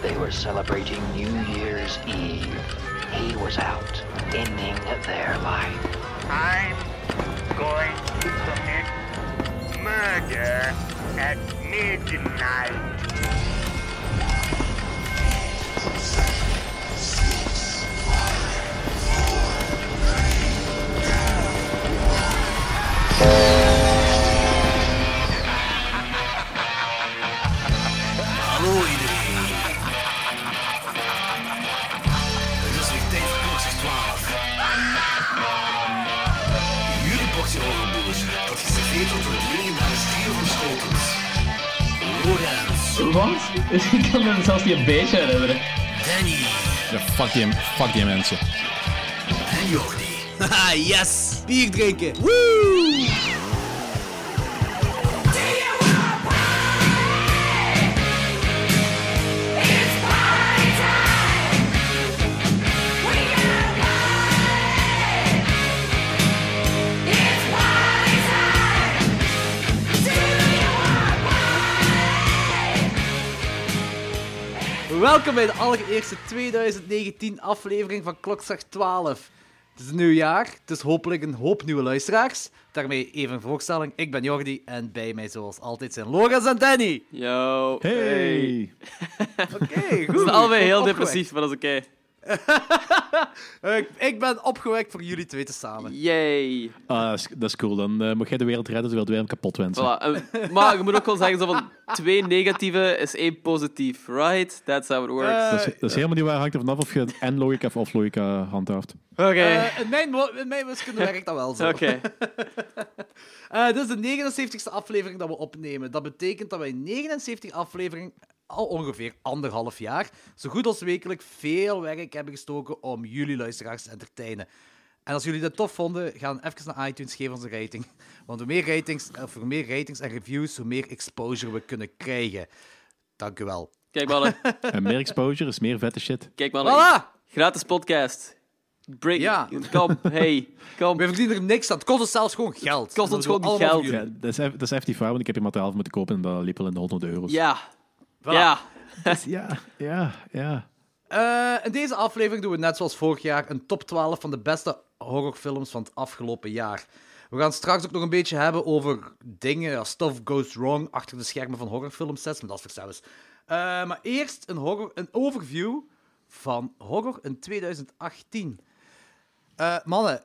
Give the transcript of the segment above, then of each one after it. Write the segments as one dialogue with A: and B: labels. A: They were celebrating New Year's Eve. He was out, ending their life.
B: I'm going to commit murder at midnight.
C: Hallo iedereen. Het is weer tijd voor klokjes 12. Jullie portie overboers, dat is geserveerd wordt door het legendarische stier van Schotens. Lorenz,
D: Wat? Ik kan me zelfs niet een beetje herinneren.
C: Danny
E: Ja, fuck die, fuck die mensen.
C: en Jordi.
F: Haha, yes! Bier drinken! Woo! Welkom bij de allereerste 2019 aflevering van Klokslag 12. Het is een nieuw jaar, dus hopelijk een hoop nieuwe luisteraars. Daarmee even een voorstelling. Ik ben Jordi en bij mij zoals altijd zijn Lorenz en Danny.
G: Yo.
E: Hey!
F: Oké, goed.
G: We zijn allebei heel
F: Opgewekt.
G: depressief, maar dat is oké.
F: Ik, ik ben opgewekt voor jullie twee te samen.
G: Yay.
E: Ah, dat, is, dat is cool. Dan eh, mocht jij de wereld redden, terwijl de wereld kapot wensen.
G: Voilà. En- Maar je moet ook wel zeggen, zo van twee negatieve is één positief, right? That's how it
F: Eh.
G: works.
E: Dat, is, dat is helemaal niet waar. Hangt er vanaf of je en logica of off-logica handhaaft.
G: Oké.
F: Eh, in, mijn, wo- in mijn wiskunde werkt dat wel zo.
G: Oké.
F: Eh, dit is de 79ste aflevering dat we opnemen. Dat betekent dat wij 79 afleveringen, al ongeveer anderhalf jaar, zo goed als wekelijk veel werk hebben gestoken om jullie luisteraars te entertainen. En als jullie dat tof vonden, ga dan even naar iTunes, geef ons een rating. Want hoe meer ratings, of hoe meer ratings en reviews, hoe meer exposure we kunnen krijgen. Dank u wel.
G: Kijk mannen.
E: En meer exposure is meer vette shit.
G: Kijk mannen.
F: Voilà!
G: Gratis podcast. Break.
F: Ja.
G: Kom. Hey. Kom.
F: We verdienen er niks aan. Het kost ons zelfs gewoon geld.
G: kost ons
F: Dat doen we
G: gewoon
F: allemaal
G: geld.
F: voor
E: Ja,
F: jullie.
E: dat is eff- dat is echt die vraag, want ik heb je materiaal voor moeten kopen en dat liep al in de 100 euro's.
G: Ja.
F: Voilà.
G: Ja.
E: ja, ja. ja.
F: Eh, in deze aflevering doen we net zoals vorig jaar een top 12 van de beste horrorfilms van het afgelopen jaar. We gaan straks ook nog een beetje hebben over dingen als stuff goes wrong achter de schermen van horrorfilmsets, maar dat is voor zelfs. Eh, maar eerst een, horror, een overview van horror in 2018. Eh, mannen,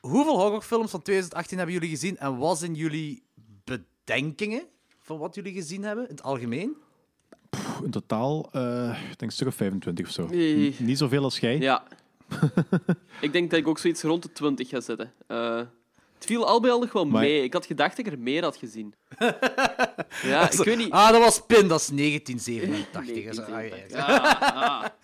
F: hoeveel horrorfilms van 2018 hebben jullie gezien en wat zijn jullie bedenkingen van wat jullie gezien hebben in het algemeen?
E: Pff, In totaal, eh, ik denk een stuk of 25 of zo.
G: Nee.
E: N- Niet zoveel als jij.
G: Ja. ik denk dat ik ook zoiets rond de 20 ga zitten. Eh, het viel al bij al nog wel
E: Maar-
G: mee. Ik had gedacht dat ik er meer had gezien. ja, ik weet niet.
F: Ah, dat was Pin, dat is 1987.
G: Nee,
F: Dat is- ah, ja, ja.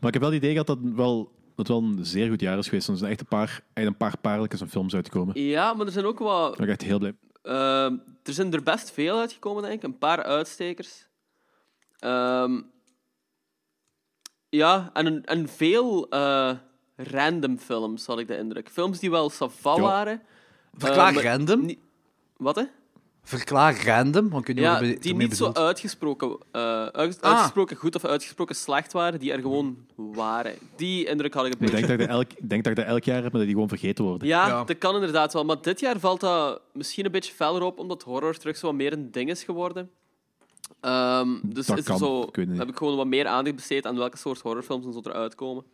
E: Maar ik heb wel het idee gehad dat het wel, dat het wel een zeer goed jaar is geweest. Er zijn echt een paar, echt een paar paarlijke films uitgekomen.
G: Ja, maar er zijn ook wat.
E: Daar ben ik echt heel blij.
G: ehm, er zijn er best veel uitgekomen, denk ik. Een paar uitstekers. Ehm, ja, en, een- en veel eh, random films, had ik de indruk. Films die wel savat
E: Ja.
G: waren.
F: Verklaar
G: Eh, maar-
F: Ah, random.
G: niet- Wat hè?
F: Verklaar random, want kun je
G: Ja,
F: wat je
G: die
F: ermee
G: niet zo
F: bedoelt.
G: uitgesproken, eh, uit-
F: Ah.
G: uitgesproken goed of uitgesproken slecht waren, die er gewoon waren. Die indruk had ik
E: Ik
G: een
E: denk
G: beetje.
E: dat ik dat elk, ik denk dat ik dat elk jaar heb, maar dat die gewoon vergeten worden.
G: Ja,
F: Ja.
G: dat kan inderdaad wel. Maar dit jaar valt dat misschien een beetje feller op, omdat horror terug zo wat meer een ding is geworden. Ehm, dus
E: Dat
G: is er
E: kan,
G: zo,
E: ik weet het niet.
G: heb ik gewoon wat meer aandacht besteed aan welke soort horrorfilms en zo eruit komen.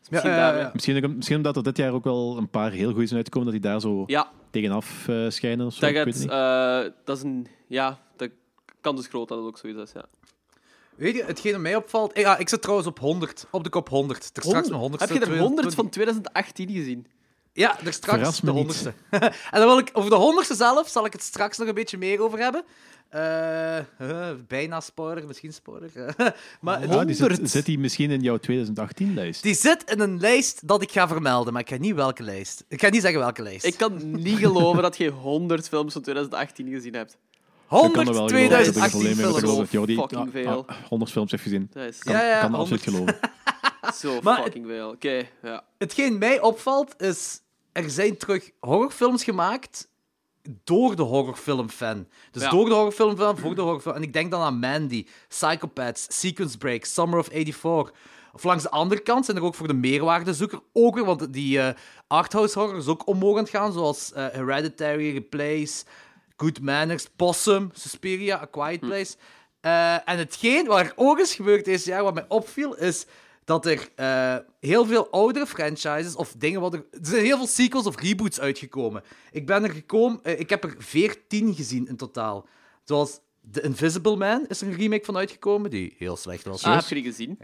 G: Dus
F: Ja,
G: misschien
F: ja,
G: daar-
F: ja.
E: Misschien, ook- misschien omdat er dit jaar ook wel een paar heel goede zijn uitgekomen, dat die daar zo
G: Ja,
E: tegenaf eh, schijnen of zo.
G: dat,
E: ik
G: gaat,
E: weet het niet.
G: eh, dat is een... Ja, dat kan dus groot dat het ook zoiets is, ja.
F: Weet je, hetgeen dat mij opvalt... Ja, ik zit trouwens op 100. Op de kop 100. Er straks mijn 100
G: Oh, Heb je er 100 van 2018 gezien?
F: Ja, er straks
E: Verras
F: de
E: me
F: 100ste. en dan wil ik... Over de 100ste zelf zal ik het straks nog een beetje meer over hebben. Eh, eh, bijna spoiler, misschien spoiler. eh. maar het-
E: Ah, die zit, zit die misschien in jouw 2018-lijst?
F: die zit in een lijst dat ik ga vermelden, maar ik ga niet welke lijst. Ik ga niet zeggen welke lijst.
G: Ik kan niet geloven dat je 100 films van 2018 gezien hebt.
F: 100 2018
G: probleem hebben,
F: films.
G: geloof ik. Fucking veel.
E: 100 films heeft gezien.
G: Dat is
E: Kan,
F: Ja, ja,
E: kan absoluut
F: 100.
E: geloven.
G: zo
E: Ah,
F: Maar-
G: fucking veel. Oké, ja.
F: Hetgeen mij opvalt is, er zijn terug horrorfilms gemaakt door de horrorfilmfan. Dus
G: Ja.
F: door de horrorfilmfan, voor de horrorfilm. En ik denk dan aan Mandy, Psychopaths, Sequence Break, Summer of 84. Of langs de andere kant zijn er ook voor de meerwaardezoeker ook weer, want die eh, arthouse horror is ook omhoog aan het gaan, zoals eh, Hereditary, Replace, Good Manners, Possum, Suspiria, A Quiet Place. Eh, en hetgeen waar ook is gebeurd deze jaar, wat mij opviel, is dat er eh, heel veel oudere franchises of dingen wat er... Er zijn heel veel sequels of reboots uitgekomen. Ik ben er gekomen... eh, ik heb er veertien gezien in totaal. Zoals The Invisible Man is er een remake van uitgekomen, die heel slecht was.
G: Ah, heb je die gezien?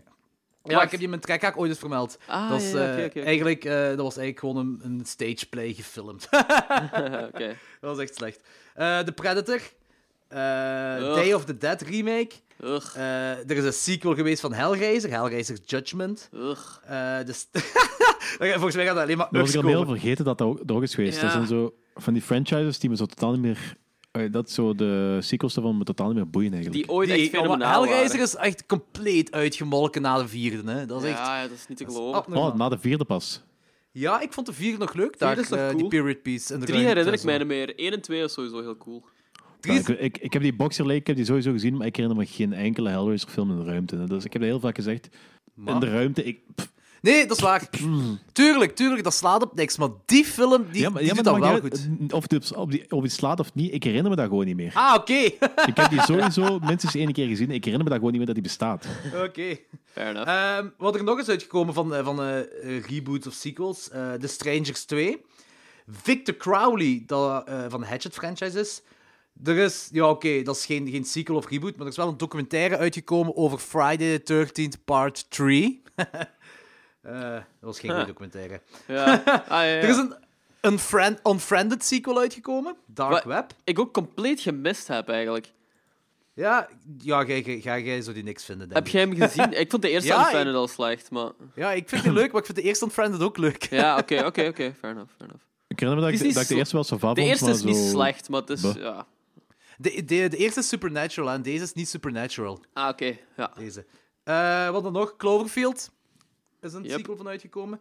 F: Ja, ik heb die in mijn trekhaak ooit eens vermeld.
G: Ah,
F: dat, is,
G: ja, ja,
F: eh,
G: oké, oké, oké.
F: Eigenlijk, eh, dat was eigenlijk gewoon een, een stageplay gefilmd.
G: Oké.
F: dat was echt slecht. Eh the Predator. eh,
G: Ugh.
F: Day of the Dead remake.
G: Ugh,
F: Eh, er is een sequel geweest van Hellraiser, Hellraiser Judgment.
G: ugh.
F: Eh, dus... Volgens mij gaat dat alleen maar
E: Dat was
F: ups
E: ik al heel
F: komen.
E: vergeten dat dat ook, dat ook is geweest.
G: Ja.
E: Dat zijn zo van die franchises die me zo totaal niet meer... eh, dat zo de sequels daarvan me totaal niet meer boeien eigenlijk.
G: Die ooit
F: Die-
G: echt fenomenaal
F: Hellraiser
G: waren.
F: is echt compleet uitgemolken na de vierde. Hè. Dat is echt...
G: Ja, ja, dat is niet te geloven.
F: abnormaal.
E: Oh, na de vierde pas.
F: Ja, ik vond de vierde nog leuk. Daar,
G: is nog
F: eh, Die
G: cool.
F: period piece. En de
G: Drie
F: ruimte
G: herinner ik
F: en
G: mij
F: zo.
G: niet meer. 1 en 2 is sowieso heel cool.
F: Drie is-
E: Ik, ik, ik heb die Boxer Lake ik heb die sowieso gezien, maar ik herinner me geen enkele Hellraiser film in de ruimte. Dus ik heb dat heel vaak gezegd. In de ruimte... Ik, pff,
F: Nee, dat is waar. tuurlijk, tuurlijk, dat slaat op niks. Maar die film, die,
E: ja, maar,
F: die
E: ja, maar
F: doet dat
E: dat
F: wel
E: maakt
F: goed.
E: niet uit, Of het, op die, of het slaat of niet, ik herinner me dat gewoon niet meer.
F: Ah, oké.
E: Ik heb die sowieso minstens één keer gezien. Ik herinner me dat gewoon niet meer dat die bestaat.
F: oké.
G: Fair enough.
F: Ehm, wat er nog is uitgekomen van, eh, van eh, eh, reboots of sequels: eh The Strangers 2. Victor Crowley, dat eh, van de Hatchet franchise is. Er is, ja oké, dat is geen, geen sequel of reboot, maar er is wel een documentaire uitgekomen over Friday the 13th Part 3. Eh, dat was geen goede documentaire.
G: ja. Ah, ja, ja.
F: Er is een unfriend, Unfriended sequel uitgekomen, Dark
G: Wat-
F: Web.
G: Ik ook compleet gemist heb, eigenlijk.
F: Ja, ja jij, jij, jij, jij zou die niks vinden, denk
G: Heb jij hem gezien? Ik vond de eerste
F: Ja,
G: ja,
F: ik-
G: Unfriended al slecht, maar...
F: Ja, ik vind die leuk, maar ik vind de eerste Unfriended ook leuk.
G: Ja, oké, oké, oké. Fair enough, fair enough.
E: Ik herinner me dat
G: Het is
E: ik,
G: niet
E: dat ik de
G: zo-
E: eerste wel zo vond,
G: De eerste
E: maar
G: is niet
E: zo-
G: slecht, maar het is...
E: Bah.
G: Ja.
F: De, de, de eerste is Supernatural en deze is niet Supernatural.
G: Ah, oké. Ja.
F: Deze. Eh, wat dan nog? Cloverfield is een
G: Yep.
F: sequel van uitgekomen.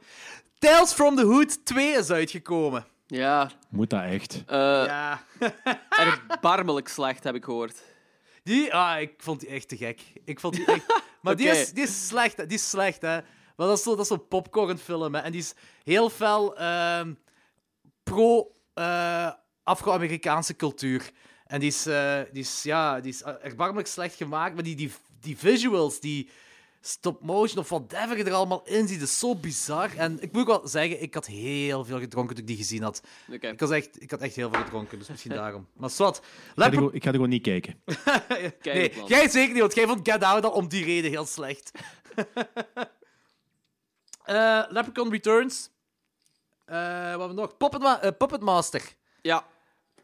F: Tales from the Hood 2 is uitgekomen.
G: Ja.
E: Moet dat echt?
G: eh,
F: Ja.
G: Erbarmelijk slecht, heb ik gehoord.
F: Die, ah, ik vond die echt te gek. Ik vond die echt... Maar die,
G: Oké.
F: is, die is slecht, hè. die is slecht, hè. Maar dat is zo- dat is zo'n popcornfilm, hè. En die is heel fel ehm, pro eh, Afro-Amerikaanse cultuur. En die is, eh, die is, ja, die is eh, erbarmelijk slecht gemaakt, maar die, die, die visuals, die stop-motion of whatever je er allemaal in ziet, is zo bizar. En ik moet ook wel zeggen, ik had heel veel gedronken toen ik die gezien had.
G: Oké.
F: Ik, was echt, ik had echt heel veel gedronken, dus misschien daarom. Maar zwart,
E: Ik
F: Leper
E: ga, er gewoon, ik ga er gewoon niet kijken.
F: nee,
G: het land.
F: jij zeker niet, want jij vond Get Out al om die reden heel slecht. Eh, Leprechaun Returns. Eh, wat hebben we nog? Puppet, Ma- eh, Puppet Master.
G: Ja.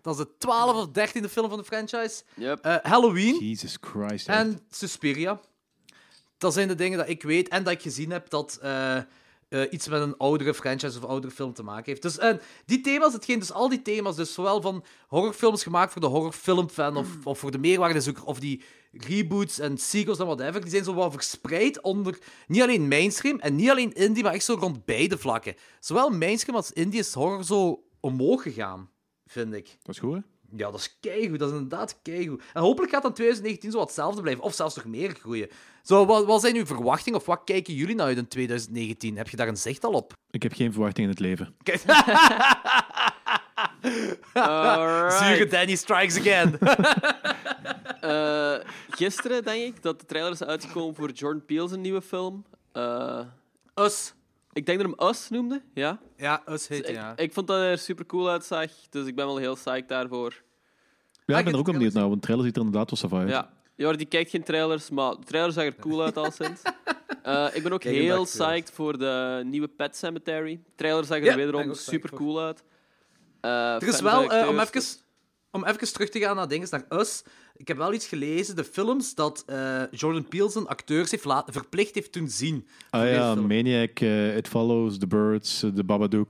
F: Dat is de 12 of 13e film van de franchise.
G: Yep.
F: Eh, Halloween
E: Jesus Christ. echt.
F: en Suspiria. Dat zijn de dingen dat ik weet en dat ik gezien heb dat eh, eh, iets met een oudere franchise of oudere film te maken heeft. Dus en die thema's, hetgeen, dus al die thema's, dus zowel van horrorfilms gemaakt voor de horrorfilmfan of, of voor de meerwaardezoeker, of die reboots en sequels en whatever, die zijn zo wel verspreid onder niet alleen mainstream en niet alleen indie, maar echt zo rond beide vlakken. Zowel mainstream als indie is horror zo omhoog gegaan, vind ik.
E: Dat is goed, hè?
F: Ja, dat is keigoed. Dat is inderdaad keigoed. En hopelijk gaat dan 2019 zo wat hetzelfde blijven. Of zelfs nog meer groeien. Zo, wat, wat zijn uw verwachtingen? Of wat kijken jullie nou uit in 2019? Heb je daar een zicht al op?
E: Ik heb geen verwachting in het leven.
G: Alright.
F: Zure Danny strikes again.
G: Eh, gisteren, denk ik, dat de trailer is uitgekomen voor Jordan Peele's een nieuwe film. Eh,
F: us.
G: ik denk dat hem Us noemde, ja.
F: Ja, us heet
G: Dus Ik,
F: ja.
G: ik vond dat hij er super cool uitzag, dus ik ben wel heel psyched
E: Ja,
G: daarvoor.
F: ik
E: ik ben
F: heb
E: er ook
F: het
E: opnieuw naar, want de trailer ziet er inderdaad wel saf uit.
G: Ja. Jordi die kijkt geen trailers, maar de trailer zag er cool uit al sinds. Eh, ik ben ook
F: Kijk, een
G: heel
F: dag trailer.
G: psyched voor de nieuwe Pet Cemetery. De trailer zag er
F: Ja, ben ik
G: wederom
F: ook psyched
G: super cool uit. Eh,
F: Er is
G: fans
F: wel,
G: acteurs,
F: eh, om, even,
G: dus-
F: om even terug te gaan naar dingen, naar Us. Ik heb wel iets gelezen, de films dat eh, Jordan Peele zijn acteurs heeft laten, verplicht heeft toen zien.
E: Ah
F: Voor deze
E: ja,
F: film.
E: Maniac, eh, It Follows, The Birds, eh, The Babadook.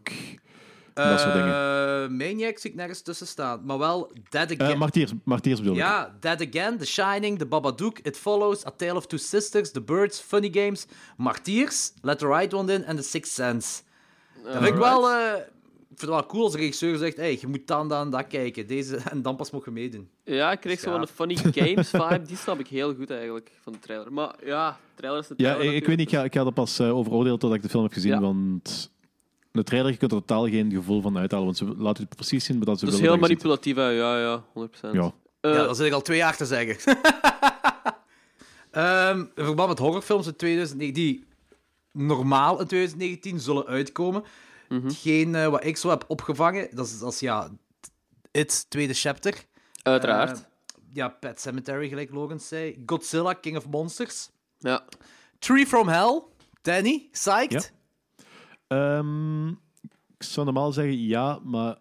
E: dat soort dingen.
F: Eh, Maniac zie ik nergens tussen staan. Maar wel Dead Again.
E: Eh Martiers, Martiers bedoel ik.
F: Ja, Dead Again, The Shining, The Babadook, It Follows, A Tale of Two Sisters, The Birds, Funny Games, Martiers, Let the Right One In en The Sixth Sense. Dat vind ik wel... eh, vind het wel cool als de regisseur zegt: hey, je moet dan, dan, dat kijken. Deze, en dan pas mogen meedoen.
G: Ja, ik
E: Dus
G: kreeg zo wel een funny games vibe. Die snap ik heel goed eigenlijk van de trailer. Maar ja, de trailer is de
E: Ja,
G: trailer.
E: ik, ik weet niet, ik ga, ik ga er pas eh, over oordelen totdat ik de film heb gezien,
G: Ja.
E: want de trailer, je kunt er totaal geen gevoel van uithalen, want ze laten het precies zien dat ze
G: Dat is heel
E: willen dat je
G: manipulatief, hè. ja, ja, 100%.
E: ziet. Ja.
G: Eh,
F: ja, dat zit ik al twee jaar te zeggen. Ehm, in verband met horrorfilms in 2019, die normaal in 2019 zullen uitkomen. Hetgeen eh, wat ik zo heb opgevangen, dat is, dat is ja, It, tweede chapter.
G: Uiteraard.
F: Eh, ja, Pet Cemetery, gelijk Logan zei. Godzilla, King of Monsters.
G: ja.
F: Tree from Hell. Danny, psyched.
E: Ja. Ehm, ik zou normaal zeggen ja, maar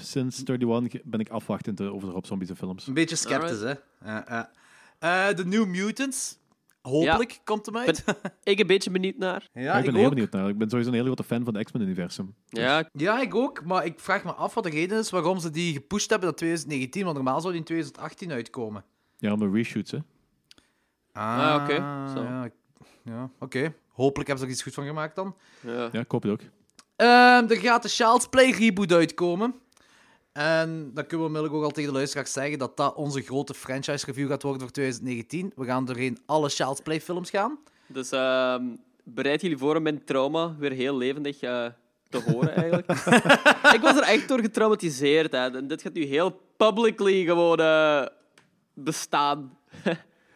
E: sinds 31 ge- ben ik afwachtend eh, over de Rob Zombie's en films.
F: Een beetje sceptisch, hè? Ja, ja. Eh, The New Mutants. Hopelijk komt hem uit.
G: Ik een beetje benieuwd naar.
F: ja,
E: ik ben er
F: ook.
E: heel benieuwd naar. Ik ben sowieso een hele grote fan van het X-Men-universum.
G: Ja, ik-
F: Ja, ik ook. Maar ik vraag me af wat de reden is waarom ze die gepusht hebben dat 2019. Want normaal zou die in 2018 uitkomen.
E: Ja, maar reshoots, hè.
G: Ah, oké. Zo.
F: Ja, ik- ja oké. Hopelijk hebben ze er iets goed van gemaakt dan.
G: ja.
E: Ja, ik hoop het ook.
F: Ehm, er gaat de Child's Play reboot uitkomen. En dan kunnen we onmiddellijk ook al tegen de luisteraars zeggen dat dat onze grote franchise review gaat worden voor 2019. We gaan doorheen alle Child's Play films gaan.
G: Dus ehm, bereid jullie voor om mijn trauma weer heel levendig eh, te horen, eigenlijk. ik was er echt door getraumatiseerd. Hè. En dit gaat nu heel publicly gewoon eh, bestaan.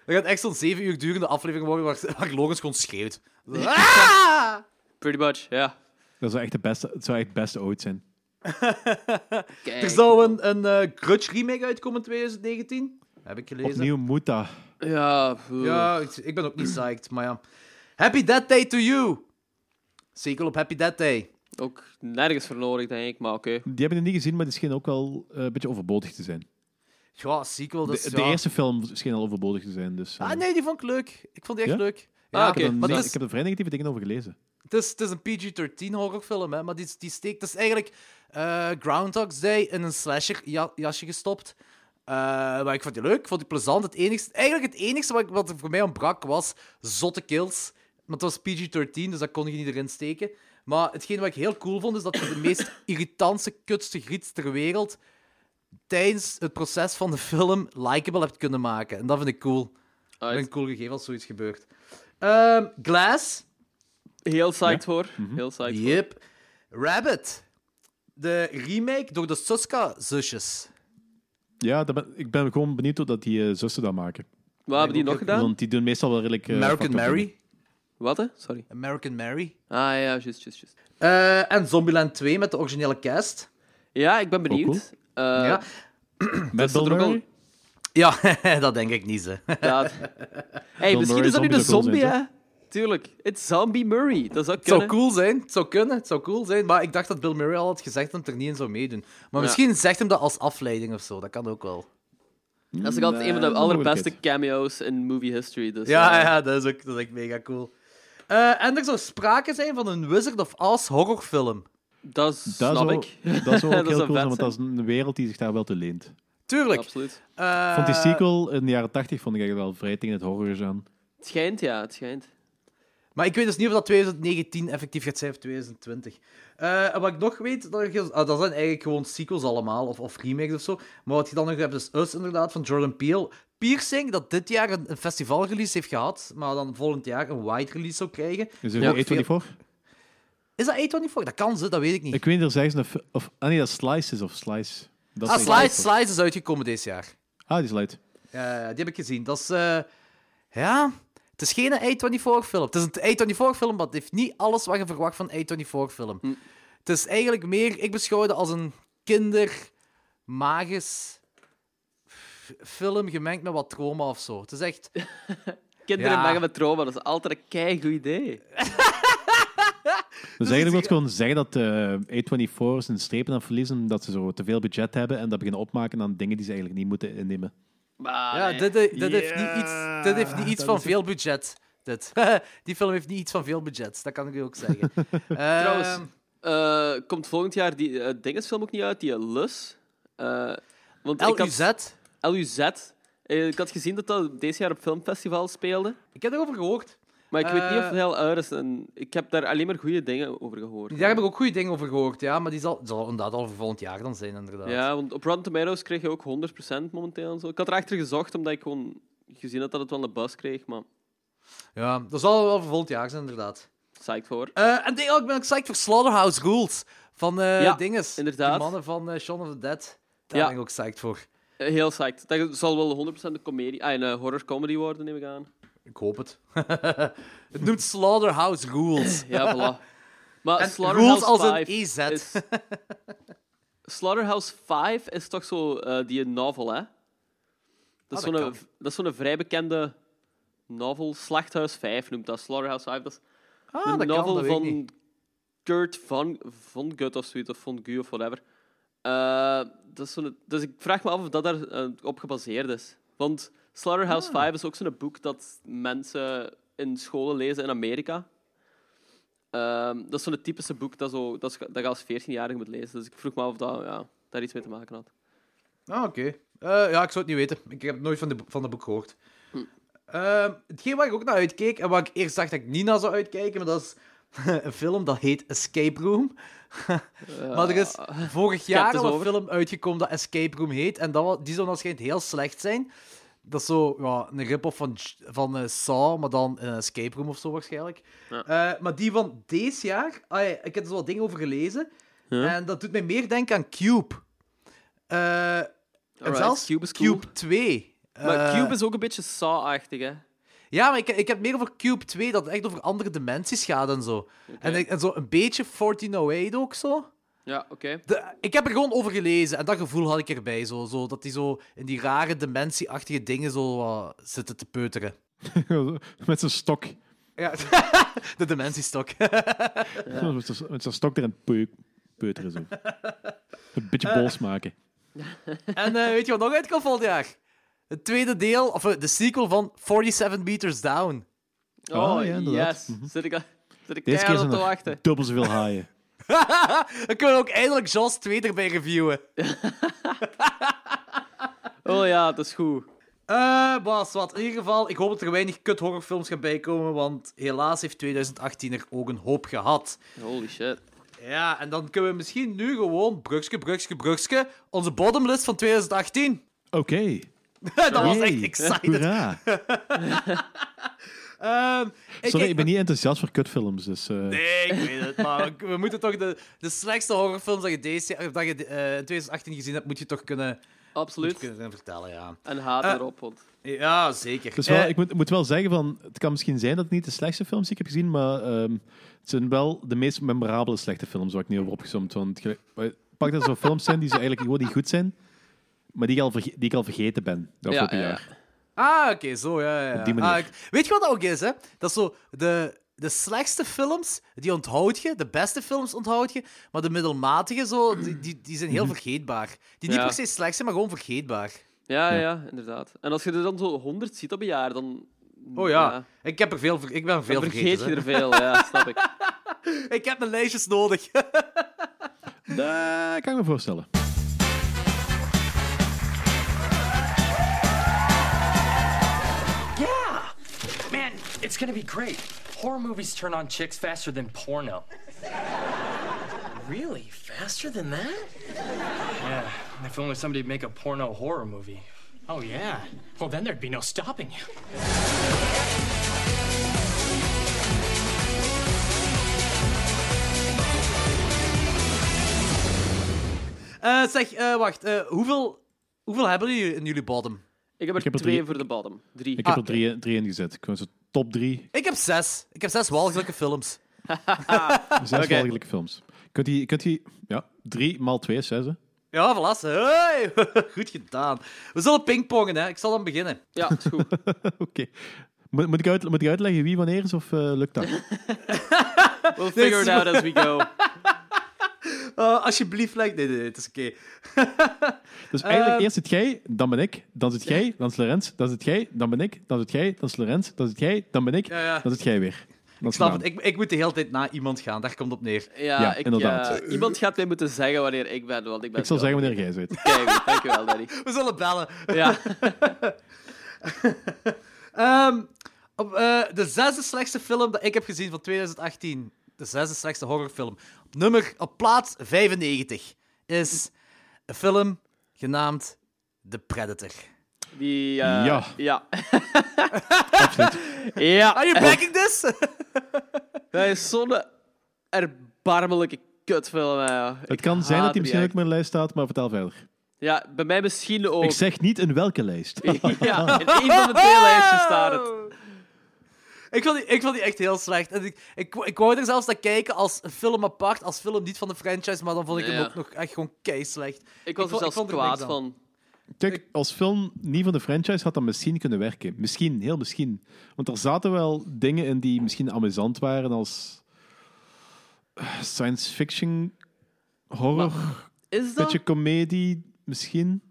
F: Er gaat echt zo'n 7 uur durende aflevering worden waar, waar Logans gewoon schreeuwt. Ah!
G: Pretty much, ja.
E: Dat zou echt de beste, het zou echt het beste ooit zijn.
G: Kijk.
F: Er zou een, een eh, Grudge remake uitkomen in 2019. Heb ik gelezen.
E: Opnieuw moet dat.
G: Ja, pff.
F: Ja, ik, ik ben ook niet psyched, maar ja. Happy Death Day to you! Sequel op Happy Death Day.
G: ook nergens voor nodig, denk ik, maar oké.
E: Die hebben het niet gezien, maar die scheen ook wel eh, een beetje overbodig te zijn.
F: Ja, sequel,
E: De,
F: dus
E: de
F: ja.
E: eerste film scheen al overbodig te zijn, dus... eh,
F: Ah nee, die vond ik leuk. Ik vond die echt
E: Ja?
F: leuk.
G: Ah,
F: Ja,
G: oké.
E: ik, heb er
F: maar
E: ne-
F: het
E: ik
F: is,
E: heb er vrij negatieve dingen over gelezen.
F: het is, het is een PG-13 horrorfilm, hè, maar die, die steekt... Het is eigenlijk eh Groundhog's Day in een slasher ja- jasje gestopt. Eh, maar ik vond die leuk, ik vond die plezant. Het enigste, eigenlijk het enige wat, ik- wat er voor mij ontbrak was zotte kills. Maar het was PG-13, dus dat kon je niet erin steken. Maar hetgeen wat ik heel cool vond, is dat we de meest irritantste, kutste griet ter wereld tijdens het proces van de film likable hebt kunnen maken. En dat vind ik cool. Dat vind
G: Alright.
F: ik een cool gegeven als zoiets gebeurt. Ehm, Glass.
G: Heel psyched voor. Heel psyched voor.
F: Yep. Rabbit. De remake door de Suska-zusjes.
E: Ja, dat ben- ik ben gewoon benieuwd hoe dat die eh, zussen dat maken.
G: Wat hebben die nog gedaan?
E: Want die doen meestal wel redelijk... eh,
F: American
E: fucked up dingen.
F: Mary.
G: Wat, hè? Sorry.
F: American Mary.
G: Ah, ja, juist, juist, juist.
F: Eh, en Zombieland 2 met de originele cast.
G: Ja, ik ben benieuwd. Eh,
F: Ja,
E: Met
G: zit
E: Bill
G: er ook al-
E: Murray?
F: ja dat denk ik niet, ze.
G: Inderdaad. Hey, misschien
E: Murray
G: is dat nu de
E: zombies ook wel
G: zombie,
E: zijn,
G: hè? Tuurlijk. It's Zombie Murray. Dat zou
F: Het zou
G: kunnen.
F: cool zijn, het zou kunnen, het zou cool zijn. Maar ik dacht dat Bill Murray al had gezegd dat hij er niet in zou meedoen.
G: Ja.
F: Maar misschien zegt hem dat als afleiding of zo, dat kan ook wel.
G: Dat is ook altijd een van de
E: Nee,
G: allerbeste
E: mogelijkheid.
G: cameo's in movie history. Dus,
F: Ja,
G: eh,
F: ja, dat is ook dat is echt mega cool. Eh, en er zou sprake zijn van een Wizard of Oz horrorfilm.
G: Dat
E: Dat
G: snap
E: zou,
G: ik.
E: dat zou ook
G: zou
E: heel cool
G: vet
E: zijn, want dat is een wereld die zich daar wel te leent.
F: Tuurlijk.
G: Absoluut.
F: Eh,
E: vond die sequel in de jaren 80 vond ik eigenlijk wel vrij tegen het horror aan.
G: Het schijnt, ja. Het schijnt.
F: Maar ik weet dus niet of dat 2019 effectief gaat zijn of 2020. Eh, en wat ik nog weet, dat, er- ah, dat zijn eigenlijk gewoon sequels allemaal, of, of remakes of zo. Maar wat je dan nog hebt is Us inderdaad, van Jordan Peele. Piercing, dat dit jaar een, een festivalrelease heeft gehad, maar dan volgend jaar een wide release zou krijgen.
E: Is er
G: Ja,
E: ja, A24?
F: Is dat A24? Dat kan ze, dat weet ik niet.
E: Ik weet niet of zij is een... f- Of, ah nee, dat is Slice is of Slice. Dat
F: ah,
E: is
F: Slice,
E: A24.
F: Slice is uitgekomen dit jaar.
E: Ah, die is Slice.
F: Ja, ja, die heb ik gezien. Dat is. eh, ja, het is geen A24-film. Het is een A24-film, maar het heeft niet alles wat je verwacht van een A24-film.
G: Hm.
F: Het is eigenlijk meer, ik beschouw het als een kindermagisch f- film gemengd met wat trauma of zo. Het is echt.
G: Ah, Kinderen
F: Ja.
G: maken met trauma. Dat is altijd een keigoed idee.
E: Dus eigenlijk wil ik gewoon zeggen dat eh A24 zijn strepen aan verliezen, omdat ze zo te veel budget hebben en dat beginnen opmaken aan dingen die ze eigenlijk niet moeten innemen.
G: Maar,
F: Ja,
G: nee.
F: dit, dit, heeft niet iets, dit heeft niet iets van veel budget. Dit. Die film heeft niet iets van veel budget, dat kan ik u ook zeggen.
G: Trouwens,
F: Ehm,
G: eh, komt volgend jaar die eh, Dingesfilm ook niet uit? Die eh, Lus? Eh, want ik had-
F: LUZ.
G: LUZ. Eh, Ik had gezien dat dat deze jaar op filmfestival speelde.
F: Ik heb erover gehoord.
G: Maar ik weet niet of
F: Eh,
G: Hell Iris... een- Ik heb daar alleen maar goede dingen over gehoord.
F: Daar heb ik ook goede dingen over gehoord, ja. Maar die zal, zal inderdaad al voor volgend jaar dan zijn, inderdaad.
G: Ja, want op Rotten Tomatoes kreeg je ook 100% momenteel en zo. Ik had erachter gezocht, omdat ik gewoon gezien had dat het wel een bus kreeg, maar
F: ja dat zal wel voor volgend jaar zijn, inderdaad.
G: psyched voor.
F: Eh, en die- oh, ik ben ook psyched voor Slaughterhouse Rules. Van eh
G: Ja,
F: dinges.
G: inderdaad.
F: De mannen van eh, Shaun of the Dead. Daar
G: Ja.
F: ben ik ook psyched voor.
G: Eh, Heel psyched. Dat zal wel 100% een, comedie, ah, een eh, horror comedy worden, neem ik aan.
F: Ik hoop het. het noemt Slaughterhouse Rules.
G: Ja, voilà. Maar
F: En rules
G: Slaughterhouse
F: als een E Ah,
G: 5
F: EZ.
G: is- Slaughterhouse 5 is toch zo eh, die novel, hè? Dat is
F: Ah, dat
G: zo'n
F: kan.
G: dat is zo'n vrij bekende novel. Slachthuis 5 noemt dat. Slaughterhouse 5, dat is
F: Ah,
G: een
F: dat kan,
G: novel
F: dat weet ik niet.
G: van Kurt Von, von Gut of zoiets, of Von Gu of whatever. Eh, dat is zo'n- dus ik vraag me af of dat daar eh, op gebaseerd is. Want Slaughterhouse
F: Ah.
G: 5 is ook zo'n boek dat mensen in scholen lezen in Amerika. Ehm, dat is zo'n typische boek dat, zo, dat, is- dat je als 14-jarige moet lezen. Dus ik vroeg me af of dat ja, daar iets mee te maken had.
F: Ah, oké. Eh, ja, ik zou het niet weten. Ik heb nooit van, de, van dat boek gehoord. Ehm, hetgeen waar ik ook naar uitkeek, en waar ik eerst dacht dat ik niet naar zou uitkijken, maar dat is een film dat heet Escape Room. maar er is vorig jaar
G: het
F: al een
G: over.
F: film uitgekomen dat Escape Room heet, en dat, wa- die zou waarschijnlijk heel slecht zijn. Dat is zo ja, een rip-off van, J- van eh, Saw, maar dan een escape room of zo waarschijnlijk. Eh, maar die van deze jaar, ah ja, ik heb er zo wat dingen over gelezen,
G: Ja.
F: en dat doet mij meer denken aan Cube. Eh, en
G: Alright,
F: zelfs
G: Cube
F: Cube,
G: is cool.
F: 2.
G: Maar
F: Eh,
G: Cube is ook een beetje Saw-achtig, hè?
F: Ja, maar ik, ik heb meer over Cube 2, dat het echt over andere dimensies gaat en zo. En, ik- en zo een beetje 1408 ook zo.
G: Ja, oké.
F: De- ik heb er gewoon over gelezen en dat gevoel had ik erbij. Zo, zo, dat die zo in die rare dementieachtige dingen zo wat zitten te peuteren.
E: Met zijn stok.
F: Ja, de dementiestok.
E: Met zijn- Met zijn stok erin peu- peuteren zo. Een beetje bols maken.
F: en eh, weet je wat nog uitkomt volgend jaar? Het tweede deel, of eh, de sequel van 47 Meters Down.
G: Oh,
E: Ah, ja, inderdaad.
G: yes.
F: Mhm.
G: Zit ik, al- zit ik
E: Deze keer
G: keihard op
E: zijn
G: te
E: er
G: wachten.
E: dubbel zoveel haaien.
F: Dan kunnen we ook eindelijk Jaws 2 erbij reviewen.
G: Oh ja, dat is goed.
F: Eh, Bas, wat. In ieder geval, ik hoop dat er weinig kut horrorfilms gaan bijkomen, want helaas heeft 2018 er ook een hoop gehad.
G: Holy shit.
F: Ja, en dan kunnen we misschien nu gewoon, brugske, brugske, brugske, onze bottomlist van 2018.
E: Oké.
F: dat was echt
E: Yay.
F: excited.
E: Hoera.
F: Ehm, ik,
E: Sorry, ik
F: ik-
E: ben niet enthousiast voor kutfilms, dus... eh,
F: Nee, ik weet het, maar we- we moeten toch de, de slechtste horrorfilms dat je, deze, of dat je eh, in 2018 gezien hebt, moet je toch kunnen, moet je
G: Absoluut.
F: kunnen vertellen, ja.
G: En haat
F: Eh,
G: erop, want...
F: Ja, zeker.
E: Dus wel,
F: Eh,
E: ik moet, moet wel zeggen, van, het kan misschien zijn dat het niet de slechtste films die ik heb gezien, maar ehm, het zijn wel de meest memorabele slechte films waar ik niet over opgezomd. Want gelijk- eh, pak dat er zo films zijn die zo eigenlijk gewoon niet goed zijn, maar die ik al, verge- die ik al vergeten ben de
G: Ja,
E: afgelopen
G: ja, ja.
E: jaar.
F: Ah, oké, zo, ja, ja. ja.
E: Op die manier.
F: Ah, ik- weet je wat dat ook is, hè? Dat is zo, de, de slechtste films, die onthoud je, de beste films onthoud je, maar de middelmatige, zo, die, die, die zijn
E: Mhm.
F: heel vergeetbaar. Die niet
G: Ja.
F: per se slecht zijn, maar gewoon vergeetbaar.
G: Ja, ja, inderdaad. En als je er dan zo 100 ziet op een jaar, dan.
F: Oh ja, ik, heb er veel, ver- ik ben
G: Dan
F: er veel
G: vergeet
F: vergeten.
G: je er veel, ja, snap ik.
F: hè. Ik heb mijn lijstjes nodig.
E: Dat kan ik me voorstellen.
H: Yeah! Man, it's gonna be great. Horror movies turn on chicks faster than porno. really? Faster than that? Yeah, if only somebody'd make a porno horror movie. Oh, yeah. Well, then there'd be no stopping you.
F: Eh, zeg, eh, wacht, eh, hoeveel, hoeveel hebben jullie in jullie bottom?
G: Ik heb er
E: Ik heb er
G: twee
E: drie.
G: voor de bottom. Drie.
E: Ik heb er drie, drie in gezet. Ik was zo top drie,
F: Ik heb zes. Ik heb zes walgelijke films.
G: Ah,
E: zes walgelijke films. Kunt u, kunt u, ja, drie maal twee is zes, hè?
F: Ja, voilà. Hey, goed gedaan. We zullen pingpongen, hè. Ik zal dan beginnen.
G: Ja, is goed.
E: Oké. Moet, moet, ik uit, moet ik uitleggen wie wanneer is, of eh, lukt dat?
G: We'll figure it out as we go.
F: Eh, alsjeblieft, like. Nee, nee, nee, het is oké.
E: Dus eigenlijk
F: Ehm.
E: eerst zit jij, dan ben ik, dan zit jij, dan is Lorenz, dan zit jij, dan ben ik, dan zit jij, dan is Lorenz, dan zit jij, dan ben ik,
F: Ja, ja.
E: dan zit jij weer. Dan
F: Ik snap het. Ik, ik moet de hele tijd na iemand gaan. Daar komt het op neer.
G: Ja,
E: Ja,
G: ik,
E: inderdaad.
G: eh, iemand gaat mij moeten zeggen wanneer ik ben, want ik ben.
E: Ik zal zeggen wanneer jij zit.
G: Kijk, dankjewel, Danny.
F: We zullen bellen.
G: Ja,
F: Ehm, Oké, Op, eh, de zesde slechtste film dat ik heb gezien van 2018. De zesde slechtste horrorfilm. Op, nummer, op plaats 95 is een film genaamd The Predator.
G: Die, eh,
E: Ja.
G: Ja. ja.
F: Are you backing this?
G: Dat is zo'n erbarmelijke kutfilm. hè, joh.
E: Het
G: Ik
E: kan zijn dat
G: haat
E: hij
G: die
E: misschien ook op
G: echt.
E: mijn lijst staat, maar vertel verder.
G: Ja, bij mij misschien ook.
E: Ik zeg niet in welke lijst.
G: Ja, in één van de twee lijstjes staat het.
F: Ik vond, die, ik vond die echt heel slecht. En ik, ik, ik wou er zelfs naar kijken als een film apart, als film niet van de franchise, maar dan vond ik hem
G: Ja.
F: ook nog echt gewoon kei slecht.
G: Ik was
F: vond-
G: er zelfs
F: vond er niks
G: kwaad
F: aan.
G: van.
E: Kijk, als film niet van de franchise had dat misschien kunnen werken. Misschien, heel misschien. Want er zaten wel dingen in die misschien amusant waren als eh, science fiction, horror,
G: Is dat?
E: beetje comedie, misschien.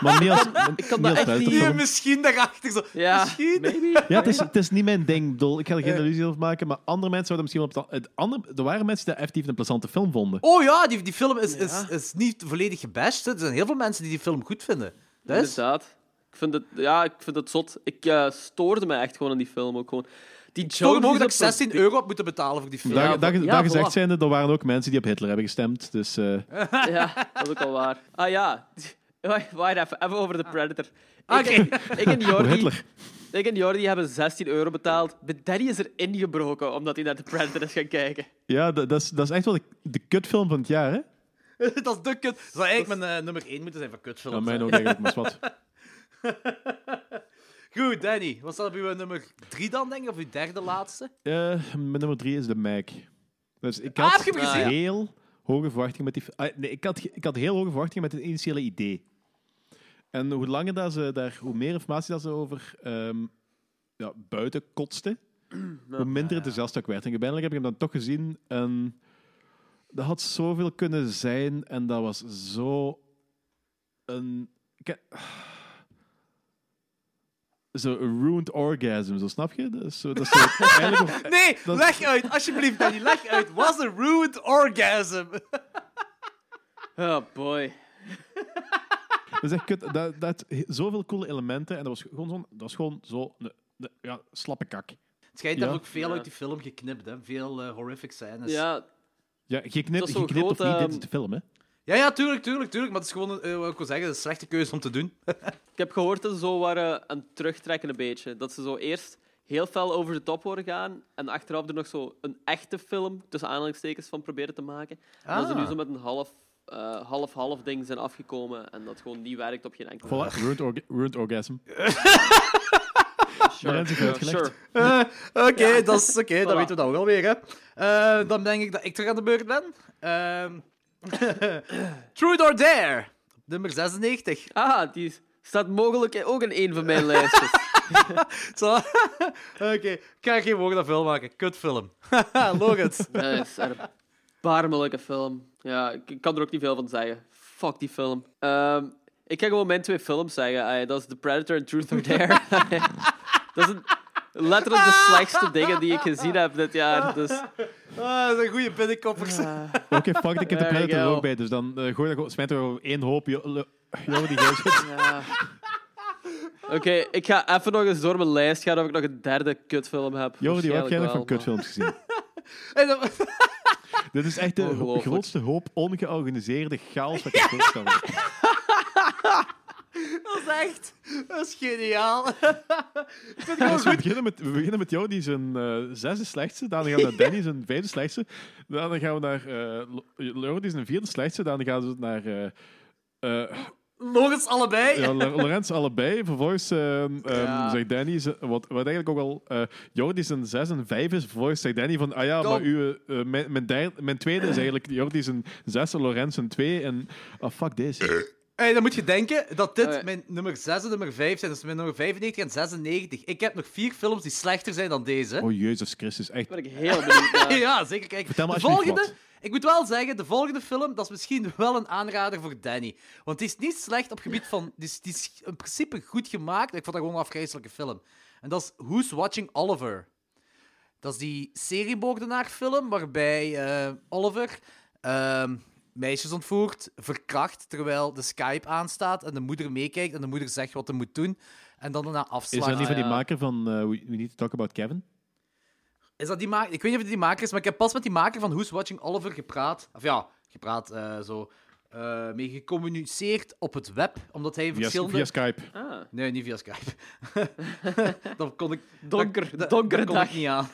E: Maar niet als,
G: kan
E: niet als
G: dat echt niet-
E: buitenfilm.
F: Hier, misschien daarachter. Zo.
G: Ja,
F: Misschien.
G: maybe.
E: Ja, het is, het is niet mijn ding. Ik bedoel, ik ga er geen illusie over maken, maar andere mensen zouden misschien wel... Op de, het andere, er waren mensen die dat effectief een plezante film vonden.
F: Oh ja, die, die film is, is, is niet volledig gebashed. hè. Er zijn heel veel mensen die die film goed vinden. Dat is...
G: Inderdaad. Ik vind het, ja, ik vind het zot. Ik eh, stoorde me echt gewoon aan die film. Ook gewoon. Die
F: Toch
G: jokes die
F: mogelijk dat
G: ze
F: ik
G: op
F: 16 euro heb moeten betalen voor die film.
E: Daar,
G: Ja,
E: daar,
G: ja,
E: daar gezegd
G: voilà.
E: zijnde, er waren ook mensen die op Hitler hebben gestemd. Dus eh,
G: de- Ja, dat is ook al waar. Ah ja. Wacht wacht even, even over de Predator. Ik, ik en
E: voor
G: Jordi,
E: Hitler.
G: ik en Jordi hebben 16 euro betaald. Bij Danny is er ingebroken omdat hij naar de Predator is gaan kijken.
E: Ja, dat, dat, is, dat is echt wel de, de kutfilm van het jaar, hè?
F: dat is de kut. Dat zou eigenlijk mijn eh, nummer 1 moeten zijn van kutfilms.
E: Ja,
F: hè.
E: mijn ook eigenlijk, maar is wat.
F: Goed, Danny. Wat staat op uw nummer 3 dan, denk ik? Of uw derde laatste?
E: Eh, mijn nummer drie is de Mac. Dus ik
F: Ah,
E: had
F: heb je hem
G: gezien?
E: heel hoge verwachtingen met die... fi- Ah, nee, ik had, ge- ik had heel hoge verwachtingen met het initiële idee. En hoe langer dat ze daar... Hoe meer informatie dat ze over ehm, ja, buiten kotsten, hoe minder enthousiast ik werd. En uiteindelijk heb ik hem dan toch gezien. En dat had zoveel kunnen zijn. En dat was zo... Een... ik- Zo ruined orgasm, zo snap je? Dat is zo... Dat is zo eigenlijk of-
F: Nee,
E: dat-
F: leg uit. Alsjeblieft, Danny. Leg uit. Was a ruined orgasm.
G: Oh boy.
E: Dat is echt kut. Dat, dat had zoveel coole elementen. En dat was gewoon zo'n... Dat was gewoon zo... een- een- ja, slappe kak.
F: Het schijnt
E: Ja.
F: dat we ook veel
G: Ja.
F: uit die film geknipt, hè. Veel eh, horrific scènes.
G: Ja,
E: Ja, je
G: Dat
E: knipt,
G: is
E: je
G: zo'n
E: knipt of
G: groot,
E: niet, dit
G: ehm,
E: is de film, hè.
F: ja, ja, tuurlijk, tuurlijk, tuurlijk. Maar het is gewoon, een, eh, wat ik wil zeggen, een slechte keuze om te doen. Eh,
G: Ik heb gehoord dat ze zo waren aan het terugtrekken een beetje. Dat ze zo eerst heel fel over de top worden gaan en achteraf er nog zo een echte film, tussen aanhalingstekens, van proberen te maken. En dat ze
F: Ah.
G: nu zo met een half, eh, half-half ding zijn afgekomen en dat gewoon niet werkt op geen enkele
E: Voilà, ruined, orga- ruined orgasm. Maar dat is ook uitgelegd.
F: Eh, oké, dat is oké. Dan
G: Voilà.
F: weten we dat ook alweer, hè. Eh, dan denk ik dat ik terug aan de beurt ben. Ehm Truth or Dare. Nummer 96.
G: Ah, die staat mogelijk ook in een van mijn lijstjes.
F: Zo. Oké, ik ga geen woord aan film maken. Kutfilm. Logans.
G: Dat is een erbarmelijke film. Ja, ik ik kan er ook niet veel van zeggen. Fuck die film. Ehm, ik ga gewoon mijn twee films zeggen. Ah, ja, dat is The Predator en Truth or Dare. dat is een- letterlijk de slechtste dingen die ik gezien heb dit jaar. Dus
F: Ah, dat zijn goede binnenkoppers.
E: Oké, fuck, ik heb de
G: There you
E: credit er
G: go.
E: ook bij. Dus dan eh, gooi dat gewoon... Smijt er gewoon één hoop... jo- le- Jongen, die geest.
G: ja. Oké, ik ga even nog eens door mijn lijst gaan of ik nog een derde kutfilm heb.
E: Jordi, wat heb jij nog
G: Waarschijnlijk
E: van
G: wel,
E: kutfilms gezien?
F: En dan-
E: Dit is echt de ho-
G: Ongelooflijk.
E: grootste hoop ongeorganiseerde chaos wat ik voorstel.
F: dat is echt... Dat is geniaal.
E: Dus we, beginnen met, we beginnen met jou, die zijn eh zesde slechtste. Daarna gaan we naar Danny, zijn vijfde slechtste. Daarna gaan we naar eh Lo- Lo- die zijn vierde slechtste. Daarna gaan we naar eh eh,
F: Logans allebei.
E: ja, Lo- Lorenz allebei. Vervolgens eh, ehm, zegt Danny, ze- wat, wat eigenlijk ook al... eh Jordi zijn zes en vijf is. Vervolgens zegt Danny van, ah ja, maar uw, eh, mijn, mijn, derde- mijn tweede is eigenlijk Jordi zijn zes en Lorenz zijn twee. En ah, fuck deze.
F: Hey, dan moet je denken dat dit
G: Oké.
F: mijn nummer 6 en nummer 5 zijn. Dus mijn nummer 95 en 96. Ik heb nog vier films die slechter zijn dan deze.
E: Oh, Jezus Christus, echt.
G: Ben ik heel benieuwd naar.
F: Ja, zeker. Kijk,
E: Vertel me
F: de
E: alsjeblieft
F: volgende...
E: wat.
F: Ik moet wel zeggen, de volgende film, dat is misschien wel een aanrader voor Danny. Want die is niet slecht op gebied van... Die is, die is in principe goed gemaakt. Ik vond dat gewoon een afgrijzelijke film. En dat is Who's Watching Oliver? Dat is die seriemoordenaar-film waarbij eh, Oliver ehm, meisjes ontvoert, verkracht terwijl de Skype aanstaat en de moeder meekijkt en de moeder zegt wat hij moet doen. En dan daarna
E: Is
F: afslagen.
E: dat niet van die
G: ja.
E: maker van eh, We We Need to Talk About Kevin?
F: Is dat die maker? Ik weet niet of het die maker is, maar ik heb pas met die maker van Who's Watching Oliver gepraat. Of ja, gepraat, eh, zo. eh, mee gecommuniceerd op het web, omdat hij
E: Via,
F: verschillende...
E: via Skype.
G: Ah,
F: Nee, niet via Skype. dat kon ik...
G: donker,
F: dat-
G: donkere
F: dat kon
G: dag.
F: ik niet aan.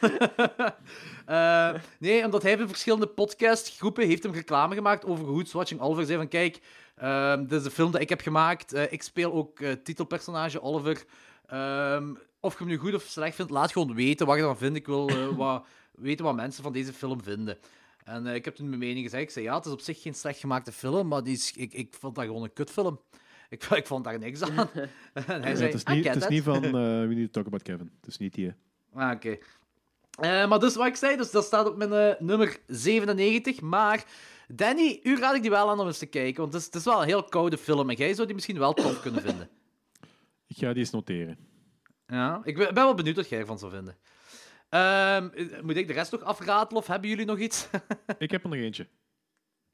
F: Eh, nee, omdat hij van verschillende podcastgroepen heeft hem reclame gemaakt over Who's Watching Oliver. Zei van, kijk, ehm, dit is een film dat ik heb gemaakt. Eh, ik speel ook eh, titelpersonage Oliver. Ehm, of je hem nu goed of slecht vindt, laat gewoon weten wat je ervan vindt. Ik wil eh, wat, weten wat mensen van deze film vinden. En eh, ik heb toen mijn mening gezegd. Ik zei, ja, het is op zich geen slecht gemaakte film, maar die is, ik, ik vond dat gewoon een kutfilm. Ik, ik vond daar niks aan. en hij
E: Ja,
F: zei,
E: het is
F: "I
E: niet,
F: get
E: het is
F: that."
E: niet van eh, We Need to Talk About Kevin. Het is niet die.
F: Ah, oké. Eh, maar dus wat ik zei, dus dat staat op mijn eh, nummer 97. Maar Danny, u raad ik die wel aan om eens te kijken. Want het is, het is wel een heel koude film. En jij zou die misschien wel tof kunnen vinden.
E: Ik ga die eens noteren.
F: Ja, ik ben ben wel benieuwd wat jij ervan zou vinden. Ehm, eh, moet ik de rest nog afratelen of hebben jullie nog iets?
E: Ik heb er nog eentje.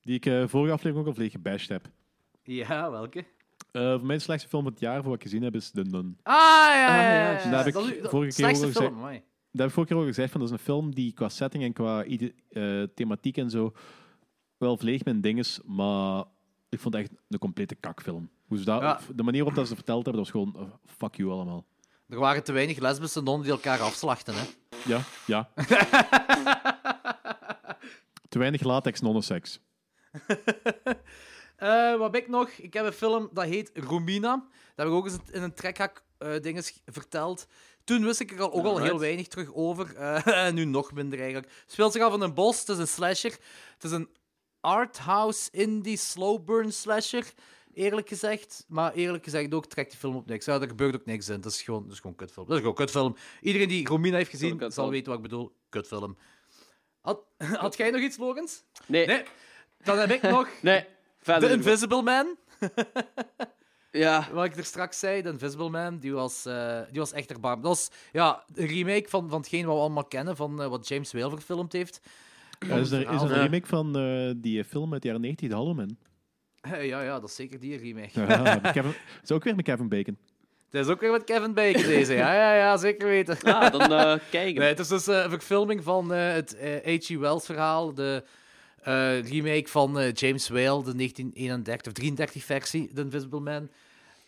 E: Die ik eh, vorige aflevering ook al vleeg gebashed heb.
F: ja, welke?
E: Eh, voor mijn slechtste film van het jaar, voor wat ik gezien heb, is The Nun.
F: Ah, ja, ja, ja. ja,
G: juist.
E: Daar heb ik
F: Dat is uw- dat-
E: vorige keer
F: slechtste
E: ook al
F: film,
E: gezegd.
F: amai.
E: Daar heb ik vorige keer ook al gezegd, van, dat is een film die qua setting en qua ide- eh, thematiek en zo wel vleeg mijn ding is, maar ik vond het echt een complete kakfilm. Hoe ze dat,
F: Ja.
E: De manier waarop dat ze het verteld hebben, dat was gewoon eh, fuck you allemaal.
F: Er waren te weinig lesbische nonnen die elkaar afslachten, hè.
E: Ja, ja. Te weinig latex, nonneseks.
F: Eh, wat heb ik nog? Ik heb een film dat heet Romina. Dat heb ik ook eens in een trekhak eh dinges verteld. Toen wist ik er al, ook al heel
G: Alright.
F: weinig terug over. Eh, nu nog minder eigenlijk. Het Speelt zich af in een bos. Het is een slasher. Het is een arthouse indie slow burn slasher. Eerlijk gezegd. Maar eerlijk gezegd ook trekt die film op niks. Ja, er gebeurt ook niks in. Dat is gewoon, dat is gewoon een kutfilm. Dat is gewoon een kutfilm. Iedereen die Romina heeft
G: Een
F: gezien
G: kutfilm.
F: zal weten wat ik bedoel. Kutfilm. Had, had jij nog iets, Logans?
G: Nee, nee,
F: Nee. Dan heb ik nog The
G: verder.
F: Invisible Man.
G: ja,
F: Wat ik er straks zei, de Invisible Man, die was, eh, die was echt erbarmelijk. Dat was ja, een remake van, van hetgeen wat we allemaal kennen, van eh, wat James Whale verfilmd heeft.
E: Er is, er is een
F: verhaal.
E: remake van eh, die film uit de jaren 90, de Hollow Man.
F: Eh, ja, ja, dat is zeker die remake.
E: Ja, met Kevin, dat is ook weer met Kevin Bacon.
F: Dat is ook weer met Kevin Bacon deze. Ja, ja, ja, zeker weten.
G: ah, dan eh kijken.
F: Nee, het is dus eh, een verfilming van eh, het eh, H.G. Wells verhaal, de eh, remake van eh, James Whale, de 1931 of 33 versie, The Invisible Man.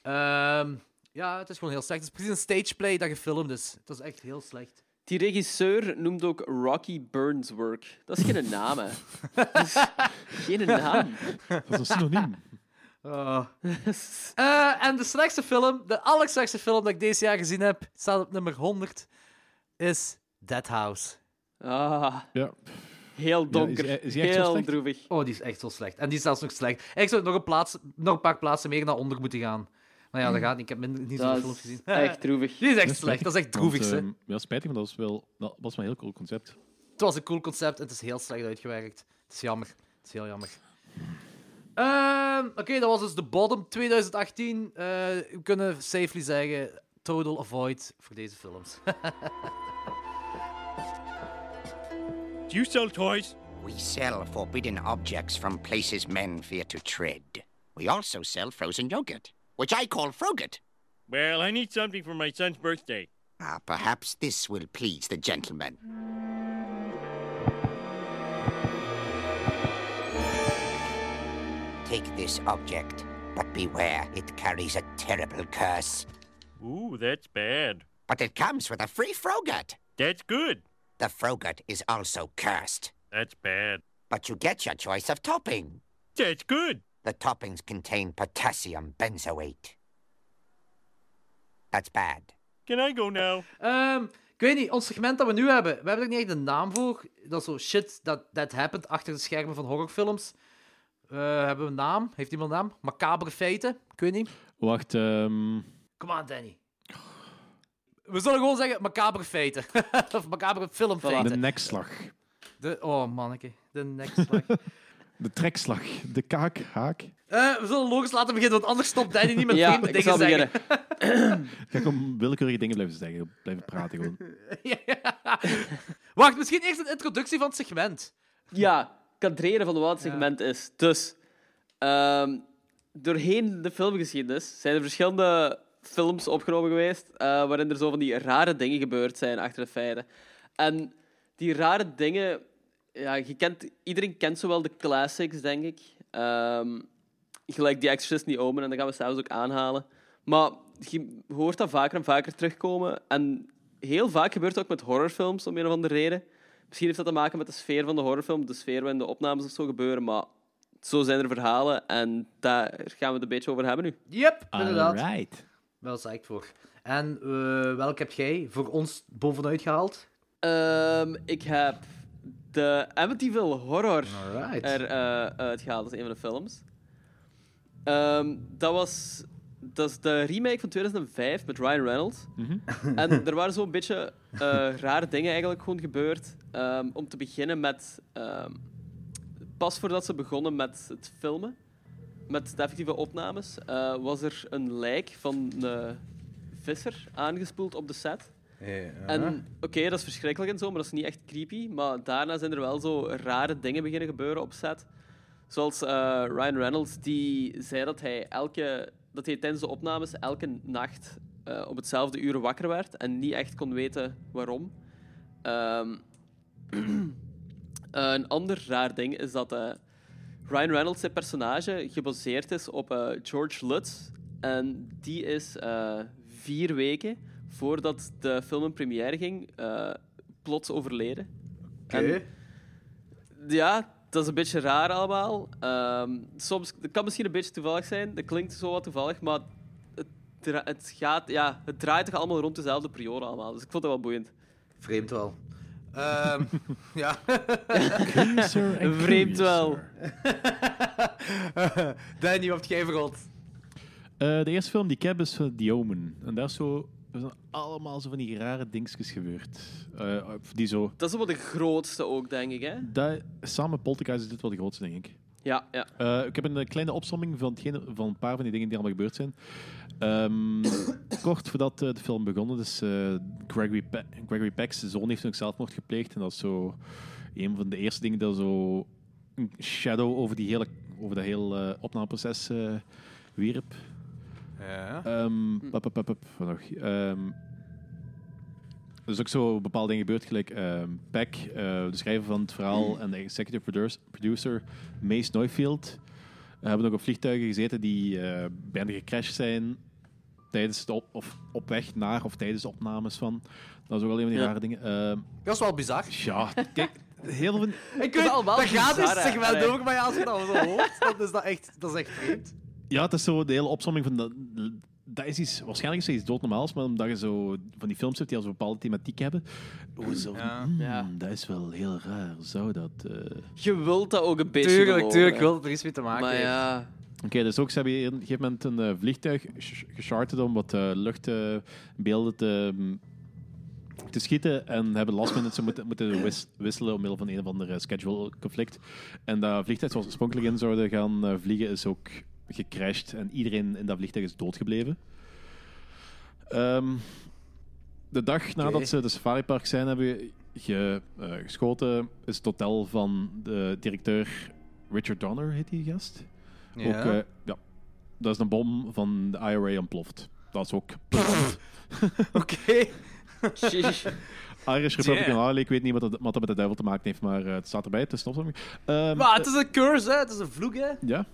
F: Ehm, ja, het is gewoon heel slecht. Het is precies een stageplay dat gefilmd is. Het was echt heel slecht.
G: Die regisseur noemt ook Rocky Burns Work. Dat is geen naam, hè. Dat is geen naam.
E: Dat is een synoniem.
F: Oh. Eh, en de slechtste film, de allerslechtste film dat ik deze jaar gezien heb, staat op nummer 100, is Dead House.
G: Ah,
E: Ja.
G: heel donker.
E: is- is die echt zo
G: heel
E: slecht?
G: droevig.
F: Oh, die is echt zo slecht. En die is zelfs nog slecht. En ik zou nog een, plaats, nog een paar plaatsen meer naar onder moeten gaan. Maar ja, dat gaat niet. Ik heb minder, niet zoveel
G: Dat
F: films
G: is
F: gezien.
G: echt droevig.
F: Die is echt slecht. Dat is echt droevig,
E: Want,
F: hè.
E: ehm, ja, spijtig, want dat was wel, dat was wel een heel cool concept.
F: Het was een cool concept en het is heel slecht uitgewerkt. Het is jammer. Het is heel jammer. Ehm, Oké, dat was dus de bottom 2018. Eh, we kunnen safely zeggen: total avoid voor deze films.
I: Do you sell toys?
J: We sell forbidden objects from places men fear to tread. We also sell frozen yogurt, which I call frogut.
I: Well, I need something for my son's birthday.
J: Ah, perhaps this will please the gentleman. Take this object, but beware, it carries a terrible curse.
I: Ooh, that's bad.
J: But it comes with a free frogut.
I: That's good.
J: The frogut is also cursed,
I: That's bad.
J: but you get your choice of topping.
I: That's good.
J: The toppings contain potassium benzoate. That's bad.
I: Can I go now?
F: Ehm, ik weet niet, ons segment dat we nu hebben, we hebben er niet echt een naam voor. Dat is zo shit that, that happened achter de schermen van horrorfilms. Eh, hebben we een naam? Heeft iemand een naam? Macabere feiten? Ik weet niet.
E: Wacht, ehm,
F: Kom aan, Danny. We zullen gewoon zeggen macabere feiten. of macabere
E: de
F: filmfeiten.
E: nekslag.
F: De, oh, manneke. De nekslag.
E: De trekslag. De kaak, haak.
F: Eh, we zullen logisch laten beginnen, want anders stopt Danny niet met
G: Ja,
F: vreemde
G: ik
F: dingen
G: zal
F: zeggen.
G: beginnen.
E: Ik ga gewoon willekeurige dingen blijven zeggen. Blijven praten gewoon.
F: Ja. Wacht, misschien eerst een introductie van het segment.
G: Ja, kadreren van wat het segment is. Dus, ehm, doorheen de filmgeschiedenis zijn er verschillende films opgenomen geweest eh, waarin er zo van die rare dingen gebeurd zijn achter de feiten. En die rare dingen, ja, je kent, iedereen kent zowel de classics, denk ik. Ehm, gelijk The Exorcist en The Omen, en dat gaan we zelfs ook aanhalen. Maar je hoort dat vaker en vaker terugkomen. En heel vaak gebeurt het ook met horrorfilms, om een of andere reden. Misschien heeft dat te maken met de sfeer van de horrorfilm, de sfeer waarin de opnames of zo gebeuren, maar zo zijn er verhalen en daar gaan we het een beetje over hebben nu.
F: Yep, inderdaad.
E: Alright.
F: Wel psyched voor. En eh, welke heb jij voor ons bovenuit gehaald?
G: Ehm, ik heb de Amityville Horror
F: Alright.
G: er eh, uitgehaald. Dat is een van de films. Ehm, dat was... Dat is de remake van 2005 met Ryan Reynolds. En er waren zo'n beetje eh, rare dingen eigenlijk gewoon gebeurd. Ehm, om te beginnen met... ehm, pas voordat ze begonnen met het filmen, met de effectieve opnames, eh, was er een lijk van een visser aangespoeld op de set. En oké, dat is verschrikkelijk en zo, maar dat is niet echt creepy. Maar daarna zijn er wel zo rare dingen beginnen gebeuren op set. Zoals eh, Ryan Reynolds, die zei dat hij, elke, dat hij tijdens de opnames elke nacht eh, op hetzelfde uur wakker werd en niet echt kon weten waarom. Ehm, een ander raar ding is dat eh, Ryan Reynolds zijn personage gebaseerd is op eh, George Lutz. En die is eh, vier weken voordat de film een première ging, eh, plots overleden. En ja, dat is een beetje raar allemaal. Ehm, soms het kan misschien een beetje toevallig zijn. Dat klinkt zo wat toevallig, maar het, dra- het, gaat, ja, het draait toch allemaal rond dezelfde periode allemaal. Dus ik vond dat wel boeiend.
F: Vreemd wel. Ehm, ja.
E: Cruiser en
G: Vreemd wel.
E: Cruiser.
F: Danny, wat heb jij verrot?
E: Eh, de eerste film die ik heb is van The Omen. En daar is zo... Er zijn allemaal zo van die rare dingetjes gebeurd. Eh, die zo...
G: Dat is wel de grootste ook, denk ik. Hè?
E: Dat, samen met Poltergeist is dit wel de grootste, denk ik.
G: Ja, ja.
E: Eh, ik heb een eh, kleine opsomming van, hetgene, van een paar van die dingen die allemaal gebeurd zijn. Ehm, kort voordat eh, de film begon, dus eh, Gregory, Pe- Gregory Peck's zoon heeft ook zelfmoord gepleegd. En dat is zo een van de eerste dingen dat zo een shadow over, die hele, over dat hele eh, opnameproces eh, wierp.
F: Ja.
E: Ehm pap, pap, pap, pap, wat nog? Ehm, er is ook zo bepaalde dingen gebeurd, gelijk ehm Peck, eh, de schrijver van het verhaal en de executive producer, producer Mace Neufield, eh, hebben ook op vliegtuigen gezeten die eh, bijna gecrashed zijn tijdens de op, of op weg naar of tijdens de opnames van. Dat is ook alleen maar die
G: Ja.
E: rare dingen. Ehm,
F: Dat is wel bizar.
E: ja, kijk, heel veel van...
F: Ik
G: is
F: weet,
G: al wel
F: dat gaat
G: bizar,
F: dus
G: hè.
F: segment
G: Allee.
F: ook, maar ja, als je dat zo hoort, dan is dat echt, dat is echt vreemd.
E: Ja, het is zo de hele opsomming van dat. Dat is iets, waarschijnlijk is dat iets doodnormaals, maar omdat je zo van die films hebt die al zo'n bepaalde thematiek hebben. Oh, zo, van, hmm,
G: Ja.
E: Dat is wel heel raar. Zou dat. eh,
G: Je wilt dat ook een beetje geloven, hè.
F: wil het er iets mee te maken
G: Maar ja,
E: Oké, dus ook ze hebben hier op een gegeven moment een eh, vliegtuig ges- gecharterd om wat eh, luchtbeelden te, mm, te schieten. En hebben last minute ze moeten, moeten wis- wisselen om middel van een of ander eh, schedule conflict. En dat vliegtuig zoals oorspronkelijk in zouden gaan eh, vliegen is ook gecrashed. En iedereen in dat vliegtuig is doodgebleven. Ehm, de dag nadat ze de safaripark zijn hebben ge, eh, geschoten, is het hotel van de directeur Richard Donner, heet die gast. Ook, eh, ja. Dat is een bom van de IRA ontploft. Dat is ook.
F: Oké.
G: Sheesh.
E: Irish Republican Harley, ik weet niet wat dat, wat dat met de duivel te maken heeft, maar eh, het staat erbij. Het is een opzomming. Ehm,
F: Maar Ah, het is een curse, hè. Het is een vloek, hè.
E: Ja.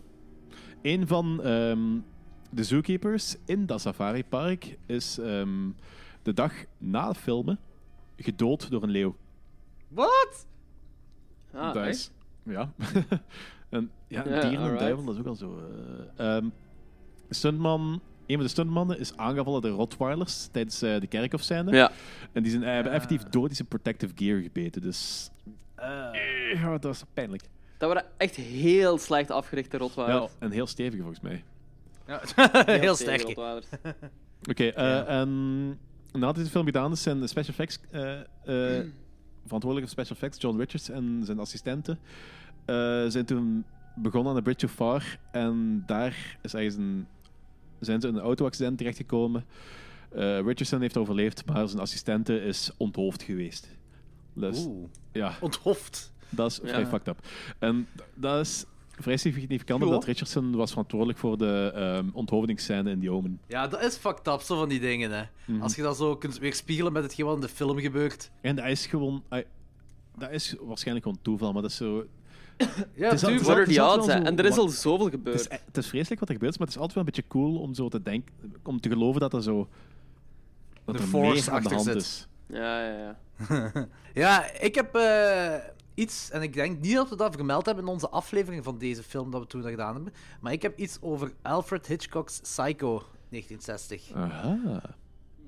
E: Een van ehm, de zookeepers in dat safaripark is ehm, de dag na het filmen gedood door een leeuw.
F: Wat?
G: Ah,
E: dat
G: echt?
E: is, ja. en, ja, een
G: Ja,
E: dier en een
G: alright.
E: duivel, dat is ook al zo. eh. Ehm, stuntman, een van de stuntmannen is aangevallen door Rottweilers tijdens eh, de kerkhofscène.
G: Ja. Ah.
E: En die zijn, eh, hebben effectief door die zijn protective gear gebeten. Dus. Eh, ja, dat was pijnlijk.
G: Dat waren echt heel slecht afgerichte
E: Ja,
G: rotwaarders.
E: en heel stevig volgens mij.
F: Heel
G: sterk.
F: sterk.
E: Oké, eh, en nadat deze film gedaan is, zijn de special effects. eh, eh, verantwoordelijke voor special effects, John Richards en zijn assistenten, eh, zijn toen begonnen aan de Bridge of Far. En daar is eigenlijk een, zijn ze in een auto-accident terechtgekomen. Eh Richardson heeft overleefd, maar zijn assistente is onthoofd geweest. Dus,
F: Oeh.
E: ja.
F: Onthoofd.
E: Dat is vrij fucked up. En d- dat is vrij significant
F: Ja.
E: dat Richardson was verantwoordelijk voor de ehm onthoofdingsscène in The Omen.
F: Ja, dat is fucked up, zo van die dingen. Hè. Als je dat zo kunt weerspiegelen met hetgeen wat in de film gebeurt.
E: En dat is gewoon... ai, dat is waarschijnlijk gewoon toeval, maar dat is zo...
F: Ja,
E: is al-
F: natuurlijk.
E: het
G: What are the
E: altijd
G: odds,
E: wel
G: hè?
E: zo-
G: En er is
E: wat-
G: al zoveel
E: Het is, e-,
G: gebeurd.
E: het is vreselijk wat er gebeurt, maar het is altijd wel een beetje cool om zo te denken... Om te geloven dat er zo... Dat
F: De
E: er
F: force
E: meer aan de
F: achter
E: hand
F: zit.
E: is.
G: Ja, ja, ja.
F: Ja, ik heb eh, iets, en ik denk niet dat we dat vermeld hebben in onze aflevering van deze film dat we toen gedaan hebben, maar ik heb iets over Alfred Hitchcock's Psycho 1960.
E: Aha.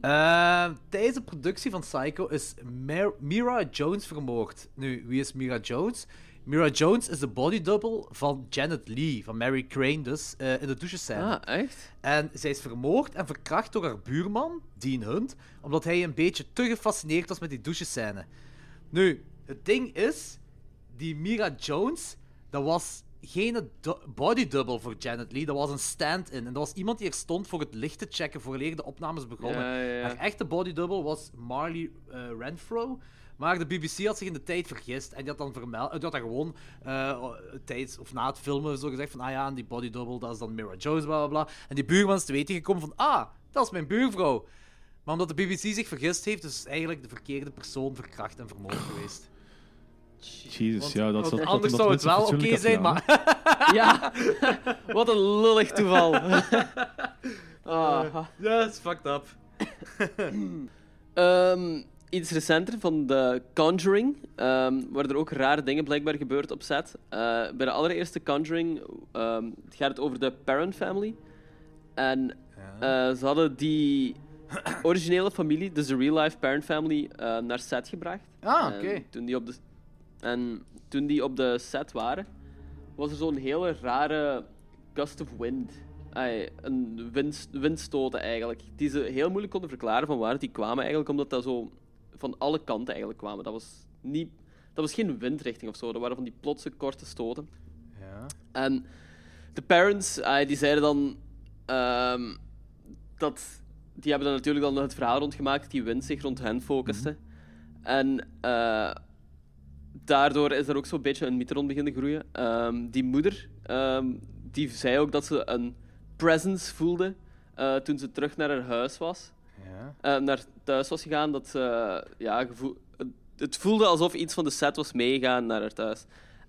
F: Eh, tijdens de productie van Psycho is Mer- Mira Jones vermoord. Nu, wie is Mira Jones? Mira Jones is de bodydouble van Janet Lee, van Mary Crane dus, eh, in de douchescène.
G: Ah, echt?
F: En zij is vermoord en verkracht door haar buurman, Dean Hunt, omdat hij een beetje te gefascineerd was met die douchescène. Nu, het ding is, die Mira Jones, dat was geen du- bodydouble voor Janet Lee, dat was een stand-in. En dat was iemand die er stond voor het licht te checken vooraleer de opnames begonnen.
G: Ja, ja, ja.
F: Haar echte bodydouble was Marley eh, Renfro. Maar de BBC had zich in de tijd vergist en die had dan, vermeld, die had dan gewoon eh, tijdens of na het filmen zo gezegd van ah ja, en die bodydouble, dat is dan Mira Jones, bla bla bla. En die buurman is te weten gekomen van ah, dat is mijn buurvrouw. Maar omdat de BBC zich vergist heeft, is eigenlijk de verkeerde persoon verkracht en vermoord geweest.
E: Jezus, ja, dat
F: Want
E: is dat-
F: anders
E: dat
F: zou het
E: mensen
F: wel oké
E: fatsoenlijk
F: zijn,
E: afgaan,
F: maar...
G: Ja! Wat een lullig toeval. Ah.
F: Ja, dat is fucked up.
G: Ehm, iets recenter van The Conjuring, ehm, waar er ook rare dingen blijkbaar gebeurt op set. Eh, bij de allereerste Conjuring ehm, het gaat het over de Parent Family. En eh, ze hadden die originele familie, dus de real-life Parent Family, eh, naar set gebracht.
F: Ah, oké.
G: En toen die op de En toen die op de set waren, was er zo'n hele rare gust of wind. Ai, een wind, windstoten eigenlijk. Die ze heel moeilijk konden verklaren van waar die kwamen eigenlijk, omdat dat zo van alle kanten eigenlijk kwamen. Dat was, niet, dat was geen windrichting of zo, dat waren van die plotse korte stoten.
F: Ja.
G: En de parents, ah, die zeiden dan ehm, dat. Die hebben dan natuurlijk dan het verhaal rondgemaakt dat die wind zich rond hen focuste. En eh, daardoor is er ook zo'n beetje een mythe rond beginnen groeien. Ehm, die moeder, ehm, die zei ook dat ze een presence voelde eh, toen ze terug naar haar huis was.
F: Ja.
G: eh, naar thuis was gegaan, dat ze, eh, ja, gevoel- het- het voelde alsof iets van de set was meegegaan naar haar thuis.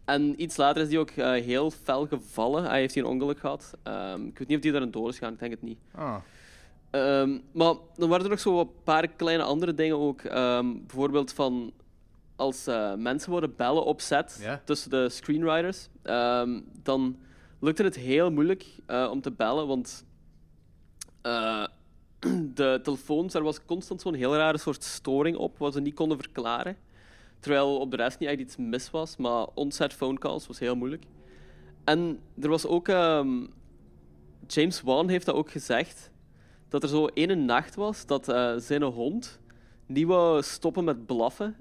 G: En iets later is die ook eh, heel fel gevallen. Hij heeft hier een ongeluk gehad. Ehm, ik weet niet of die daar een dood is gegaan, ik denk het niet.
F: Ah.
G: Ehm, maar dan waren er nog zo een paar kleine andere dingen ook. Ehm, bijvoorbeeld van als eh, mensen worden bellen op set
F: Ja.
G: tussen de screenwriters, ehm, dan lukte het heel moeilijk eh, om te bellen, want eh, de telefoons, daar was constant zo'n heel rare soort storing op, wat ze niet konden verklaren. Terwijl op de rest niet echt iets mis was, maar onset phone calls was heel moeilijk. En er was ook... ehm, James Wan heeft dat ook gezegd, dat er zo ene nacht was dat eh, zijn hond niet wou stoppen met blaffen.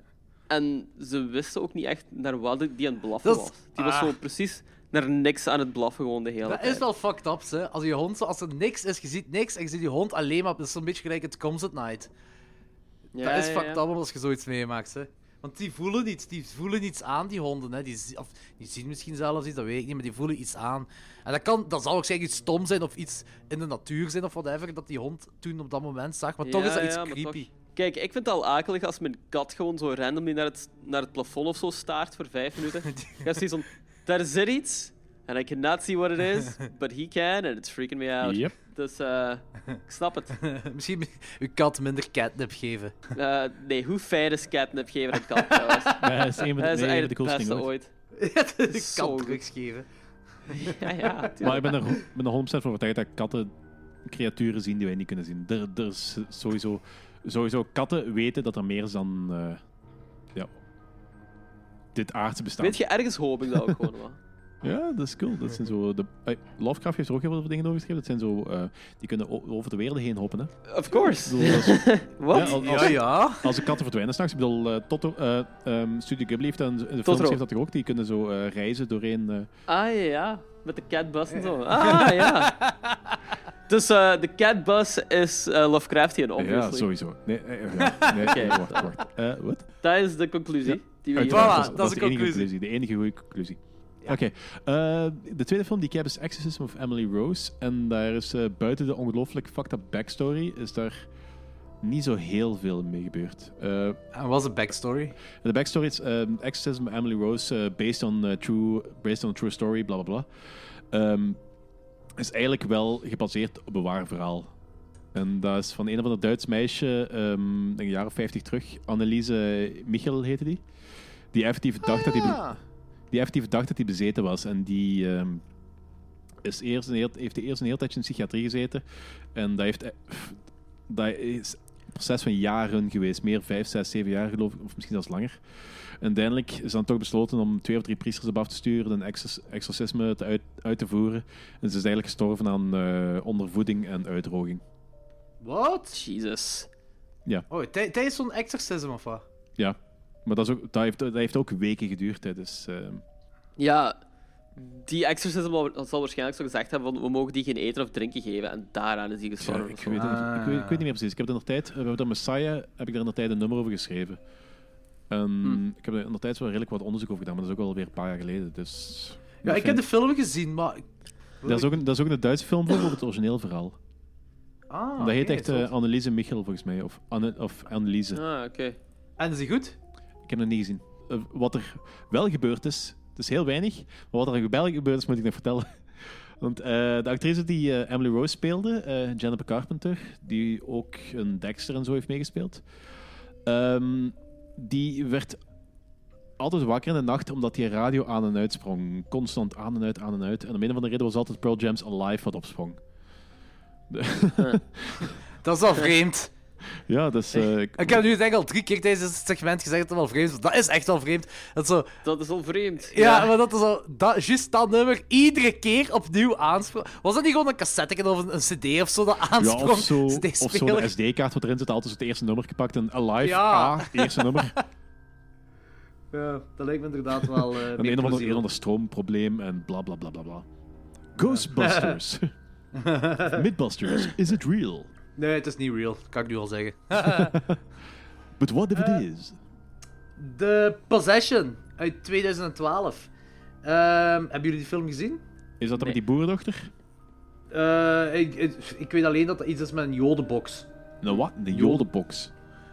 G: En ze wisten ook niet echt naar wat die aan het blaffen
F: Dat is-
G: was. Die was zo precies naar niks aan het blaffen gewoon de hele
F: Dat
G: tijd.
F: is wel fucked up, hè. Als je hond, zo- als er niks is, je ziet niks en je ziet die hond alleen maar. Dat is zo'n beetje gelijk het Comes at Night.
G: Ja,
F: dat is
G: ja,
F: fucked
G: ja.
F: up als je zoiets meemaakt, hè. Want die voelen iets, die voelen iets aan, die honden. Hè. Die, zi- of, die zien misschien zelfs iets, dat weet ik niet, maar die voelen iets aan. En dat, kan, dat zal ook zeker iets stom zijn of iets in de natuur zijn of whatever, dat die hond toen op dat moment zag. Maar toch
G: Ja,
F: is dat
G: ja,
F: iets
G: maar
F: creepy.
G: toch. Kijk, ik vind het al akelig als mijn kat gewoon zo randomly naar het, naar het plafond of zo staart voor vijf minuten. Ik heb zoiets van, daar zit iets, and I cannot see what it is, but he can, and it's freaking me out.
E: Yep.
G: Dus eh, ik snap het.
F: Misschien uw kat minder catnip geven.
G: Eh, nee, hoe fijn is catnip geven aan kat trouwens?
E: Ja, dat is een van de,
G: Dat is
E: nee,
G: eigenlijk
E: de
G: het
E: coolste
G: beste
E: dingen ooit.
G: ooit.
F: de
G: Zo
F: kat
G: goed.
F: drugs geven.
G: Ja, ja,
E: Maar ik
G: tuurlijk.
E: ben er, ik ben er 100% van overtuigd dat katten creaturen zien die wij niet kunnen zien. Er, er is sowieso, sowieso katten weten dat er meer is dan eh, ja, dit aardse bestaan.
G: Weet je, ergens hoop ik dat ook gewoon wel.
E: Ja, dat is cool. Dat zijn zo de, eh, Lovecraft heeft er ook heel veel dingen over geschreven. Dat zijn zo, eh, die kunnen o- over de wereld heen hoppen. Hè. Ik
G: Of course.
E: bedoel, dat is-
G: Wat?
E: Ja, als-
F: Ja, ja.
E: Als de katten verdwijnen s'nachts, ik bedoel, eh, Totto, eh, ehm, Studio Ghibli heeft dat in de films
G: Totoro.
E: heeft dat toch ook, die kunnen zo eh, reizen doorheen. eh,
G: Ah ja, ja, met de catbus en zo. Ah ja. Dus eh, de catbus is eh, Lovecraftian,
E: ja,
G: obviously.
E: sowieso. Nee, eh, ja, nee, nee, wacht, wacht. Eh, wat?
G: dat is de conclusie. Die we hier
E: Uiteraard,
F: Voilà,
E: dat,
F: dat
E: dat
F: is
E: is de enige conclusie.
F: de conclusie.
E: De enige goede conclusie. Oké. Eh, de tweede film die ik heb is Exorcism of Emily Rose. En daar is eh, buiten de ongelooflijk fucked up backstory, is daar niet zo heel veel mee gebeurd. Eh,
F: En wat is de backstory?
E: de backstory is ehm, Exorcism of Emily Rose, eh, based, on, eh, true, based on a true story, bla bla bla. Ehm, is eigenlijk wel gebaseerd op een waar verhaal. En dat is van een of ander Duits meisje, ehm, denk een jaar of 50 terug. Anneliese Michel heette die. Die effectief dacht dat hij die effectief dacht dat hij bezeten was. En die ehm, is eerst een heel, heeft eerst een heel tijdje in de psychiatrie gezeten. En dat, heeft, eh, pff, dat is een proces van jaren geweest. Meer vijf, zes, zeven jaar geloof ik. Of misschien zelfs langer. En uiteindelijk is dan toch besloten om twee of drie priesters op af te sturen. Een exor- exorcisme te uit, uit te voeren. En ze is eigenlijk gestorven aan eh, ondervoeding en uitdroging.
F: Wat?
G: Jesus.
F: Oh, tij- tijdens zo'n exorcism of wat?
E: Ja. Maar dat, is ook, dat, heeft, dat heeft ook weken geduurd. Hè. Dus, ehm,
G: Ja, die exorcism zal, zal waarschijnlijk zo gezegd hebben van we mogen die geen eten of drinken geven. En daaraan is die
E: Ja,
G: gestorven.
E: ik,
G: of zo.
E: weet het, niet- ik, weet, ik weet niet meer precies. Ik heb er nog tijd, eh, we hebben dat Messiah, heb ik daar in de tijd een nummer over geschreven. En
F: Hm.
E: Ik heb er in de tijd wel redelijk wat onderzoek over gedaan, maar dat is ook alweer een paar jaar geleden. Dus
F: Ja, ik heb de film gezien, maar...
E: daar, is ook een, daar is ook een Duitse film voor, over het origineel verhaal.
F: Ah,
E: dat heet
F: oké,
E: echt
F: zo.
E: eh, Anneliese Michel, volgens mij. Of, Anne, of Anneliese.
G: Ah, oké.
F: En is die goed?
E: Ik heb dat niet gezien. Eh, wat er wel gebeurd is, het is heel weinig, maar wat er wel gebeurd is, moet ik nog vertellen. Want eh, de actrice die eh, Emily Rose speelde, eh Jennifer Carpenter, die ook een Dexter en zo heeft meegespeeld, ehm, die werd altijd wakker in de nacht omdat die radio aan en uit sprong. Constant aan en uit, aan en uit. En om een of andere reden was altijd Pearl Jam's Alive wat opsprong.
F: Dat is al vreemd.
E: Ja, dus... eh, ik-
F: Ik heb nu denk ik al drie keer tijdens dit segment gezegd dat het wel vreemd is. Dat is echt wel vreemd. Dat zo...
G: Dat is al vreemd.
F: Ja, maar dat is al... Dat, juist dat nummer iedere keer opnieuw aansprong. Was dat niet gewoon een cassette of een, een cd of zo dat
E: Ja,
F: aansprong?
E: of zo, of
F: CD
E: zo
F: speler.
E: de SD-kaart wat erin zit, altijd het eerste nummer gepakt. En Alive,
F: Ja.
E: A, eerste nummer.
F: Ja, dat lijkt me inderdaad wel... eh,
E: Een
F: meer
E: een of ander,
F: plezierig.
E: een of ander stroomprobleem en bla bla bla bla bla. Ghostbusters. Midbusters, is it real?
F: Nee, het is niet real. Kan ik nu al zeggen.
E: But what if it is?
F: The Possession uit 2012. Ehm, hebben jullie die film gezien?
E: Is dat dan met die boerendochter?
F: Eh, ik, ik, ik weet alleen dat er iets is met een jodenbox.
E: Een Nou, wat? Een jodenbox.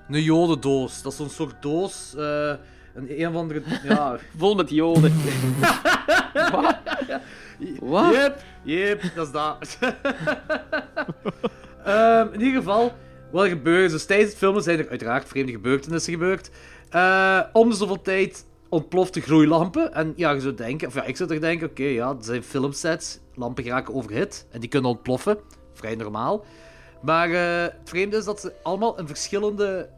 F: Een jodendoos. Dat is zo'n soort doos. eh, een, een of andere... Ja.
G: Vol met joden. Wat? Wat?
F: Yep, yep, dat is dat. Ehm, in ieder geval, wat er gebeurt. Dus tijdens het filmen zijn er uiteraard vreemde gebeurtenissen gebeurd. Eh, om de zoveel tijd ontplofte gloeilampen. En ja, je zou denken, of ja, ik zou toch denken: oké, ja, dat zijn filmsets. Lampen geraken overhit en die kunnen ontploffen. Vrij normaal. Maar eh, het vreemde is dat ze allemaal in verschillende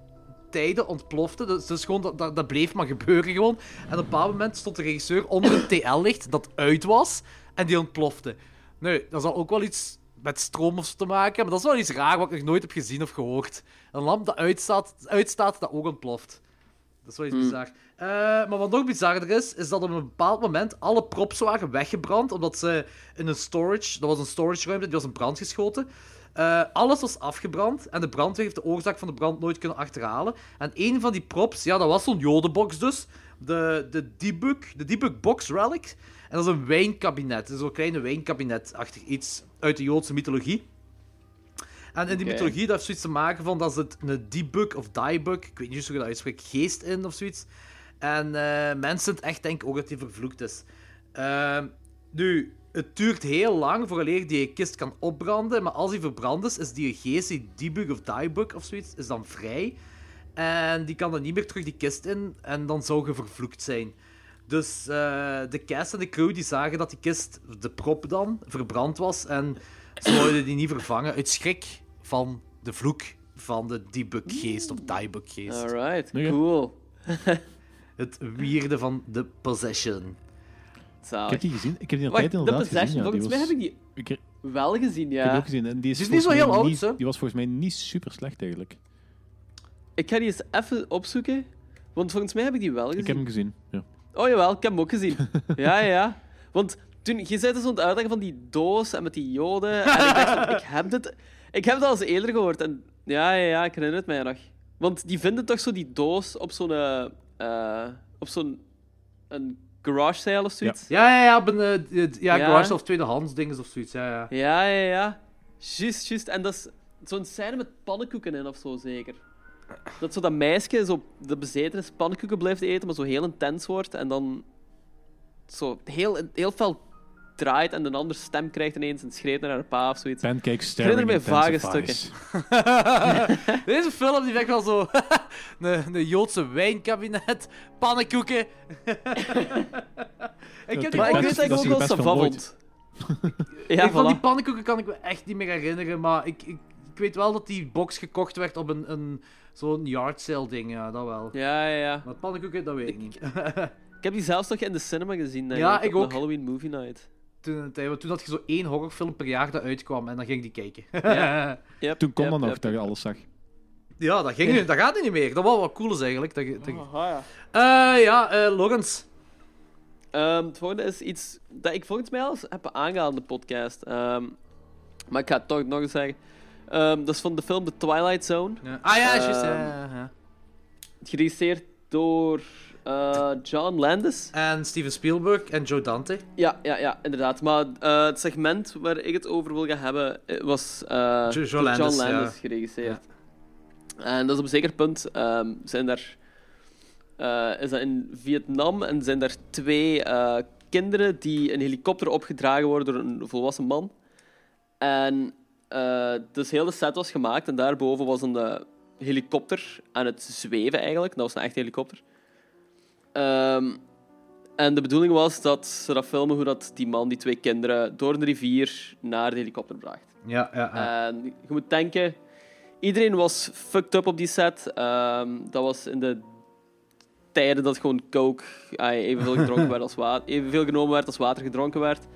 F: tijden ontploften. Dus, dus gewoon, dat, dat, dat bleef maar gebeuren gewoon. En op een bepaald moment stond de regisseur onder een TL-licht dat uit was. En die ontplofte. Nu, dat zal ook wel iets met stroom of zo te maken hebben. Maar dat is wel iets raar wat ik nog nooit heb gezien of gehoord. Een lamp dat uitstaat, uitstaat dat ook ontploft. Dat is wel iets bizar. Eh, maar wat nog bizarder is, is dat op een bepaald moment alle props waren weggebrand. Omdat ze in een storage, dat was een storage ruimte, die was in brand geschoten. Eh, alles was afgebrand en de brandweer heeft de oorzaak van de brand nooit kunnen achterhalen. En een van die props, ja, dat was zo'n jodenbox dus. De, de Debug, de Debug Box Relic. En dat is een wijnkabinet. Dus Zo'n kleine wijnkabinet achter iets uit de Joodse mythologie. En in die
G: Oké.
F: mythologie, dat heeft zoiets te maken van dat het een debug of diebug, ik weet niet eens hoe je dat uitspreekt, geest in of zoiets. En eh, mensen het echt denken ook dat die vervloekt is. Ehm, nu, het duurt heel lang vooraleer die kist kan opbranden, maar als die verbrand is, is die geest, die debug of diebug of zoiets, is dan vrij. En die kan dan niet meer terug die kist in en dan zou je vervloekt zijn. Dus eh, de cast en de crew die zagen dat die kist, de prop dan, verbrand was. En ze wilden die niet vervangen uit schrik van de vloek van de debuggeest of diebuggeest.
G: Alright,
E: Oké.
G: cool.
F: Het wierde van de possession.
E: Ik
G: Zalig.
E: heb die gezien. Ik heb die nog
G: Wacht,
E: tijd
G: de
E: inderdaad gezien.
G: Possession,
E: Ja,
G: volgens
E: die
G: mij
E: was...
G: heb ik die
E: Ik heb
G: wel gezien,
E: die
G: ja.
E: ook gezien. En die is,
F: Die is niet
E: volgens
F: zo
E: mij
F: heel oud,
E: niet-
F: hè?
E: Die was volgens mij niet super slecht eigenlijk.
G: Ik ga die eens even opzoeken. Want volgens mij heb ik die wel gezien.
E: Ik heb hem gezien. Ja.
G: Oh jawel, ik heb hem ook gezien. ja, ja, ja. Want toen, je zei dus aan het uitleggen van die doos en met die joden. En ik dacht, van, ik heb dit... Ik heb dat al eens eerder gehoord. En ja, ja, ja, ik herinner het mij nog. Want die vinden toch zo die doos op zo'n... eh, eh, op zo'n... Een garage sale of zoiets.
F: Ja, ja, ja. ben, eh, d- d- ja,
G: Ja.
F: garage of tweedehands dingen of zoiets. Ja, ja.
G: Ja, ja, ja. Juist, juist. En dat is zo'n scène met pannenkoeken in of zo, zeker. Dat zo dat meisje, zo de bezeten is, pannenkoeken blijft eten, maar zo heel intens wordt en dan zo heel, heel fel draait en een ander stem krijgt ineens en schreeuwt naar haar pa of zoiets.
E: Pancake
G: Ik
E: staring
G: herinner me vage
E: intensifies.
F: Deze film die werkt wel zo. een, een Joodse wijnkabinet, pannenkoeken. ik heb die
E: Maar
G: ik
E: Dat
F: ook
E: is-
G: weet
F: eens
G: dat ik
E: dat
G: ook
E: is
G: wel
E: best van
G: savant
E: nooit.
G: vond. Ja,
F: van die
G: voilà.
F: pannenkoeken kan ik me echt niet meer herinneren, maar ik, ik, ik weet wel dat die box gekocht werd op een, een zo'n yard sale ding, ja, dat wel.
G: Ja, ja, ja.
F: Maar pannenkoeken, dat weet ik niet.
G: Ik heb die zelfs nog in de cinema gezien, denk
F: Ja, ik
G: op de
F: ook.
G: Halloween Movie Night.
F: toen, het- want toen had je zo één horrorfilm per jaar dat uitkwam en dan ging ik die kijken.
G: Ja. Yep,
E: Toen kon
G: yep,
E: dat nog,
G: yep.
E: dat je alles zag.
F: ja, dat, ging, dat gaat niet meer. Dat was wel cool is eigenlijk. Dat, dat-
G: Aha, ja.
F: Eh, ja, eh, Logans.
G: Ehm, het volgende is iets dat ik volgens mij al eens heb aangehaald in de podcast. Ehm, maar ik ga het toch nog eens zeggen. Ehm, dat is van de film The Twilight Zone.
F: Ja. Ah ja, juist. ja,
G: Ehm,
F: ja, ja.
G: Geregisseerd door eh, John Landis.
F: En Steven Spielberg en Joe Dante.
G: Ja, ja, ja, inderdaad. Maar eh, het segment waar ik het over wil gaan hebben eh, was eh, door John
F: Landis,
G: Landis,
F: ja.
G: geregisseerd. En dat is op een zeker punt ehm, zijn daar, eh, is dat in Vietnam en zijn daar twee eh, kinderen die in een helikopter opgedragen worden door een volwassen man. En eh, dus heel de set was gemaakt en daarboven was een eh, helikopter aan het zweven eigenlijk. Dat was een echte helikopter. Ehm, en de bedoeling was dat ze dat filmen hoe dat die man die twee kinderen door een rivier naar de helikopter bracht.
F: Ja, ja, ja.
G: En je moet denken, iedereen was fucked up op die set. Ehm, dat was in de tijden dat gewoon coke ai, evenveel, gedronken werd als wa- evenveel genomen werd als water gedronken werd.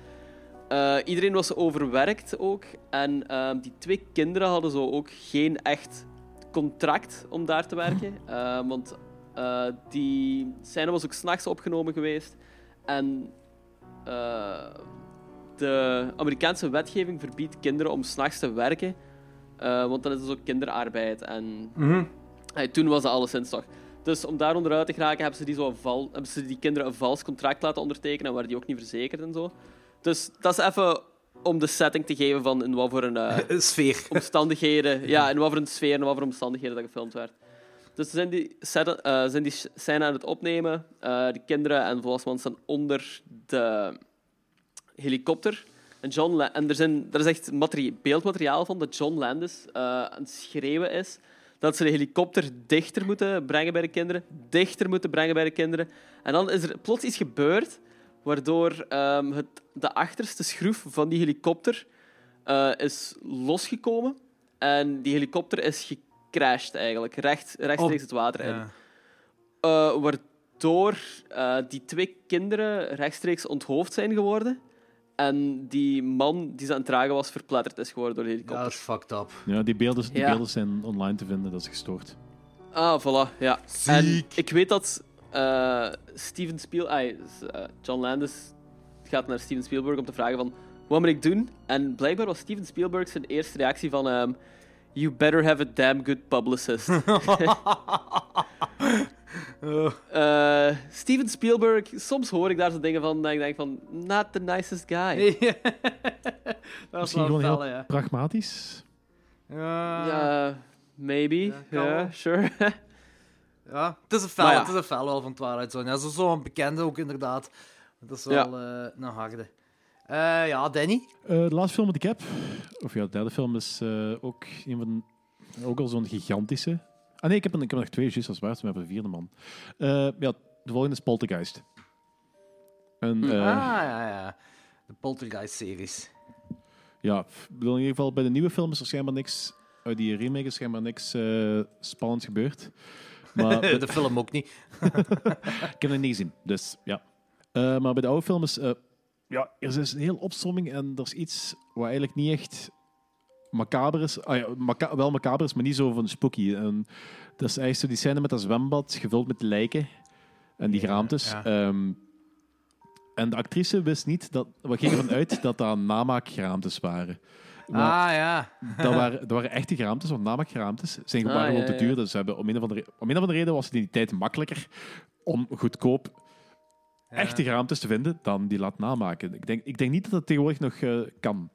G: Eh, iedereen was overwerkt ook. En ehm, die twee kinderen hadden zo ook geen echt contract om daar te werken. Ehm, want eh, die scène was ook s'nachts opgenomen geweest. En eh, de Amerikaanse wetgeving verbiedt kinderen om s'nachts te werken. eh, want dan is het ook kinderarbeid. En
F: Mhm.
G: Hey, toen was dat alleszins toch. Dus om daar onderuit te geraken, hebben ze, die zo een val, hebben ze die kinderen een vals contract laten ondertekenen. En waren die ook niet verzekerd en zo. Dus dat is even om de setting te geven van in wat voor een, eh,
F: Een Sfeer.
G: omstandigheden. Ja, in wat voor een sfeer en wat voor omstandigheden dat gefilmd werd. Dus ze zijn die, set, eh, ze zijn die sh- scène aan het opnemen. Eh, de kinderen en volwassenen staan onder de helikopter. En, John La- en er, zijn, er is echt materi- beeldmateriaal van dat John Landis eh, aan het schreeuwen is dat ze de helikopter dichter moeten brengen bij de kinderen. Dichter moeten brengen bij de kinderen. En dan is er plots iets gebeurd waardoor ehm, het, de achterste schroef van die helikopter eh, is losgekomen. En die helikopter is gecrashed eigenlijk, recht, rechtstreeks het water in.
F: Oh, Ja.
G: Eh, waardoor eh, die twee kinderen rechtstreeks onthoofd zijn geworden. En die man die ze aan het dragen was, verpletterd is geworden door de helikopter.
F: Ja, dat is fucked up.
E: Ja, die beelden, die
G: Ja.
E: beelden zijn online te vinden, dat is gestoord.
G: Ah, voilà, ja. En ik weet dat eh, Steven Spiel... ai, s- eh, John Landis gaat naar Steven Spielberg om te vragen van... Wat moet ik doen? En blijkbaar was Steven Spielberg zijn eerste reactie van... ehm, you better have a damn good publicist. Eh, Steven Spielberg, soms hoor ik daar zo dingen van... En ik denk van... Not the nicest guy.
F: dat is
E: Misschien
F: wel
E: gewoon
F: een
E: heel
F: felle, ja.
E: pragmatisch.
F: Ja.
G: Ja, maybe. Ja,
F: kan wel.
G: sure.
F: Ja, het is een fel,
G: Maar ja.
F: het is een fel wel van Twilight Zone. Ja, zo- zo'n bekende ook inderdaad. Dat is wel eh, een harde. Eh, ja, Danny?
E: Eh, de laatste film dat ik heb, of ja, de derde film, is eh, ook een van ook al zo'n gigantische. Ah nee, ik heb, een, ik heb er nog twee, juist als waar, maar we hebben de vierde man. Eh, ja, de volgende is Poltergeist. En, eh,
F: Ah, ja, ja. De Poltergeist-series.
E: Ja, f- ik bedoel, in ieder geval bij de nieuwe film is er schijnbaar niks, uit die remake is schijnbaar niks eh spannends gebeurd. Maar
G: Eh.
E: bij-
F: De film ook niet.
E: Ik heb het niet gezien, dus ja. Eh, maar bij de oude film is... eh, ja, er is een hele opzomming en er is iets wat eigenlijk niet echt macaber is. Ah ja, maca- wel macaber is, maar niet zo van spooky. En dat is eigenlijk zo die scène met dat zwembad, gevuld met lijken. En die geraamtes.
F: ja.
E: Ehm, en de actrice wist niet, dat, we gingen ervan uit dat dat namaakgeraamtes waren. Maar-
F: Ah, ja.
E: dat waren, dat waren echte geraamtes, want namelijk geraamtes zijn
G: Ah,
E: gewoon waren gewoon
G: ja,
E: te
G: ja.
E: duur. Dus ze hebben, om, een of andere, om een of andere reden was het in die tijd makkelijker om goedkoop echte geraamtes te vinden, dan die laat namaken. Ik denk, ik denk niet dat dat tegenwoordig nog eh, kan.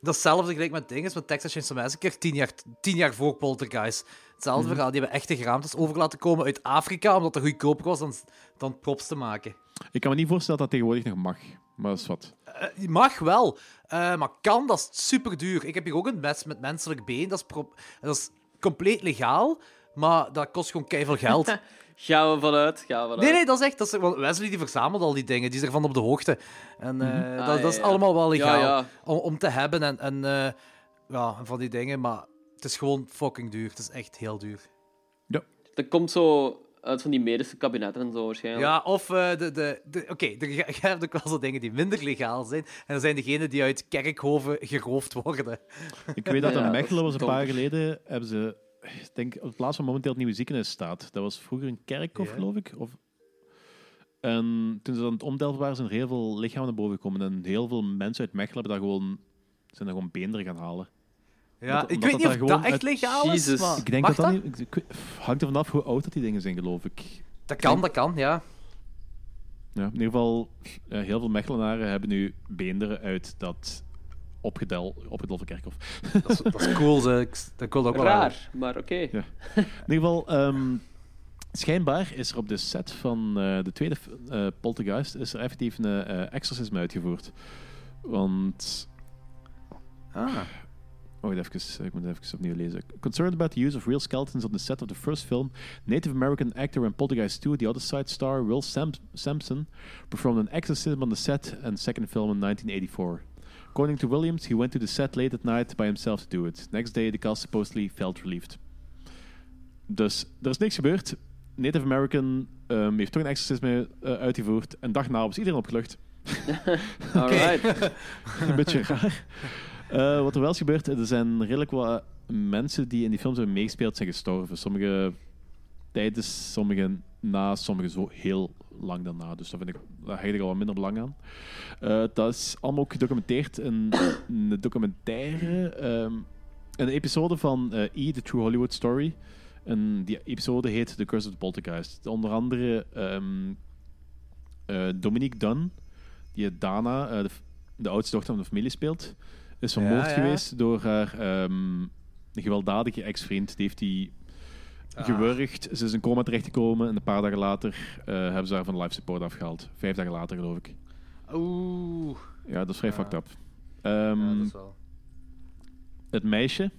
F: Datzelfde gelijk met dingen, met Texas Chainsaw Massacre, tien jaar, tien jaar voor Poltergeist. Hetzelfde
G: Mhm.
F: verhaal, die hebben echte geraamtes over laten komen uit Afrika, omdat dat goedkoper was dan, dan props te maken.
E: Ik kan me niet voorstellen dat dat tegenwoordig nog mag. Maar dat is wat.
F: Eh, je mag wel, eh, maar kan, dat is super duur. Ik heb hier ook een mes met menselijk been, dat is, pro- dat is compleet legaal, maar dat kost gewoon keiveel geld.
G: Gaan we vanuit, gaan we vanuit.
F: Nee, nee, dat is echt. Dat is, want Wesley die verzamelt al die dingen, die is ervan op de hoogte. En eh, dat,
G: Ah,
F: dat
G: ja,
F: is
G: ja.
F: allemaal wel legaal
G: Ja, ja.
F: Om, om te hebben en, en eh, ja, van die dingen, maar het is gewoon fucking duur. Het is echt heel duur.
G: Dat komt zo uit van die medische kabinetten en zo waarschijnlijk.
F: Ja, of eh, de. de, de Oké, er- je hebt ook wel zo dingen die minder legaal zijn. En er zijn degenen die uit kerkhoven geroofd worden.
E: Ik weet dat
G: Ja,
E: in
G: dat is
E: Mechelen was een paar jaar
G: donker.
E: geleden. Hebben ze, ik denk, op de plaats waar momenteel het nieuwe ziekenhuis staat. Dat was vroeger een kerkhof,
F: Ja.
E: geloof ik. Of, en toen ze aan het omdelven waren, zijn er heel veel lichamen naar boven gekomen. En heel veel mensen uit Mechelen hebben daar gewoon, zijn daar gewoon beenderen gaan halen.
F: Ja,
E: Omdat-
F: ik
E: omdat
F: weet
E: dat
F: niet
E: daar
F: of dat
E: gewoon
F: echt
E: uit-
F: legaal is.
G: Jezus.
F: maar-
E: Ik denk
F: Mag
E: dat dat, niet- ik- ik weet- hangt er vanaf hoe oud dat die dingen zijn, geloof ik.
F: Dat kan, dat kan, ja.
E: Ja, in ieder geval, eh, heel veel Mechtelenaren hebben nu beenderen uit dat opgedel, opgedelven kerkhof.
F: Dat is, dat is cool. ze. Ik- Dat wil ik ook wel hebben.
G: Raar, maar oké.
E: Ja. In ieder geval, ehm, schijnbaar is er op de set van eh, de tweede f- eh, Poltergeist is er effectief een eh, exorcisme uitgevoerd. Want... Oh, wacht even, ik moet het even opnieuw lezen. Concerned about the use of real skeletons on the set of the first film, Native American actor in Poltergeist 2, The Other Side star Will Sam- Sampson performed an exorcism on the set and second film in 1984. According to Williams, he went to the set late at night by himself to do it. Next day, the cast supposedly felt relieved. Dus er is niks gebeurd. Native American ehm, heeft toch een exorcisme eh, uitgevoerd. En dag na was iedereen opgelucht.
G: Alright.
E: een beetje raar. Eh, wat er wel is gebeurd, er zijn redelijk wat mensen die in die films hebben meegespeeld zijn gestorven. Sommige tijdens, sommige na, sommige zo heel lang daarna. Dus daar, vind ik, daar hecht ik al wat minder belang aan. Eh, dat is allemaal ook gedocumenteerd in een documentaire. ehm, een episode van eh, E! The True Hollywood Story. En die episode heet The Curse of the Poltergeist. Onder andere ehm, eh, Dominique Dunn, die Dana, eh, de, f- de oudste dochter van de familie speelt, is vermoord
F: ja.
E: geweest door haar ehm, gewelddadige ex-vriend. Die heeft die
F: Ah.
E: gewurgd. Ze is in coma terechtgekomen en een paar dagen later eh, hebben ze haar van life support afgehaald. Vijf dagen later, geloof ik.
F: Oeh.
E: Ja, dat is vrij fucked up.
F: Ja,
E: Ehm,
F: dat is wel.
E: Het meisje, eh,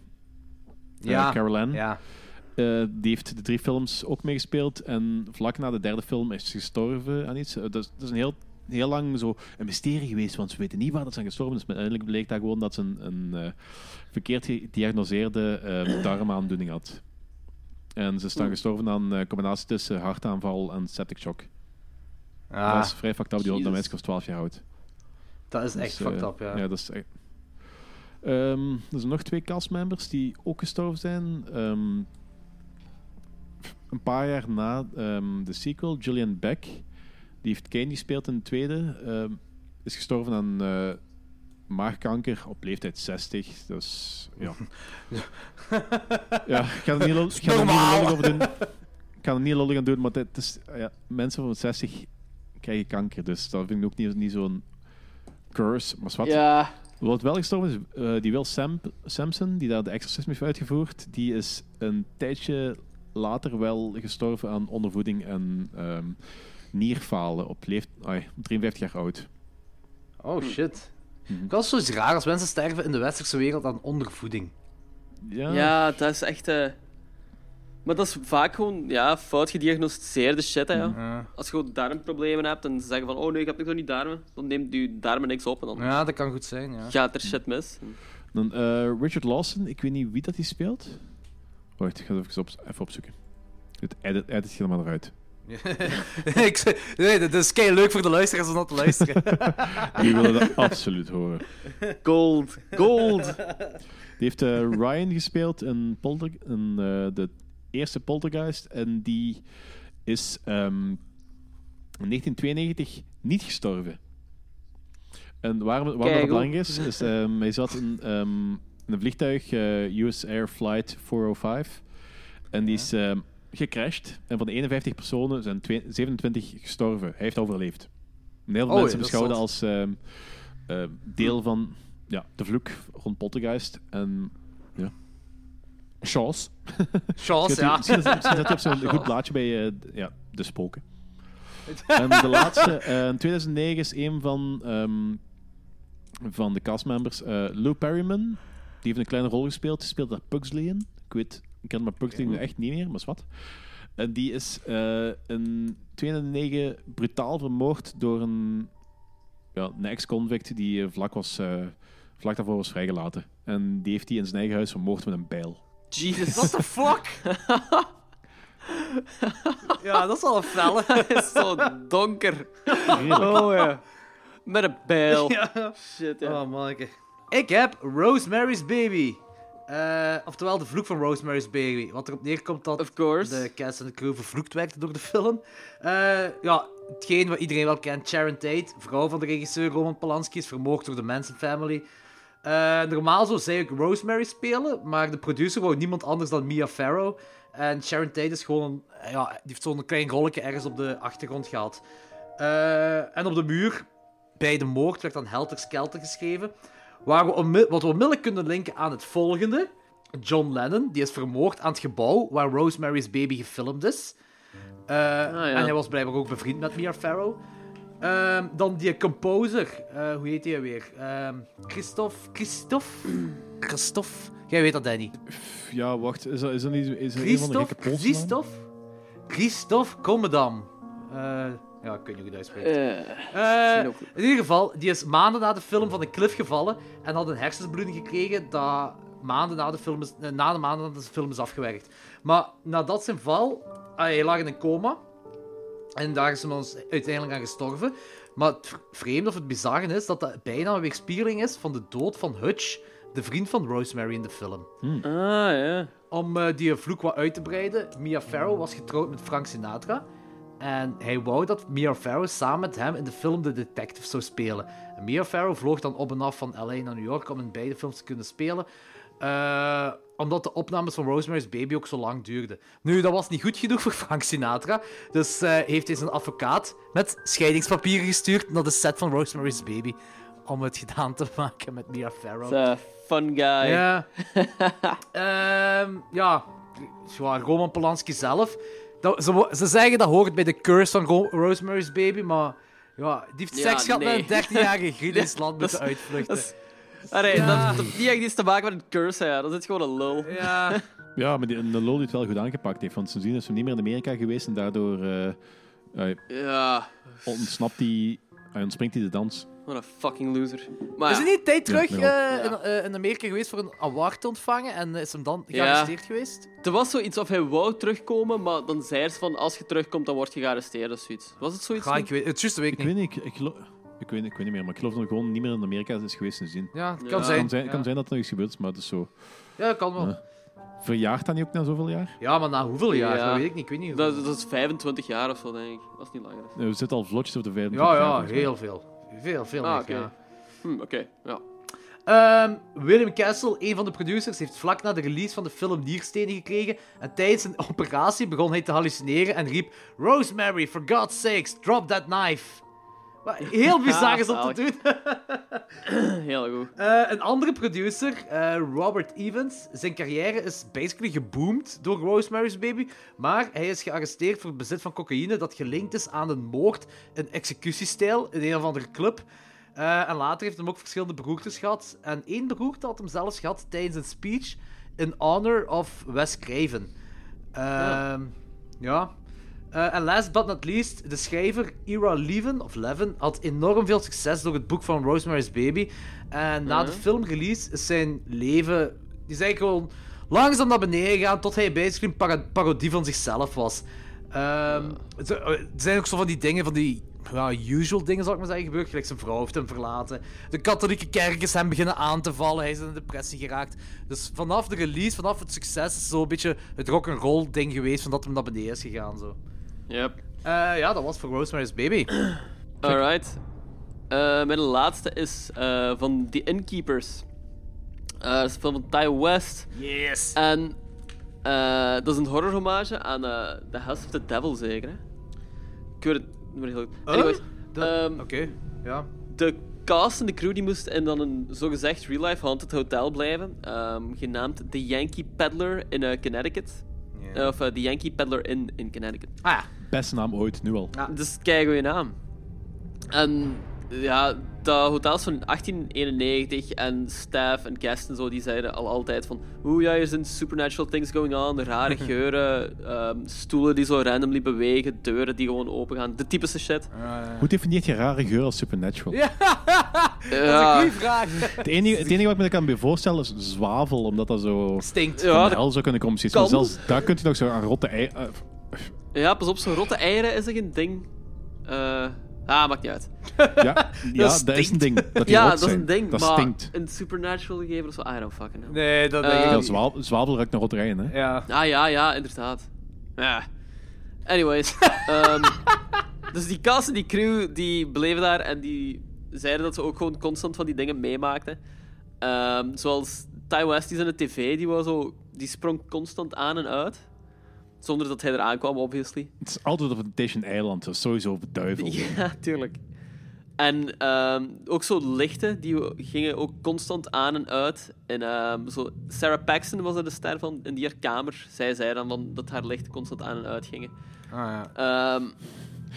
F: Ja.
E: Caroline,
F: Ja.
E: eh, die heeft de drie films ook meegespeeld. En vlak na de derde film is ze gestorven aan iets. Eh, dat, is, dat is een heel, heel lang zo een mysterie geweest, want ze weten niet waar dat ze aan gestorven is. Maar uiteindelijk bleek dat gewoon dat ze een, een eh, verkeerd gediagnoseerde eh, darmaandoening had. En ze is dan gestorven aan een combinatie tussen hartaanval en septic shock. Dat
F: Ah,
E: is vrij fucked up, die
G: Jezus.
E: dat meisje was 12 jaar oud.
F: dat is echt
E: Dus,
F: fucked
E: eh,
F: up, ja.
E: dat is echt... Ehm, er zijn nog twee castmembers die ook gestorven zijn. Ehm, een paar jaar na ehm, de sequel, Julian Beck, die heeft Kane gespeeld in de tweede, ehm, is gestorven aan eh, maagkanker op leeftijd 60. Dus ja. ja, ik ga er niet, lo- ik ga er niet lullig over doen. Ik ga er niet lullig aan doen, maar het is, ja, mensen van 60 krijgen kanker. Dus dat vind ik ook niet, niet zo'n curse. Maar wat?
G: Ja,
E: Wat wel gestorven is, eh, die Will Sam Samson, die daar de exorcisme heeft uitgevoerd, die is een tijdje later wel gestorven aan ondervoeding en ehm, nierfalen op leeft ai, 53 jaar oud.
F: Oh shit. Ik was zoiets raar als mensen sterven in de westerse wereld aan ondervoeding.
E: Ja,
G: ja, dat is echt... eh, Maar dat is vaak gewoon ja, fout gediagnosticeerde shit. Hè, ja.
F: Mm-hmm.
G: Als je gewoon darmproblemen hebt en ze zeggen van oh nee, ik heb niks aan die darmen, dan neemt je darmen niks op en dan
F: Ja, Mm. dat kan goed zijn, ja.
G: gaat er shit mis.
E: Dan, eh, Richard Lawson, ik weet niet wie dat die speelt. Wacht, ik ga het even, op, even opzoeken. Het edit, edit je er maar eruit.
F: ik, zei- nee, dat is kei leuk voor de luisteraars om dat te luisteren.
E: Die willen dat absoluut horen.
G: Gold, gold.
E: Die heeft eh, Ryan gespeeld in, Polter, in eh, de eerste Poltergeist. En die is ehm, in 1992 niet gestorven. En waarom, waarom dat
G: Keigoed.
E: belangrijk is, is ehm, hij zat in, ehm, in een vliegtuig, eh, US Air Flight 405. En die is ehm, gecrashed. En van de 51 personen zijn twee- 27 gestorven. Hij heeft overleefd. Heel veel
F: Oh,
E: mensen
F: ja, dat
E: beschouwen dat
F: is
E: als ehm, eh, deel van ja, de vloek rond Poltergeist. En ja. Chance.
F: Chance,
E: Misschien
F: ja.
E: had hij- misschien- misschien zat hij op zo'n goed blaadje bij eh, d- ja, de spoken. En de laatste, eh, in 2009, is een van, ehm, van de castmembers eh, Lou Perryman. Die heeft een kleine rol gespeeld. Die speelt daar Pugsley in. Ik weet, ik ken maar Pugsley nu echt niet meer, maar wat. En die is eh, in 2009 brutaal vermoord door een, ja, een ex-convict die eh, vlak, was, eh, vlak daarvoor was vrijgelaten. En die heeft hij in zijn eigen huis vermoord met een bijl.
G: Jesus.
F: What the fuck? ja, dat is al een felle.
G: Het is zo donker.
E: Heerlijk.
G: Oh ja. Met een bijl.
F: ja.
G: Shit, ja.
F: Oh, manneke. Ik heb Rosemary's Baby. Eh, oftewel de vloek van Rosemary's Baby. Wat erop neerkomt dat
G: Of course.
F: de cast en de crew vervloekt werd door de film. Eh, ja, hetgeen wat iedereen wel kent. Sharon Tate, vrouw van de regisseur Roman Polanski, is vermoord door de Manson Family. Eh, normaal zou zij ook Rosemary spelen, maar de producer wou niemand anders dan Mia Farrow. En Sharon Tate is gewoon een, eh, ja, die heeft zo'n klein rolletje ergens op de achtergrond gehad. Eh, en op de muur bij de moord werd dan Helter Skelter geschreven. Waar we onmi- wat we onmiddellijk kunnen linken aan het volgende. John Lennon, die is vermoord aan het gebouw waar Rosemary's Baby gefilmd is. Eh,
G: ja.
F: En hij was blijkbaar ook bevriend met Mia Farrow. Ehm, dan die composer, eh, hoe heet hij weer? Ehm Christophe, Christophe? Christophe? Jij weet dat, Danny.
E: Ja, wacht. Is dat, is dat niet is dat een van de
F: Christophe?
E: gekke Poolse naam?
F: Christophe? Christophe Komedam. Eh, ja, ik weet niet hoe dat uitspreekt.
G: Eh,
F: Eh,
G: Ook-
F: in ieder geval, die is maanden na de film van de cliff gevallen en had een hersenbloeding gekregen dat maanden na de film is, eh, na de maanden na de film is afgewerkt. Maar nadat zijn val, ah, hij lag in een coma en daar is hij ons uiteindelijk aan gestorven. Maar het v- vreemde of het bizarre is dat dat bijna een weerspiegeling is van de dood van Hutch, de vriend van Rosemary in de film.
G: ah ja.
F: Om eh, die vloek wat uit te breiden, Mia Farrow was getrouwd met Frank Sinatra. En hij wou dat Mia Farrow samen met hem in de film The Detective zou spelen. En Mia Farrow vloog dan op en af van LA naar New York om in beide films te kunnen spelen. Eh, omdat de opnames van Rosemary's Baby ook zo lang duurden. Nu, dat was niet goed genoeg voor Frank Sinatra. Dus eh, heeft hij zijn advocaat met scheidingspapieren gestuurd naar de set van Rosemary's Baby. Om het gedaan te maken met Mia Farrow.
G: The eh, fun guy.
F: Ja. Ehm, ja. ja, Roman Polanski zelf. Dat, ze, wo- ze zeggen dat hoort bij de curse van Ro- Rosemary's Baby, maar ja, die heeft
G: Ja,
F: seks gehad
G: nee.
F: met een 13-jarige Grieks land met de
G: Dat
F: uitvluchten.
G: is- Allee, dat, dat heeft niet echt iets te maken met een curse, ja. Dat is gewoon een lul.
F: Ja,
G: Nou
E: Ja, maar die, de lol die het wel goed aangepakt heeft. Want sindsdien is hij niet meer in Amerika geweest en daardoor eh, eh,
G: Ja,
E: ontsnapt hij, hij ontspringt hij de dans.
G: wat een fucking loser. Maar
F: is
G: ja,
F: er niet een tijd terug
E: Ja,
F: eh, in, eh, in Amerika geweest voor een award te ontvangen en is hem dan
G: Ja.
F: gearresteerd geweest?
G: er was zoiets of hij wou terugkomen, maar dan zei ze van als je terugkomt, dan word je gearresteerd of zoiets. Was het zoiets?
F: Ga ik weet, het is juist de week
E: Ik
F: niet.
E: weet niet, ik, ik, geloof, ik, weet, ik weet niet meer, maar ik geloof dat hij gewoon niet meer in Amerika is geweest sindsdien.
F: Ja, het
G: Ja.
F: kan
E: Het
F: zijn.
E: kan zijn,
F: ja.
E: kan zijn dat er nog iets gebeurd is, maar het is zo.
F: Ja, kan wel.
E: Ja. Verjaart dat niet ook na zoveel jaar?
F: Ja, maar na hoeveel jaar?
G: Ja.
F: Dat weet ik niet. Ik weet niet hoeveel.
G: Dat, dat is 25 jaar of zo, denk ik. Dat is niet langer.
E: Eh, We zitten al vlotjes op de vijfde.
F: Ja, ja, heel veel. Veel, veel
G: Ah,
F: meer,
G: oké.
F: ja.
G: Hm, oké. Ja.
F: Ehm, William Castle, een van de producers, heeft vlak na de release van de film nierstenen gekregen. En tijdens een operatie begon hij te hallucineren en riep: Rosemary, for God's sakes, drop that knife. Wat heel bizar is om te
G: Zalig.
F: doen.
G: Heel goed.
F: Eh, een andere producer, eh, Robert Evans, zijn carrière is basically geboomd door Rosemary's Baby. Maar hij is gearresteerd voor het bezit van cocaïne dat gelinkt is aan een moord in executiestijl in een of andere club. Eh, en later heeft hem ook verschillende beroertes gehad. En één beroerte had hem zelfs gehad tijdens een speech in honor of Wes Craven. Ehm, ja. Eh, en last but not least, de schrijver Ira Levin, of Levin had enorm veel succes door het boek van Rosemary's Baby. En na de filmrelease is zijn leven... Die is eigenlijk gewoon langzaam naar beneden gegaan tot hij basically een para- parodie van zichzelf was. Ehm, het- eh, Er zijn ook zo van die dingen, van die ja, usual dingen zou ik maar zeggen, gebeurd. Gelijk zijn vrouw heeft hem verlaten. De katholieke kerk is hem beginnen aan te vallen. Hij is in een depressie geraakt. Dus vanaf de release, vanaf het succes, is zo'n beetje het rock'n'roll ding geweest van dat hem naar beneden is gegaan. Zo.
G: Yep.
F: Eh, ja, dat was voor Rosemary's Baby.
G: Alright. Eh, mijn laatste is eh, van The Innkeepers. Eh, dat is een film van Ty West.
F: Yes.
G: En eh, dat is een horror hommage aan eh The House of the Devil, zeker. Hè? Ik weet het niet meer heel goed. Anyways,
F: De-
G: Ehm,
F: Oké, ja.
G: de cast en de crew die moest in dan een zogezegd real-life haunted hotel blijven, ehm, genaamd The Yankee Peddler in eh, Connecticut.
F: Ja.
G: Of eh, The Yankee Peddler in, in Connecticut.
F: Ah ja.
E: Beste naam ooit, nu al.
G: Dus kijk je naam. En ja, dat hotel is van 1891 en staff en cast en zo, die zeiden al altijd van oeh ja, er zijn supernatural things going on, rare geuren, ehm, stoelen die zo randomly bewegen, deuren die gewoon open gaan, de typische shit.
E: Hoe definieert je rare geur als supernatural?
G: Ja,
F: Goeie vraag.
E: Het, enige, het enige wat ik me kan bij voorstellen is zwavel, omdat dat zo
F: Stinkt.
G: ja,
E: van
G: dat-
E: hel zou kunnen komen. Precies. Maar
G: kan.
E: zelfs daar kunt u nog zo aan rotte ei... eh,
G: ja, pas op, zo'n rotte eieren is echt een ding. Eh, ah, maakt niet uit.
E: ja, ja dat is een
F: stinkt.
E: ding. Dat die
G: Ja,
E: rot
G: dat is
E: zijn.
G: een ding,
E: Dat
G: maar
E: stinkt.
G: een supernatural gegeven of zo, I don't fucking know.
F: Nee, dat denk
G: Eh,
F: ik
E: Ja,
F: niet.
E: zwavel, zwavel ruikt naar rotterijen, hè.
F: Ja.
G: Ah ja, ja, inderdaad. Ja. Anyways. ehm, dus die cast en die crew die bleven daar en die zeiden dat ze ook gewoon constant van die dingen meemaakten. Ehm, zoals Ty West, die is aan de tv, die, was zo, die sprong constant aan en uit. Zonder dat hij eraan kwam, obviously.
E: Het is altijd op een Temptation Eiland, dat is sowieso beduiveld.
G: Ja, tuurlijk. En ehm, ook zo lichten, die gingen ook constant aan en uit. En ehm, zo Sarah Paxton was er de ster van, in die haar kamer. Zij zei dan van dat haar lichten constant aan en uit gingen.
F: Ah, ja.
G: Ehm,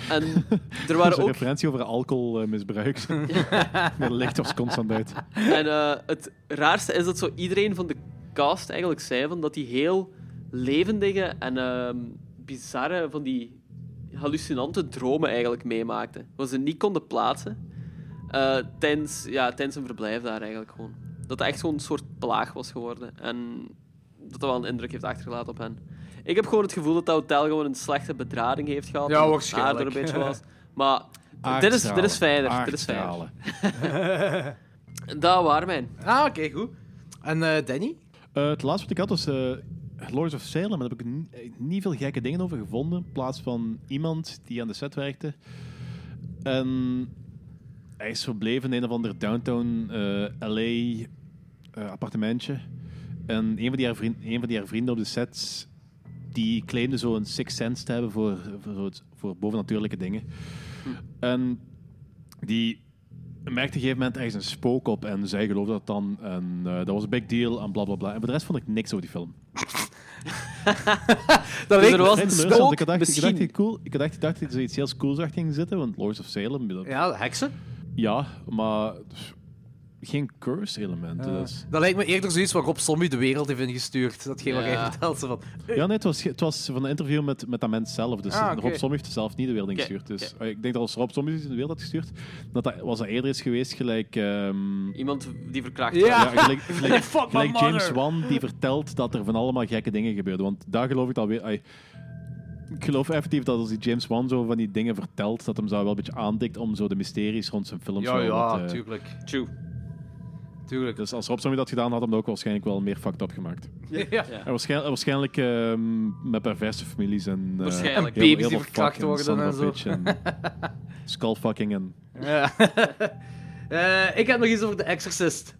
G: en er
E: Dat is
G: waren
E: een
G: ook...
E: referentie over alcoholmisbruik. Met licht als constant uit.
G: En eh, het raarste is dat zo iedereen van de cast eigenlijk zei van dat die heel levendige en ehm, bizarre van die hallucinante dromen eigenlijk meemaakten. Wat ze niet konden plaatsen eh, tijdens, ja, tijdens hun verblijf daar eigenlijk gewoon. Dat het echt zo'n soort plaag was geworden. En dat dat wel een indruk heeft achtergelaten op hen. Ik heb gewoon het gevoel dat dat hotel gewoon een slechte bedrading heeft gehad.
F: Ja,
G: en dat
F: waarschijnlijk.
G: daardoor een beetje was. Maar dit is, dit is fijner. Dit is fijner.
E: Aardstralen.
G: Dat waren mijn.
F: Ah, oké, goed. En eh, Danny?
G: Dus
E: Eh, het laatste wat ik had was eh Lords of Salem. Daar heb ik ni- eh, niet veel gekke dingen over gevonden. In plaats van iemand die aan de set werkte. En hij is verbleven in een of ander downtown eh, LA eh, appartementje. En een van, die haar vriend, een van die haar vrienden op de set... die claimde zo'n sixth sense te hebben voor, voor, zo het- voor bovennatuurlijke dingen. En die merkte op een gegeven moment ergens een spook op en zij geloofde dat dan. En eh, dat was een big deal en bla bla bla. En voor de rest vond ik niks over die film.
F: Dat
G: Dus er was
E: Vrij
G: een
E: teleurstellend,
G: spook,
E: ik had echt- ik had
G: misschien.
E: echt cool, ik had echt gedacht dat er zoiets heel cools achter ging zitten, want Lords of Salem, dat- ja,
F: Ja, de heksen.
E: maar pff, geen curse elementen. dus.
F: Dat lijkt me eerder zoiets waarop Zombie de wereld heeft ingestuurd. Datgene wat jij
G: Ja.
F: vertelt. Ze van, "Eh,
E: Ja, nee, het was, het was van een interview met, met dat mens zelf. Dus
F: Ah, oké.
E: Rob Zombie heeft het zelf niet de wereld
G: Oké,
E: ingestuurd. Dus eh, ik denk dat als Rob Zombie iets in de wereld had gestuurd, dat, dat was dat eerder is geweest gelijk... ehm,
G: Iemand die verkracht
F: Ja.
G: werd.
E: Ja, gelijk, gelijk,
F: Fuck my
E: gelijk James
F: mother.
E: Wan die vertelt dat er van allemaal gekke dingen gebeuren. Want daar geloof ik alweer. ai, Ik geloof effectief dat als die James Wan zo van die dingen vertelt, dat hem zo wel een beetje aandikt om zo de mysteries rond zijn films
F: ja,
E: wel wat, eh,
F: ja, tuurlijk.
G: True.
F: Tuurlijk.
E: Dus als Rob Zombie dat gedaan had, had hem dat ook waarschijnlijk wel meer fucked up gemaakt.
F: ja.
G: Ja.
E: En waarschijnlijk, waarschijnlijk ehm, met perverse families en... eh,
G: Waarschijnlijk.
E: heel- heel
F: Baby's die
E: veel
F: verkracht
E: fucking
F: worden
E: son of
F: en
E: a
F: zo.
E: bitch en Skullfucking en...
F: Ja. Eh, ik heb nog iets over The Exorcist.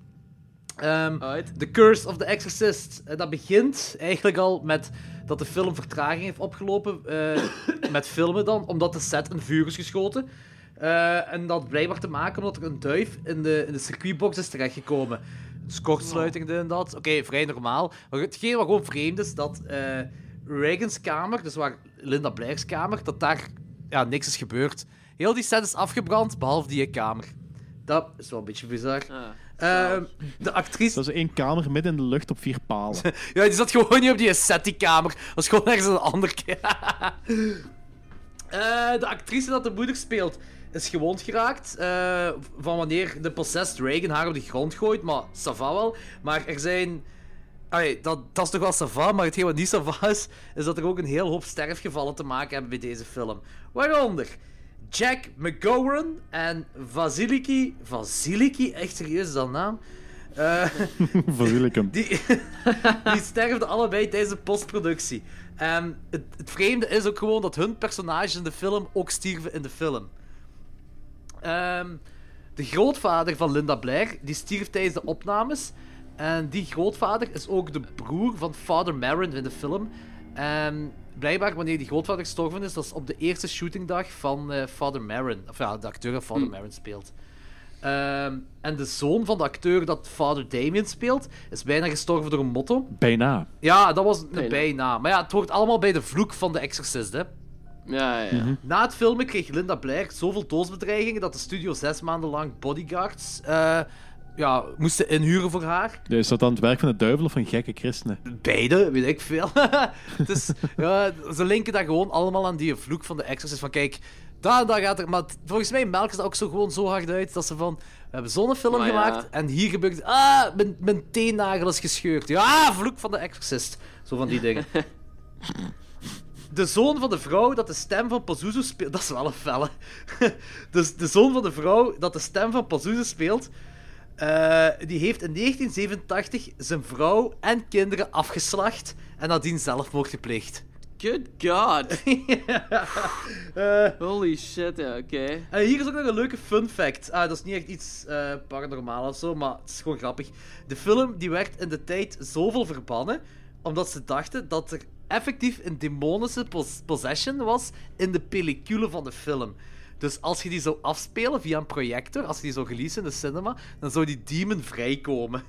F: Ehm,
G: Alright.
F: The Curse of the Exorcist. Eh, dat begint eigenlijk al met dat de film vertraging heeft opgelopen. eh, met filmen dan, omdat de set in vuur is geschoten. Eh, en dat had blijkbaar te maken omdat er een duif in de, in de circuitbox is terechtgekomen. Dus kortsluiting dit en dat. Oké, vrij normaal. Maar hetgeen wat gewoon vreemd is, dat eh Reagan's kamer, dus waar Linda Blair's kamer, dat daar ja, niks is gebeurd. Heel die set is afgebrand, behalve die kamer. Dat is wel een beetje bizar.
G: Ah,
F: Ehm, de actrice
E: Dat is één kamer midden in de lucht op vier palen.
F: ja, die zat gewoon niet op die SETI-kamer. Dat was gewoon ergens een ander keer. Eh, de actrice dat de moeder speelt is gewond geraakt. eh, van wanneer de possessed Reagan haar op de grond gooit. Maar sava wel. Maar er zijn. Allee, dat, dat is toch wel sava, maar hetgeen wat niet sava is, is dat er ook een heel hoop sterfgevallen te maken hebben bij deze film. Waaronder Jack McGowan en Vasiliki. Vasiliki, echt serieus is dat een naam? Eh,
E: Verwiel ik hem.
F: die, die sterven allebei tijdens de postproductie. En het, het vreemde is ook gewoon dat hun personages in de film ook stierven in de film. Ehm, de grootvader van Linda Blair, die stierf tijdens de opnames. En die grootvader is ook de broer van Father Marin in de film. En Ehm, blijkbaar, wanneer die grootvader gestorven is, dat is op de eerste shootingdag van eh, Father Marin. Of ja, de acteur dat Father Marin speelt. Ehm, en de zoon van de acteur dat Father Damien speelt, is bijna gestorven door een motto.
E: Bijna.
F: Ja, dat was een
G: Bijna.
F: bijna. Maar ja, het hoort allemaal bij de vloek van de Exorcist, hè.
G: Ja, ja.
E: Mhm.
F: Na het filmen kreeg Linda Blair zoveel doosbedreigingen dat de studio zes maanden lang bodyguards eh, ja, moesten inhuren voor haar.
E: Dus Is dat dan het werk van de duivel of van gekke christenen?
F: Beide, weet ik veel. dus ja, ze linken dat gewoon allemaal aan die vloek van de Exorcist. Van kijk, daar, en daar gaat er... Maar t- volgens mij melken ze dat ook zo gewoon zo hard uit dat ze van... We hebben zo'n film
G: Maar ja.
F: gemaakt en hier gebeurt... het. Ah, mijn, mijn teennagel is gescheurd. Ja, vloek van de Exorcist. Zo van die dingen. De zoon van de vrouw dat de stem van Pazuzu speelt... Dat is wel een felle. dus de zoon van de vrouw dat de stem van Pazuzu speelt... Eh, die heeft in 1987 zijn vrouw en kinderen afgeslacht en nadien zelfmoord gepleegd.
G: Good god.
F: Eh,
G: Holy shit, ja, oké.
F: en Eh, hier is ook nog een leuke fun fact. Ah, dat is niet echt iets eh paranormaal of zo, maar het is gewoon grappig. De film die werd in de tijd zoveel verbannen, omdat ze dachten dat er effectief een demonische pos- possession was in de pellicule van de film. Dus als je die zou afspelen via een projector, als je die zou releasen in de cinema, dan zou die demon vrijkomen.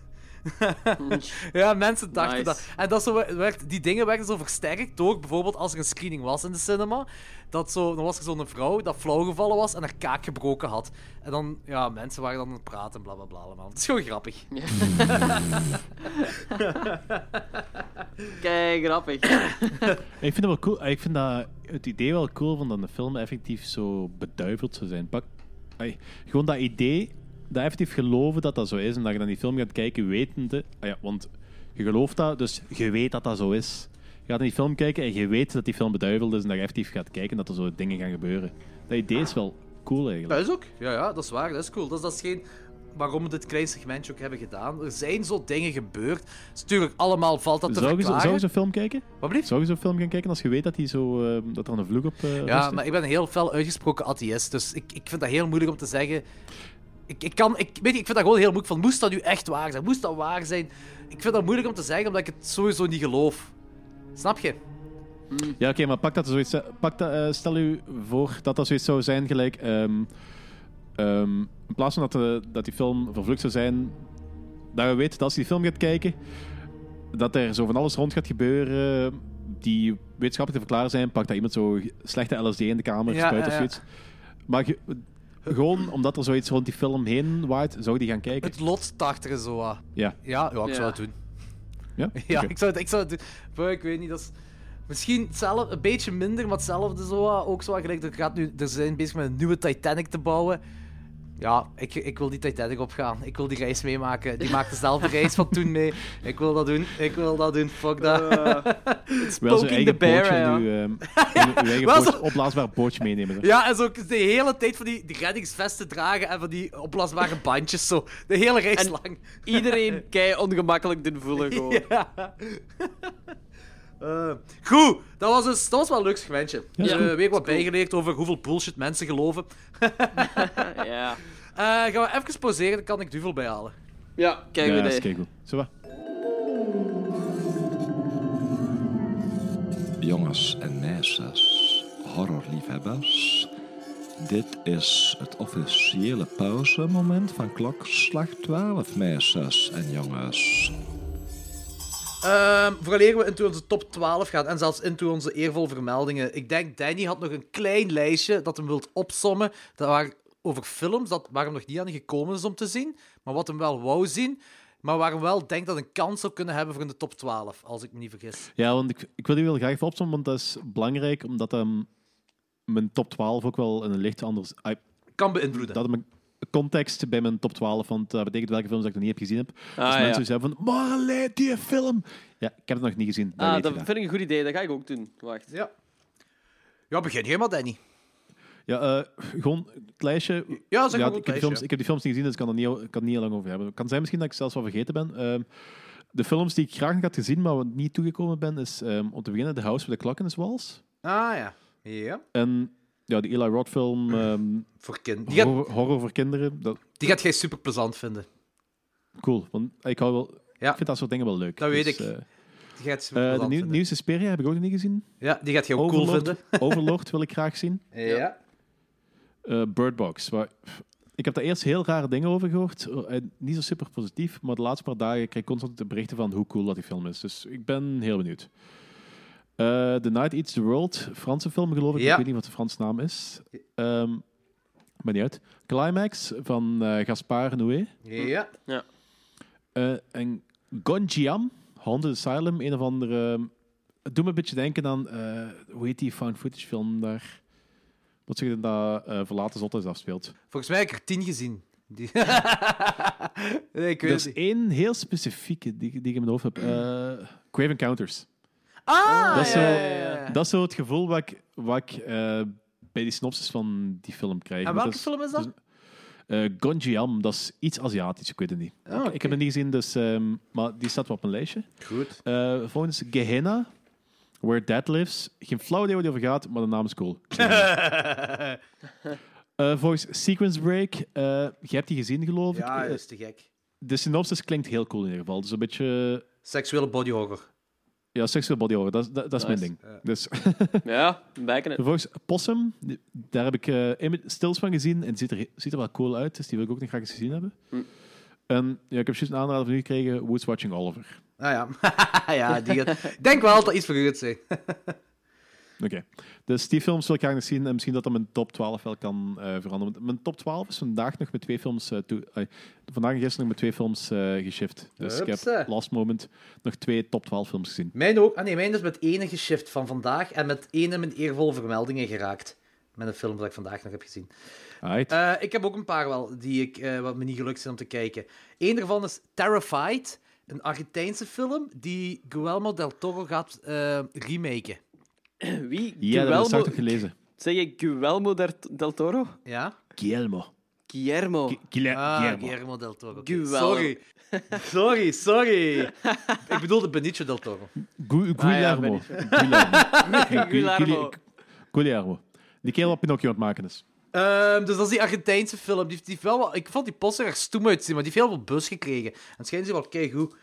F: ja, mensen dachten
G: Nice.
F: dat. En dat zo wer- werd, die dingen werden zo versterkt door bijvoorbeeld als er een screening was in de cinema. Dat zo, dan was er zo'n vrouw dat flauwgevallen was en haar kaak gebroken had. En dan, ja, mensen waren dan aan het praten, bla bla bla. allemaal. Het is gewoon grappig.
G: Kijk, grappig.
E: Ik vind, dat wel cool. Ah, ik vind dat het idee wel cool van dat de film effectief zo beduiveld zou zijn. Pak, ai, gewoon dat idee, dat effectief geloven dat dat zo is. En dat je dan die film gaat kijken wetende. Ah ja, want je gelooft dat, dus je weet dat dat zo is. Je gaat naar die film kijken en je weet dat die film beduiveld is. En dat je effectief gaat kijken dat er zo dingen gaan gebeuren. Dat idee is wel cool
F: Dat
E: eigenlijk.
F: is ook. Ja, ja, dat is waar. Dat is cool. Dat is, dat is geen... Waarom we dit klein segmentje ook hebben gedaan. Er zijn zo dingen gebeurd. Dus natuurlijk, allemaal valt dat te
E: Zou je, zo-
F: verklaren.
E: zou je zo'n film kijken?
F: Wat blieft?
E: Zou je zo'n film gaan kijken als je weet dat, die zo, eh, dat er een vloek op eh,
F: Ja,
E: rust?
F: maar ik ben een heel fel uitgesproken atheïst, dus ik, ik vind dat heel moeilijk om te zeggen. Ik, ik, kan, ik, weet, je, ik vind dat gewoon heel moeilijk. Van, moest dat nu echt waar zijn? Moest dat waar zijn? Ik vind dat moeilijk om te zeggen, omdat ik het sowieso niet geloof. Snap je?
E: Ja, oké, maar pak dat er zoiets. Pak dat, eh, stel u voor dat dat zoiets zou zijn, gelijk. ehm, ehm, in plaats van dat, de- dat die film vervloekt zou zijn, dat je weet dat als je die film gaat kijken, dat er zo van alles rond gaat gebeuren die wetenschappelijk te verklaren zijn. Pak dat iemand zo slechte LSD in de kamer
F: Ja,
E: spuit of
F: ja, ja.
E: zoiets. Maar ge- gewoon omdat er zoiets rond die film heen waait, zou je die gaan kijken.
F: Het lot tarteren zo. ah.
E: Ja.
F: Ja, ja, ik
G: Ja.
F: zou het doen.
E: Ja?
F: Ja,
E: Oké.
F: ik, zou het, ik zou het doen. Maar ik weet niet, dat is... Misschien zelf, een beetje minder, maar hetzelfde zo. ah, Ook zo, ah, gelijk, er, gaat nu, er zijn bezig met een nieuwe Titanic te bouwen. Ja, ik, ik wil die Titanic opgaan. Ik wil die reis meemaken. Die maakt dezelfde reis van toen mee. Ik wil dat doen. Ik wil dat doen. Fuck dat.
E: Wel zo'n
G: Poking
E: eigen
G: the bear,
E: bootje
G: ja.
E: in uw, ehm, in uw- uw eigen
F: wel
E: bootje-
F: zo-
E: opblaasbaar bootje meenemen.
F: Ja, en zo ook de hele tijd van die, die reddingsvesten dragen en van die opblaasbare bandjes zo. De hele reis
G: En-
F: lang.
G: Iedereen kei ongemakkelijk doen voelen gewoon.
F: Ja. Eh, goed, dat was, dus, dat was wel een leuk segmentje.
E: is
F: Ja,
E: goed.
F: weer wat bijgeleerd over hoeveel bullshit mensen geloven.
G: Ja.
F: Eh, gaan we even pauzeren, dan kan ik duvel bijhalen.
G: Ja, kijk
E: Ja,
G: idee.
E: dat is keigoed. Zo wat.
C: Jongens en meisjes, horrorliefhebbers. Dit is het officiële pauzemoment van klokslag 12, meisjes en jongens.
F: Ehm vooraleer we into onze top 12 gaan en zelfs into onze eervolle vermeldingen. Ik denk, Danny had nog een klein lijstje dat hem wilt opsommen. Dat waar, over films dat, waar hem nog niet aan gekomen is om te zien, maar wat hem wel wou zien. Maar waar hem wel denkt dat een kans zou kunnen hebben voor in de top 12, als ik me niet vergis.
E: Ja, want ik, ik wil die wel graag even opzommen, want dat is belangrijk, omdat ehm, mijn top 12 ook wel in een licht anders... ai,
F: Kan beïnvloeden.
E: dat mijn context bij mijn top 12, want dat betekent welke films ik nog niet heb gezien heb.
G: Ah,
E: dus
G: ja.
E: mensen zeggen van, maar allee, die film! Ja, ik heb het nog niet gezien, dat
G: Ah,
E: weet
G: dat
E: je dan.
G: vind ik een goed idee. Dat ga ik ook doen. Wacht.
F: Ja. Ja, begin jij maar, Danny.
E: Ja, eh, gewoon het lijstje.
F: Ja, zeg maar goed,
E: ik, heb die
F: lijstje.
E: films, ik heb die films niet gezien, dus ik kan er niet, ik kan er niet heel lang over hebben. Het kan zijn misschien dat ik zelfs wel vergeten ben. Ehm, de films die ik graag nog had gezien, maar wat niet toegekomen ben, is ehm, om te beginnen The House with the Clock in the Walls.
F: Ah ja. Ja.
E: En ja, de Eli Roth film, ehm,
F: Voor kind. Mm. Die gaat,
E: horror, horror voor kinderen. Dat,
F: die gaat jij super plezant vinden.
E: cool. Want ik, hou wel,
F: Ja.
E: ik vind dat soort dingen wel leuk.
F: Dat weet ik.
E: eh,
F: Die gaat je
E: Eh, de
F: plezant
E: nieuw-
F: vinden.
E: nieuwste Speria heb ik ook nog niet gezien.
F: Ja, die gaat je ook cool
E: Overlord,
F: vinden.
E: Overlord wil ik graag zien.
F: Ja.
E: Eh, Bird Box. Waar, pff, ik heb daar eerst heel rare dingen over gehoord. Eh, en niet zo super positief, maar de laatste paar dagen kreeg ik constant de berichten van hoe cool dat die film is. Dus ik ben heel benieuwd. Eh, the Night Eats the World, Franse film geloof ik.
F: Ja.
E: Ik weet niet wat de Franse naam is. Ehm maar niet uit. Climax van eh, Gaspar Noé.
F: Ja.
E: Eh, en Gonjiam, Haunted Asylum, een of andere. Het doet me een beetje denken aan. eh, hoe heet die found footage film daar? Dat zich in dat eh, verlaten zothuis afspeelt.
F: Volgens mij heb ik er tien gezien. Die... nee, ik weet
E: Er
F: het
E: is
F: niet.
E: één heel specifieke die, die ik in mijn hoofd heb. Eh Crave Encounters.
F: Ah,
E: dat is
F: ja,
E: zo-
F: ja, ja, ja.
E: Dat is zo het gevoel wat ik, wat ik eh, bij die synopsis van die film krijg.
F: En
E: Want
F: welke film is dat?
E: eh Gonjiam, dat is iets Aziatisch, ik weet het niet.
F: Ah, oké.
E: Ik heb het niet gezien, dus, ehm, maar die staat wel op mijn lijstje.
F: Goed.
E: Eh volgens Gehenna, Where Dead Lives. Geen flauw idee waar die over gaat, maar de naam is cool. Eh, volgens Sequence Break, eh je hebt die gezien geloof ik.
F: Ja,
E: Eh,
F: dat is te gek.
E: de synopsis klinkt heel cool in ieder geval. Dus een beetje
F: Seksuele body horror.
E: ja, seksueel body horror, dat, is- dat, dat is
G: Nice.
E: mijn ding. Dus,
G: Ja, bijken het.
E: volgens Possum, die- daar heb ik eh ima- stills van gezien en het ziet er, ziet er wel cool uit. Dus die wil ik ook nog graag eens gezien hebben. En ja, ik heb juist een aanrader van u gekregen, Woods Watching Oliver.
F: Ah ja. ja die gaat... Ik denk wel dat iets voor u het zijn.
E: Oké. Dus die films wil ik graag nog zien. En misschien dat dat mijn top 12 wel kan eh, veranderen. Want mijn top 12 is vandaag nog met twee films... eh, toe, ai, vandaag en gisteren nog met twee films eh, geshift. Dus ik
F: Hupsa.
E: heb last moment nog twee top 12 films gezien.
F: Mijn ook. Ah nee, mijn is met ene geshift van vandaag en met ene mijn eervolle vermeldingen geraakt. Met een film dat ik vandaag nog heb gezien.
E: Alright.
F: Eh, ik heb ook een paar wel die ik, eh, wat me niet gelukt zijn om te kijken. Eén daarvan is Terrified, een Argentijnse film die Guillermo del Toro gaat eh, remaken.
G: Wie?
E: ja, dat heb ik straks
G: Guillermo...
E: nog gelezen.
G: Zeg je Guillermo der- del Toro?
F: Ja?
E: Guillermo.
G: Guillermo.
E: Gu- Guille-
F: Ah,
E: Guillermo.
F: Guillermo del Toro. Oké,
G: Guillermo.
F: Sorry. Sorry, sorry. ik bedoelde Benicio del Toro.
E: Gu-
G: Ah, ja,
E: Guillermo.
G: ben ik-
E: Guillermo.
G: Guillermo.
E: Guillermo. Die kerel wat Pinocchio aan het maken is.
F: Ehm, dus dat is die Argentijnse film. Die, heeft- die heeft wel wat- ik vond die poster er stoem uitzien, maar die heeft heel veel bus gekregen. En schijnt ze wel keigoed.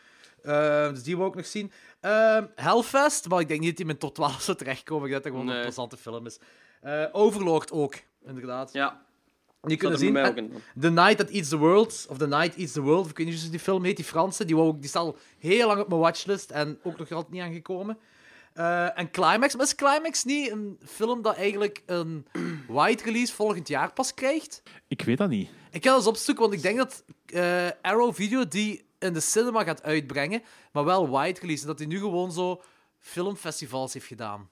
F: Ehm dus die wou ik nog zien. Ehm, Hellfest, maar ik denk niet dat die met tot 12 zou terechtkomen. Ik denk dat dat gewoon
G: Nee.
F: een plezante film is. Eh, Overlord ook, inderdaad.
G: Ja,
F: Die
G: dat
F: kunnen
G: er voor
F: zien.
G: mij
F: En
G: ook in.
F: The Night That Eats the World, of The Night Eats the World, ik weet niet eens hoe die film heet, die Franse, die, wou ik, die staat al heel lang op mijn watchlist en ook nog altijd niet aangekomen. Eh, en Climax, maar is Climax niet een film dat eigenlijk een wide release volgend jaar pas krijgt?
E: Ik weet dat
G: Ah,
E: niet.
F: Ik ga dat eens opzoeken, want ik denk dat eh, Arrow Video die in de cinema gaat uitbrengen, maar wel wide release. En dat hij nu gewoon zo filmfestivals heeft gedaan.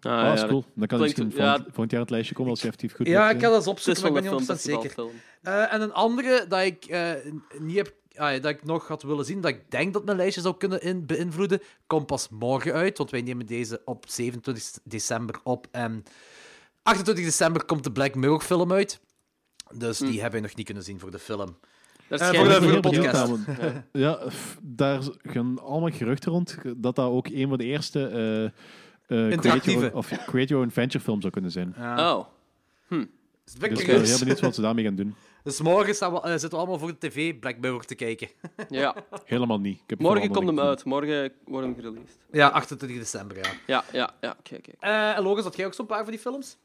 G: Ah,
E: Ah, dat is cool. Dan kan hij
G: Klinkt-
E: misschien
G: ja.
E: volgend, volgend jaar het lijstje komen als je effectief goed
F: Ja,
E: hebt
F: ik ga
E: gezien.
F: dat eens
G: Het is
F: opzoeken, maar
G: wel
F: ik
G: een
F: ben niet 100% zeker.
G: filmfestivalfilm.
F: Eh, en een andere dat ik eh, niet heb, ah, dat ik nog had willen zien, dat ik denk dat mijn lijstje zou kunnen in, beïnvloeden, komt pas morgen uit, want wij nemen deze op 27 december op. En 28 december komt de Black Mirror film uit. Dus die hebben we nog niet kunnen zien voor de film.
G: Daar
F: Eh,
G: schijnt-
F: voor
E: Ik
F: de-
E: ben
F: voor
E: heel benieuwd
F: podcast.
E: naar, want- Ja, f- daar gaan allemaal geruchten rond dat dat ook een van de eerste eh, eh, create,
F: Interactieve.
E: your, of create Your Own Venture film zou kunnen zijn.
G: Oh.
F: Dus ik ben
E: Dus ik ben
F: curieus.
E: heel benieuwd wat ze daarmee gaan doen.
F: Dus morgen staan we, eh, zitten we allemaal voor de tv Black Mirror te kijken.
G: Ja.
E: Helemaal niet. Ik heb
G: Morgen
E: vooral
G: komt hem
E: andere
G: uit. Morgen wordt hem gereleased.
F: Ja, 28 december, ja.
G: Ja, ja, ja. Oké, oké.
F: Eh, en Logan, had jij ook zo'n paar van die films?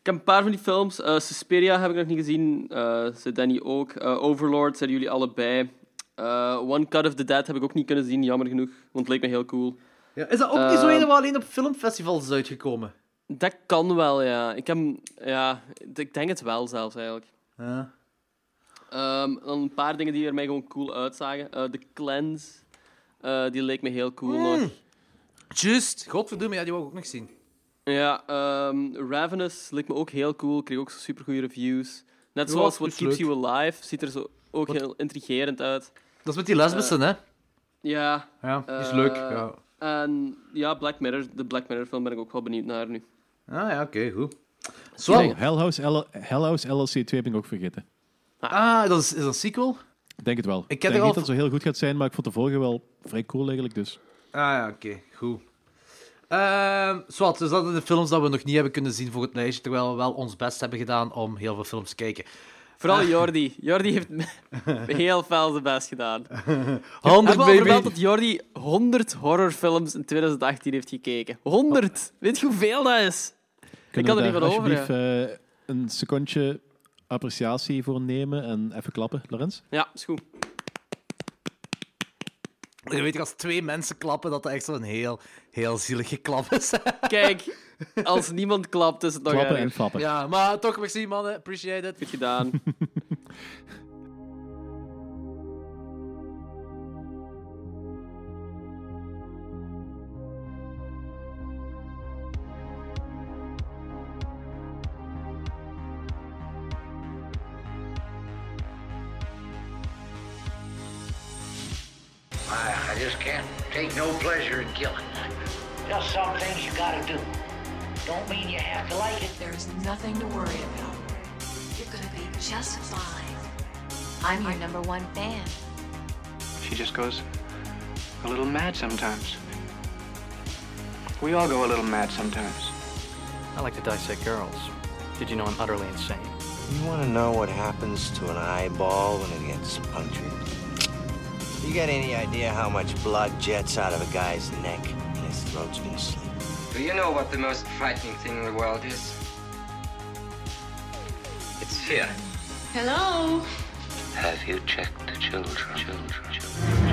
G: Ik heb een paar van die films. Eh, Suspiria heb ik nog niet gezien. Eh zei Danny ook. Eh, Overlord zeiden jullie allebei. Eh, One Cut of the Dead heb ik ook niet kunnen zien, jammer genoeg. Want het leek me heel cool.
F: Ja, is dat ook niet zo
G: Ehm.
F: een waar alleen op filmfestivals is uitgekomen?
G: Dat kan wel, ja. Ik, heb, ja, ik denk het wel zelfs eigenlijk.
F: Ja.
G: Ehm, dan een paar dingen die er mij gewoon cool uitzagen. Eh The Cleanse, eh, die leek me heel
F: Mm.
G: cool nog.
F: Juist, Hmm. godverdomme, ja, die wou ik ook nog zien.
G: Ja, ehm, Ravenous leek me ook heel cool. Kreeg ook super goede reviews. Net
F: Ja,
G: zoals
F: is
G: What Keeps
F: leuk.
G: You Alive ziet er zo ook heel intrigerend uit.
F: Dat is met die lesbissen, hè?
G: Ja,
F: Eh, Ja, die is
G: eh,
F: leuk. Ja.
G: en ja, Black Mirror, de Black Mirror film ben ik ook wel benieuwd naar nu.
F: Ah ja, oké, goed.
E: dingen.
F: Zo.
E: Oh, Hell House, L- Hell House LLC 2 ben ik ook vergeten.
F: Ah, dat is, is dat een sequel?
E: Ik Denk het wel.
F: heb
E: Ik
F: er
E: denk
F: al
E: niet dat
F: v-
E: het zo heel goed gaat zijn, maar ik vond de vorige wel vrij cool eigenlijk. Dus.
F: Ah ja, oké, goed. Ehm zwart, dus dat zijn de films dat we nog niet hebben kunnen zien voor het lijstje, terwijl we wel ons best hebben gedaan om heel veel films te kijken.
G: Vooral Jordi. Jordi heeft heel fel zijn best gedaan.
F: 100
G: Hebben we al vermeld
F: baby.
G: dat Jordi 100 horrorfilms in 2018 heeft gekeken? 100! Weet je hoeveel dat is?
E: Kunnen
G: kan er
E: we
G: niet
E: daar
G: van over,
E: alsjeblieft eh, een secondje appreciatie voor nemen en even klappen,
F: Oh,
E: Lorenz?
G: Ja, is goed.
F: Je weet toch, als twee mensen klappen, dat dat echt zo'n heel, heel zielig geklap is.
G: Kijk, als niemand klapt, is het nog
E: Klappen en
G: erger.
E: flappen.
F: ja, maar toch, merci mannen. Appreciate it.
G: Goed gedaan.
A: I, I just can't take no pleasure in killing. Just some things you gotta do. Don't mean you have to like it.
K: There is nothing to worry about. You're gonna be just fine. I'm your number one fan.
A: She just goes a little mad sometimes. We all go a little mad sometimes.
H: I like to dissect girls. Did you know I'm utterly insane?
C: You want to know what happens to an eyeball when it gets punctured? You got any idea how much blood jets out of a guy's neck and his throat's been slit?
B: Do you know what the most frightening thing in the world is? It's fear.
K: Hello.
A: Have you checked the children? Children. children.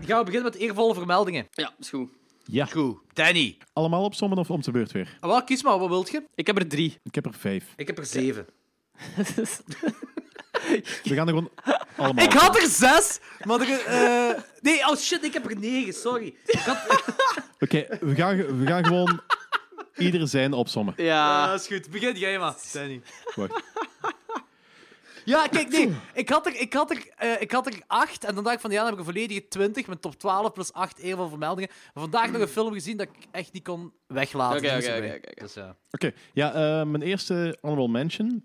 F: Dan gaan we beginnen met eervolle vermeldingen.
G: Ja, is goed.
E: Ja.
F: Goed. Danny.
E: Allemaal opzommen of om de beurt weer?
F: Ah, wel, kies maar, wat wilt je?
G: Ik heb er drie.
E: Ik heb er vijf.
F: Ik heb er zeven.
E: We gaan er gewoon allemaal.
F: Ik had er zes, maar er, eh, Nee, oh shit, ik heb er negen, sorry. Ik had...
E: Oké, we, gaan, ge- we gaan gewoon ieder zijn opzommen.
G: Ja.
F: Ah, is goed. Begin jij maar, Danny.
E: Wacht.
F: Ja, kijk, nee. Ik had, er, ik, had er, eh, ik had er acht en dan dacht ik van ja, dan heb ik een volledige 20 met top 12 plus 8 eervolle vermeldingen. Maar vandaag nog een film gezien dat ik echt niet kon weglaten.
G: Oké,
F: Dus
G: oké,
F: erbij.
G: oké, oké, oké.
F: Dus ja.
E: Oké, ja, eh, mijn eerste honorable mention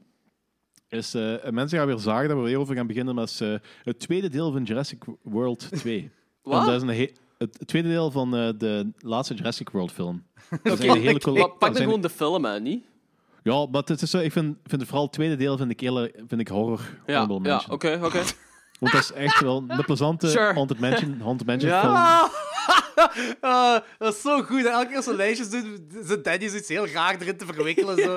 E: is... eh, mensen gaan weer zagen dat we weer over gaan beginnen, maar is, eh, het tweede deel van Jurassic World 2.
G: Wat?
E: Want Dat is een he- het tweede deel van eh, de laatste Jurassic World film. Dat
G: Oké,
E: zijn hele
G: ik-
E: coole-
G: maar pak
E: dat
G: dan
E: zijn-
G: gewoon de film, hè, niet?
E: Ja, maar het is zo, ik vind, vind het vooral het tweede deel vind ik, hele, vind ik horror
G: Ja,
E: honorable
G: ja
E: mention.
G: oké, oké.
E: Want dat is echt wel een plezante
G: Sure.
E: haunted mansion, haunted mansion film.
F: Ah, ah, dat is zo goed. hè. Elke keer als ze lijstjes doen, zit Danny zoiets heel raar erin te verwikkelen. Zo.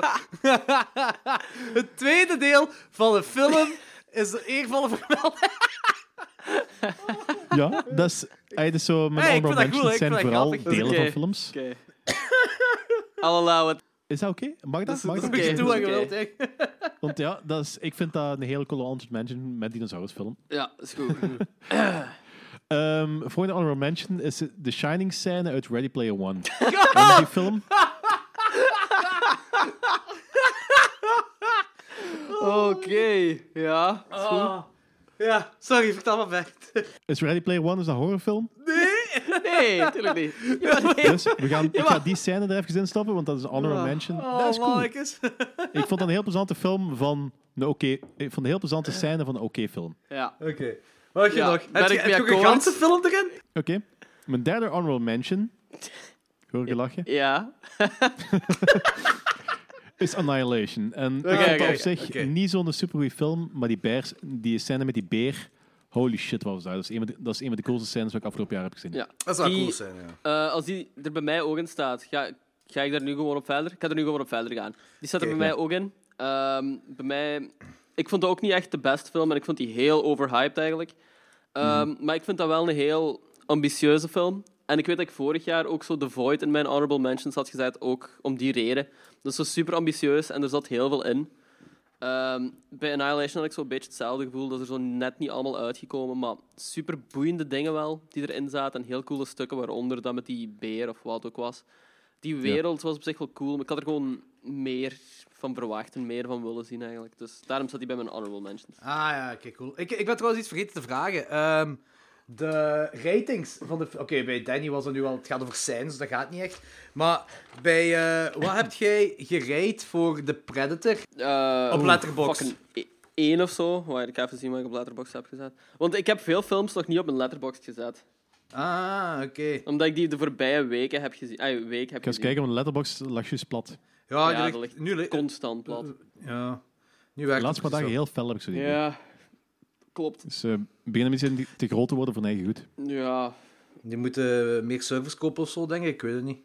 F: Het tweede deel van de film is de eervolle vermelding.
E: Ja, dat is, eh, dat is zo, mijn
F: Hey, ik vind dat
E: honorable
F: cool,
E: mentions
F: ik vind
E: zijn
F: dat
E: vooral
F: grappig.
E: delen
G: Oké.
E: van films.
G: Oké. I'll allow it.
E: Is dat oké? Mag dat? Mag dat?
F: Moet je
G: Oké,
F: doen wat je
G: oké.
F: wilt, hè.
E: Want ja, dat is, ik vind dat een hele coole haunted mansion met dinosaurusfilm.
G: Ja, is goed.
E: Ehm volgende honorable mention is de Shining scène uit Ready Player One. Ken je die film?
G: Oké, ja. is goed.
F: Ja, sorry, vertel maar verder.
E: Is Ready Player One is een horrorfilm?
G: Nee, natuurlijk niet. Ja, nee.
E: Dus we gaan, ik ga die scène er even in stoppen, want dat is een honorable mention. dat is
F: Oh,
E: cool.
F: man,
E: Ik
F: ik is...
E: vond dat een heel plezante film van een oké... ik vond een heel plezante scène van een oké film.
G: Ja.
F: Oké. Wat heb je
G: Ja,
F: nog?
G: ben
F: Heb je,
G: ik
F: heb je
G: weer
F: ook een
G: akkoord?
F: ganse film erin?
E: Oké. Mijn derde honorable mention... Hoor ik je lachen?
G: Ja.
E: Is Annihilation. En
G: oké,
E: ik vond
G: oké,
E: op zich
F: oké.
E: niet zo'n supergoeie film, maar die, bears, die scène met die beer... Holy shit, wat was dat? Dat is een van de, dat is een van de coolste scènes die ik afgelopen jaar heb gezien.
G: ja.
F: Dat zou
G: Die-
F: cool zijn, ja.
G: Eh, als die er bij mij ook in staat, ga, ga ik daar nu gewoon op verder? Ik ga er nu gewoon op verder gaan. Die staat er bij mij ook in. Ehm, bij mij... Ik vond het ook niet echt de beste film en ik vond die heel overhyped eigenlijk. Ehm, Maar ik vind dat wel een heel ambitieuze film. En ik weet dat ik vorig jaar ook zo The Void in mijn honorable mentions had gezet, ook om die reden. Dat is zo super ambitieus en er zat heel veel in. Ehm, bij Annihilation had ik zo'n beetje hetzelfde gevoel. Dat is er zo net niet allemaal uitgekomen. Maar super boeiende dingen wel die erin zaten. En heel coole stukken, waaronder dat met die beer of wat ook was. Die wereld was op zich wel cool. Maar ik had er gewoon meer van verwacht en meer van willen zien eigenlijk. Dus daarom zat hij bij mijn honorable mentions.
F: Ah ja, oké, cool. Ik, ik ben trouwens iets vergeten te vragen. Ehm, de ratings van de... Oké, bij Danny was het nu al... Het gaat over scènes, dus dat gaat niet echt. Maar bij... eh, wat heb jij gerate voor The Predator?
G: Eh,
F: Op Letterboxd.
G: fucking e- één of zo. Waar ik ga even zien wat ik op Letterboxd heb gezet. Want ik heb veel films nog niet op mijn Letterboxd gezet.
F: Ah, oké.
G: Omdat ik die de voorbije weken heb gezien. Ah, week heb
E: Ik ga eens
G: gezien.
E: kijken, want Letterboxd lag juist plat.
F: Ja,
G: Ja,
F: die
G: dat
F: ligt,
G: ligt
F: nu ligt...
G: Constant plat.
F: Ja. Nu werkt
E: de laatste paar
F: het
E: dagen
F: precies
E: heel fel heb ik zo die idee.
G: Ja, klopt.
E: Dus eh beginnen mensen die te groot te worden voor hun eigen goed.
G: Ja.
F: zo. Die moeten meer servers kopen of zo, denk ik. Ik weet het niet.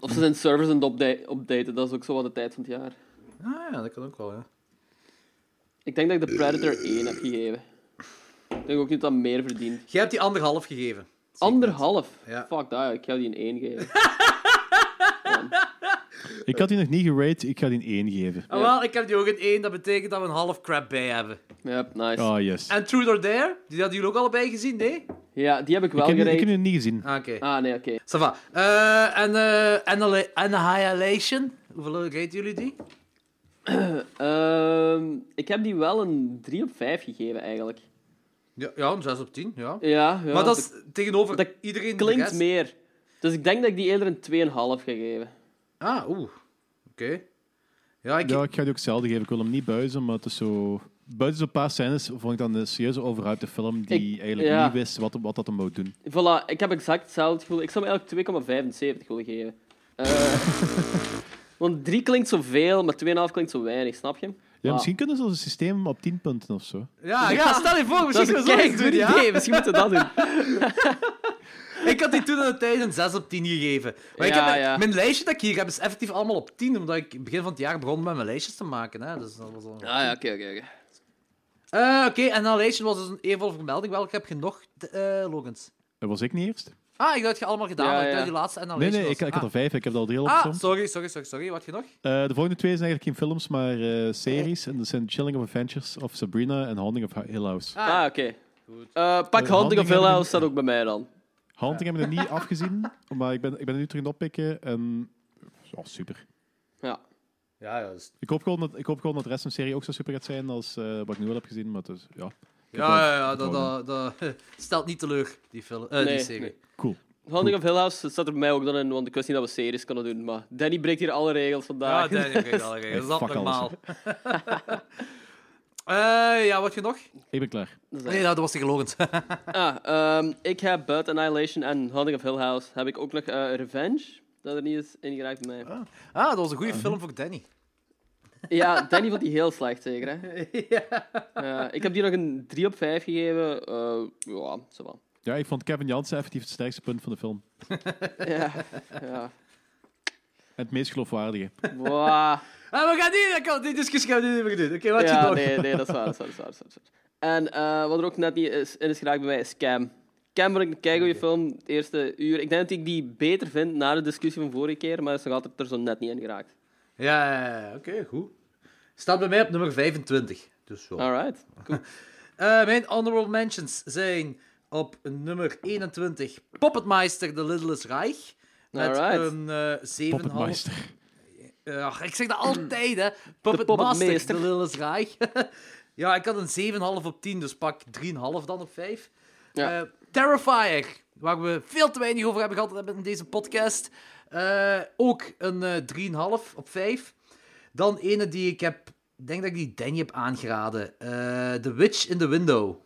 G: Of ze zijn servers aan het upda- updaten, dat is ook zo wat de tijd van het jaar.
F: Ah ja, dat kan ook wel, ja.
G: Ik denk dat ik de
F: Eh.
G: Predator 1 heb gegeven. Ik denk ook niet dat dat meer verdient.
F: Jij hebt die anderhalf gegeven.
G: Anderhalf?
F: Ja.
G: Fuck dat, ik ga die een 1 geven.
E: Ik had die nog niet gerate, ik ga die een 1 geven.
F: Ah, wel, ik heb die ook in één. Dat betekent dat we een half crap bij hebben.
G: Yep, nice.
E: Ah, yes.
F: En Truth or Dare? Die hadden jullie ook allebei gezien, nee?
G: Ja, die heb ik
E: Ik
G: wel
E: heb, die- ik
G: gereden.
E: heb die niet gezien.
F: Ah, oké.
G: Ah, nee, oké.
F: Ça va. Eh, en eh, Annihila- Annihilation? Hoeveel raten jullie die?
G: Ehm, ik heb die wel een 3 op 5 gegeven, eigenlijk.
F: Ja, ja een 6 op 10, ja.
G: Ja, ja
F: maar dat is tegenover
G: dat
F: iedereen de
G: klinkt
F: rest.
G: meer. Dus ik denk dat ik die eerder een 2,5 ga geven.
F: Ah, oeh. Oké. Ja, ik...
E: Ja, ik ga die ook hetzelfde geven. Ik wil hem niet buizen, maar het is zo... Buiten zo'n paar scènes vond ik dan een serieuze overhypte film die
G: Ik-
E: eigenlijk
G: ja.
E: niet wist wat, wat dat hem wou doen.
G: Voilà, ik heb exact hetzelfde gevoel. Ik zou hem eigenlijk 2,75 willen geven. Eh, want 3 klinkt zoveel, maar 2,5 klinkt zo weinig, snap je?
E: Ja,
G: Ah.
E: misschien kunnen ze als een systeem op 10 punten of zo.
F: Ja, ja, stel je voor, misschien
G: Dat is
F: kunnen
G: een
F: we zoiets
G: keigoed
F: doen, ja?
G: idee, misschien moeten we dat doen.
F: Ik had die toen aan de tijd een 6 op 10 gegeven. Maar ik
G: Ja,
F: heb mijn,
G: ja.
F: mijn lijstje dat ik hier heb is effectief allemaal op 10, omdat ik begin van het jaar begon met mijn lijstjes te maken. Hè. Dus dat was al...
G: Ah ja, oké, oké, oké.
F: Eh, Oké, en Annihilation was dus een eervolle vermelding. Welke heb je nog, eh Logans?
E: Dat was ik niet eerst.
F: Ah, ik dacht je allemaal gedaan,
G: Ja,
F: want ik
G: ja.
F: dacht die laatste
E: Nee,
F: Annihilation
E: nee, ik,
F: was.
E: ik had er
F: ah.
E: vijf. Ik heb dat al heel
F: Ah,
E: opgezond.
F: sorry, sorry, sorry, sorry. Wat heb je nog?
E: Eh, de volgende twee zijn eigenlijk geen films, maar eh, series. En dat zijn Chilling of Adventures of Sabrina en Haunting of Hill House.
F: Ah,
G: Ah, oké. Eh, pak
E: Eh,
G: Haunting
E: Haunting
G: of Hill
E: hebben we-
G: House staat ook bij mij dan.
E: Haunting hebben we er niet afgezien, maar ik ben, ik ben er nu terug aan het oppikken. En... Ja, super.
G: Ja.
F: Ja, ja, dus...
E: Ik hoop, gewoon dat, ik hoop gewoon dat de rest van de serie ook zo super gaat zijn als eh, wat ik nu al heb gezien. Maar dus, ja.
F: ja, ja, ja,
E: Ik
F: dat,
E: wou
F: dat, dat stelt niet teleur, die, film,
G: Nee,
F: eh, die serie.
G: nee.
E: Cool.
G: Haunting of Hill House staat er bij mij ook dan in, want ik wist niet dat we series konden doen. Maar Danny breekt hier alle regels
F: Ja,
G: vandaag.
F: dat is dat is
E: fuck alles,
F: normaal. Eh, ja, wat je nog?
E: Ik ben klaar.
G: Dus, eh,
F: Nee, nou, dat was tegen Logans.
G: Ah, ehm, ik heb buiten Annihilation en Haunting of Hill House heb ik ook nog eh, Revenge. Dat er niet is ingeraakt bij mij.
F: ah, dat was een goede film voor Danny.
G: Ja, Danny vond die heel slecht zeker. Hè? Eh, ik heb die nog een 3 op 5 gegeven. Eh, ja, zo wel.
E: Ja, ik vond Kevin Jansen effectief het sterkste punt van de film.
G: Ja, ja.
E: En het meest geloofwaardige.
G: Wow.
F: Ah, we gaan die, dat kan, die discussie gaan we nu niet meer doen. Oké, wat je
G: Ja,
F: nog?
G: nee, nee, dat is waar. Dat is waar, dat is waar, dat is waar. En eh, wat er ook net niet is, in is geraakt bij mij is Cam. Cam vond ik een keigoeie film, het eerste uur. Ik denk dat ik die beter vind na de discussie van vorige keer, maar is nog altijd er zo net niet in geraakt.
F: Ja, ja, ja, oké, goed. Staat bij mij op nummer 25. Dus zo.
G: Alright.
F: Eh, mijn honorable mentions zijn op nummer 21 Puppetmeister The Littlest Reich. Met
G: Alright.
F: een eh 7,5.
E: Puppetmeister.
F: Ja, ik zeg dat altijd, hè. Puppetmaster,
G: Puppetmeester.
F: de Lillis Raai. ja, ik had een 7,5 op 10, dus pak 3,5 dan op 5.
G: Ja.
F: Eh, Terrifier, waar we veel te weinig over hebben gehad in deze podcast. Eh, ook een eh 3,5 op 5. Dan ene die ik heb... Ik denk dat ik die Danny heb aangeraden. Eh, the Witch in the Window.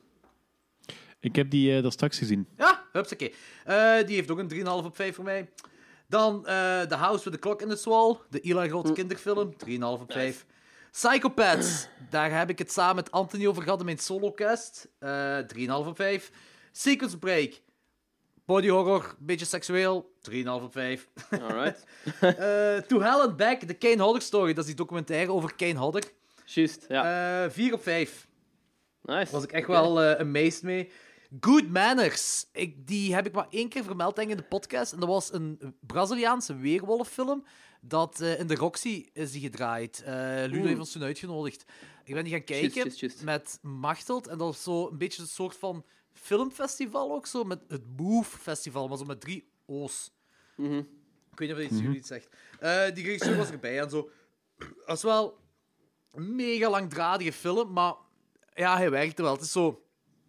E: Ik heb die eh daar straks gezien.
F: Ja, hupsakee. Eh die heeft ook een 3,5 op 5 voor mij. Dan eh The House with the Clock in its Wall, de Eli
G: Hm.
F: Roth kinderfilm, 3,5 op 5. Psychopaths, daar heb ik het samen met Anthony over gehad in mijn solocast, eh 3,5 op 5. Sequence Break, body horror, beetje seksueel, 3,5 op 5.
G: Alright.
F: Eh to Hell and Back, The Kane Hodder Story, dat is die documentaire over Kane Hodder,
G: Juist, ja.
F: eh 4 op 5
G: Nice.
F: was ik echt wel eh, amazed mee. Good Manners. Ik, die heb ik maar één keer vermeld denk ik, in de podcast. En dat was een Braziliaanse weerwolffilm. Dat eh, in de Roxy is die gedraaid. Eh Ludo
G: Oeh.
F: heeft ons toen uitgenodigd. Ik ben die gaan kijken
G: Juist, juist, juist.
F: met Machteld. En dat was zo een beetje een soort van filmfestival ook zo. Met het Move Festival, maar zo met drie O's.
G: Mhm.
F: Ik weet niet of dat iets jullie iets zegt. Eh, die regisseur was erbij en zo. Dat is wel een mega langdradige film, maar ja, hij werkte wel. Het is zo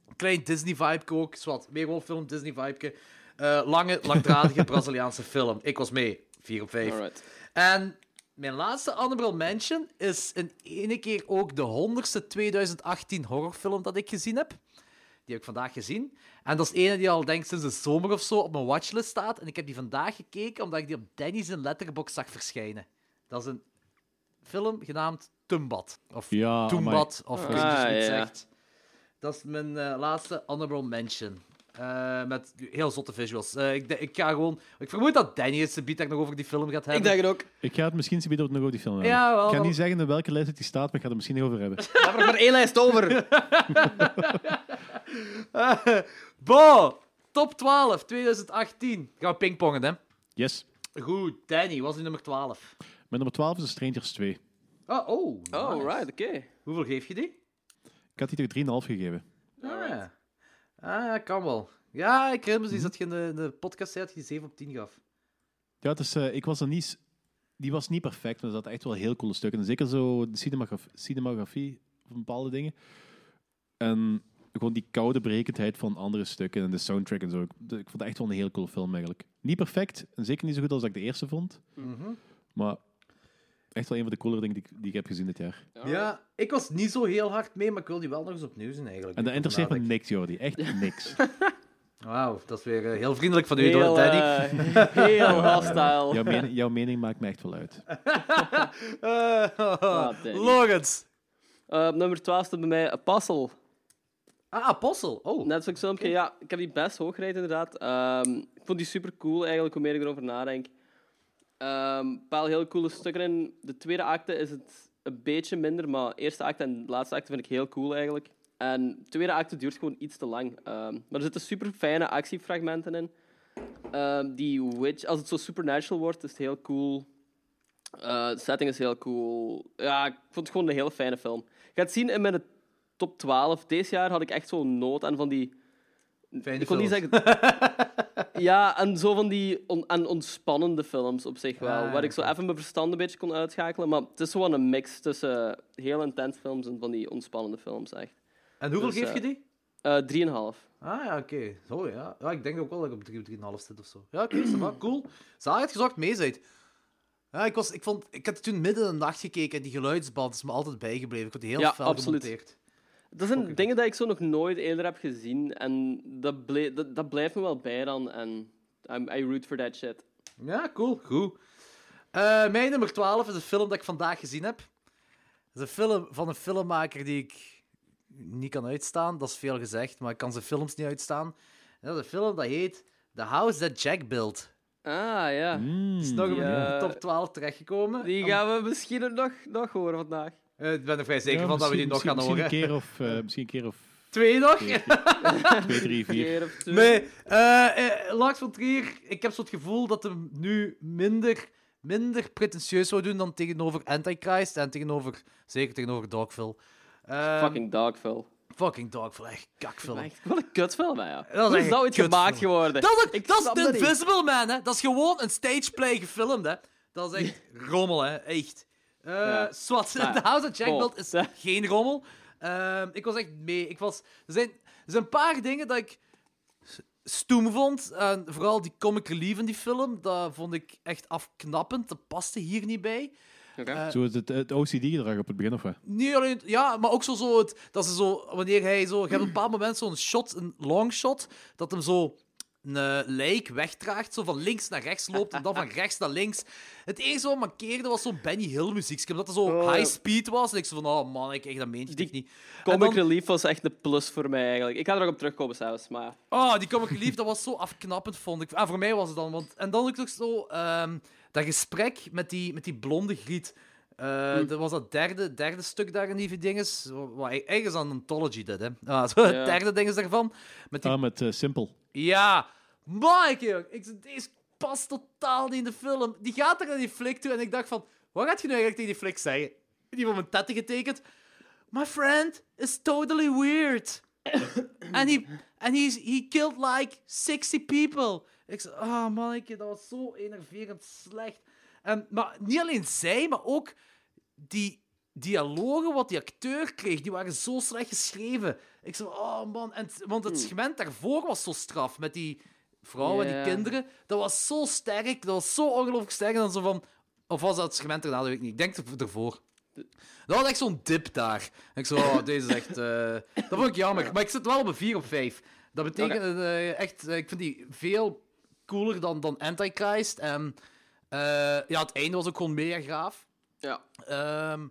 F: een klein Disney-vibe ook. Zwat, film, Disney-vibe. Eh, lange, langdradige Braziliaanse film. Ik was mee. 4 op 5.
G: Alright.
F: En mijn laatste honorable mention is in ene keer ook de 100ste 2018 horrorfilm dat ik gezien heb. Die heb ik vandaag gezien. En dat is ene die al denk ik sinds de zomer of zo op mijn watchlist staat. En ik heb die vandaag gekeken omdat ik die op Danny's in Letterboxd zag verschijnen. Dat is een film genaamd Tumbat. Of
E: Ja,
F: Toombat,
E: amai. Ah,
F: of kun je zoiets
E: ja.
F: zegt. Dat is mijn eh, laatste honorable mention. Eh, met heel zotte visuals. Eh, ik, de- ik ga gewoon... Ik vermoed dat Danny het beat nog over die film gaat hebben.
G: ook.
E: Ik ga het misschien zo nog over die film hebben.
F: Ja, wel,
E: ik ga
F: wel.
E: niet zeggen in welke lijst het die staat, maar ik ga het er misschien over hebben.
G: Daar heb ik maar één lijst over.
F: Eh, Bo, top 12, 2018. Gaan we pingpongen, hè?
E: Yes.
F: Goed, Danny, was nu nummer 12.
E: Mijn nummer 12 is The Strangers 2. Ik
F: Oh, oh.
G: Oh,
F: nice.
G: right, oké.
F: Hoeveel geef je die?
E: had die er 3,5 gegeven.
F: Ah, ah, kan wel. Ja, ik herinner me zoiets dat je in de, in de podcast zei dat je die 7 op 10 gaf.
E: Ja, dus eh, ik was er niet... s- Die was niet perfect, maar er zaten echt wel heel coole stukken. En zeker zo de cinemagaf- cinematografie van bepaalde dingen. En gewoon die koude berekendheid van andere stukken en de soundtrack en zo. Ik, ik vond het echt wel een heel coole film eigenlijk. Niet perfect, en zeker niet zo goed als dat ik de eerste vond. Maar echt wel een van de coolere dingen die, ik- die ik heb gezien dit jaar.
F: Ja, ik was niet zo heel hard mee, maar ik wil die wel nog eens opnieuw zien eigenlijk.
E: En dat
F: Nu ik
E: interesseert me
F: erover
E: niks, Jordi. Echt niks.
F: nadenk. Wauw, dat is weer eh, heel vriendelijk van u,
E: Heel,
F: door Danny.
E: eh,
G: heel
E: hostile. Jouw mening, jouw mening maakt me echt wel uit.
G: eh, Ah,
F: Logans.
G: op nummer 12 staat bij mij Apostle.
F: Ah, Apostle. Oh.
G: Netflix filmpje. Ja, ik heb die best hoog gereden, inderdaad. Ehm, ik vond die super cool, eigenlijk, hoe meer ik erover nadenk. Ehm, een paar heel coole stukken in. De tweede acte is het een beetje minder, maar de eerste acte en de laatste acte vind ik heel cool, eigenlijk. En de tweede acte duurt gewoon iets te lang. Ehm, maar er zitten super fijne actiefragmenten in. Ehm, die witch, als het zo supernatural wordt, is het heel cool. Eh, de setting is heel cool. Ja, ik vond het gewoon een heel fijne film. Je gaat zien in mijn top 12. Deze jaar had ik echt zo'n nood aan van die...
F: Fijne
G: ik kon niet
F: films.
G: zeggen... ja, aan zo van die on- aan ontspannende films op zich wel.
F: Ah,
G: waar ik zo even mijn verstand een beetje kon uitschakelen. Maar het is gewoon een mix tussen heel intens films en van die ontspannende films, echt.
F: En hoeveel geef je
G: eh,
F: die?
G: eh, 3,5.
F: Ah ja, oké. Zo ja. ja. Ik denk ook wel dat ik op 3 3,5 zit of zo. Ja, oké, is dat cool. Zalig dat je zo hard mee zijt. Ja, ik, was, ik, vond, ik had toen midden in de nacht gekeken en die geluidsband is me altijd bijgebleven. Ik vond die heel
G: Ja,
F: fel
G: absoluut.
F: gemonteerd.
G: Dat zijn dingen die ik zo nog nooit eerder heb gezien. En dat, ble- dat, dat blijft me wel bij dan. En I'm, I root for that shit.
F: Ja, cool. Goed. Eh, mijn nummer 12 is een film dat ik vandaag gezien heb. Het is een film van een filmmaker die ik niet kan uitstaan. Dat is veel gezegd, maar ik kan zijn films niet uitstaan. En dat is een film dat heet The House That Jack Built.
G: Ah, ja.
E: Hmm.
F: is nog in de top 12 terechtgekomen.
G: Die
F: Om-
G: gaan we misschien ook nog, nog horen vandaag.
F: Eh, ik ben er vrij zeker
E: Ja,
F: van dat we die
E: misschien-
F: nog gaan
E: misschien-
F: horen.
E: Misschien een keer of... eh, misschien een keer of...
F: Twee nog?
E: Twee, drie, vier.
F: Nee, eh, eh, Lars van Trier, ik heb zo het gevoel dat hem nu minder, minder pretentieus zou doen dan tegenover Antichrist en tegenover, zeker tegenover Dogville. Ehm,
G: Fucking Dogville.
F: Fucking Dogville, echt kakfilm.
G: Echt, wat een kutfilm, hè. Ja.
F: Dat is
G: Hoe is
F: echt
G: dat ooit
F: een
G: gemaakt
F: kutfilm.
G: geworden?
F: Dat is,
G: Ik
F: dat is
G: snap
F: de
G: niet.
F: Invisible Man, hè. Dat is gewoon een stageplay gefilmd, hè. Dat is echt rommel, hè. Echt. Eh
G: Ja.
F: Swat,
G: Maar ja,
F: The House of Jack
G: vol.
F: Built is geen rommel. Ehm, ik was echt mee. Ik was, er, zijn, er zijn een paar dingen dat ik s- stoem vond. En vooral die comic relief in die film, dat vond ik echt afknappend. Dat paste hier niet bij. Eh,
E: Zo is het, het OCD-gedrag op het begin, of wat?
F: niet alleen, ja, maar ook zo, zo het, dat ze zo, wanneer hij zo, je hebt op een bepaald moment zo'n shot, een long shot, dat hem zo een eh, lijk wegdraagt, zo van links naar rechts loopt en dan van rechts naar links. Het enige wat mankeerde was zo'n Benny Hill muziek, omdat dat zo
G: Oh, ja.
F: high speed was. En ik zo van, oh man, ik echt dat meentje toch niet. En
G: Comic
F: dan-
G: Relief was echt de plus voor mij, eigenlijk. Ik ga er nog op terugkomen zelfs, maar...
F: Oh, die comic relief, dat was zo afknappend, vond ik. Ah, voor mij was het dan. Want... En dan ook nog zo ehm, dat gesprek met die, met die blonde griet. Eh, Dat was dat derde, derde stuk daar in die dinges. Wa- wa- e- Ergens aan ontology, dit, hè. Ah, zo,
E: Ja.
F: Het derde ding is daarvan. Met die...
E: Ah, met eh, Simple.
F: Ja, Mike, joh. Ik zei, deze past totaal niet in de film. Die gaat er naar die flik toe en ik dacht van... Wat gaat je nu eigenlijk tegen die flik zeggen? Die wordt mijn tetten getekend. My friend is totally weird. and he, and he's, he killed like 60 people. Ik zei, ah manneke, dat was zo enerverend slecht. En, maar niet alleen zij, maar ook die dialogen wat die acteur kreeg, die waren zo slecht geschreven. Ik zei, oh man, en, het- want het segment daarvoor was zo straf met die vrouw en
G: Ja.
F: die kinderen. Dat was zo sterk, dat was zo ongelooflijk sterk. En dan zo van, of was dat het segment erna, dat weet ik niet. Ik denk er- ervoor. Dat was echt zo'n dip daar. En ik zo, oh, deze is echt... eh, Dat vond ik jammer. Maar ik zit wel op een 4 op 5. Dat betekent eh, echt... eh, ik vind die veel cooler dan, dan Antichrist. En eh, ja, het einde was ook gewoon mega gaaf.
G: Ja.
F: het is Ehm,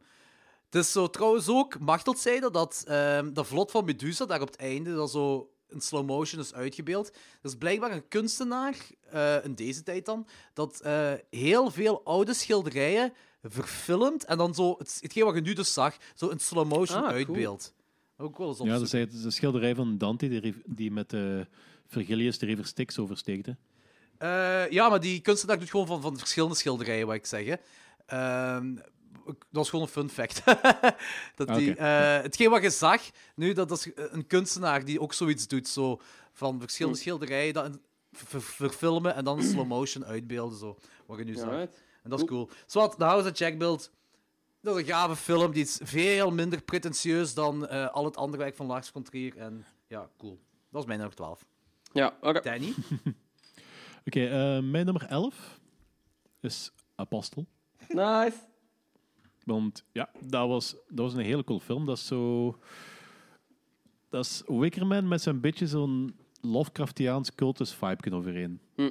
F: dus zo trouwens ook, Machtelt zei dat, dat ehm, de vlot van Medusa daar op het einde, dat zo in slow motion is uitgebeeld. Dat is blijkbaar een kunstenaar, eh, in deze tijd dan, dat eh, heel veel oude schilderijen verfilmt en dan zo, het, hetgeen wat je nu dus zag, zo in slow motion
G: Ah, cool.
F: uitbeeldt. Ook wel eens
E: Ja, dat
F: opzoeken.
E: is het- dat is een schilderij van Dante die, riv- die met eh Vergilius de river Styx oversteekt. hè.
F: Eh, ja, maar die kunstenaar doet gewoon van, van verschillende schilderijen, wat ik zeg. hè. Ehm, ik- dat is gewoon een fun fact. dat die,
E: Oké.
F: eh, hetgeen wat je zag, nu, dat, dat is eh, een kunstenaar die ook zoiets doet, zo, van verschillende
G: Hm.
F: schilderijen dat in- ver- ver- verfilmen en dan in slow motion uitbeelden, zo, wat je nu zag.
G: Alright.
F: En dat is cool. Zwat, The House of Jackbuild, dat is een gave film, die is veel minder pretentieus dan eh, al het andere werk van Lars von Trier. En ja, cool. Dat is mijn nummer 12.
G: Ja, oké.
F: Danny?
E: Oké, eh, mijn nummer 11 is Apostel.
G: Nice.
E: Want ja, dat was, dat was een hele cool film. Dat is zo... Dat is Wickerman met zijn beetje zo'n Lovecraftiaans cultus vibe overeen.
G: Hm.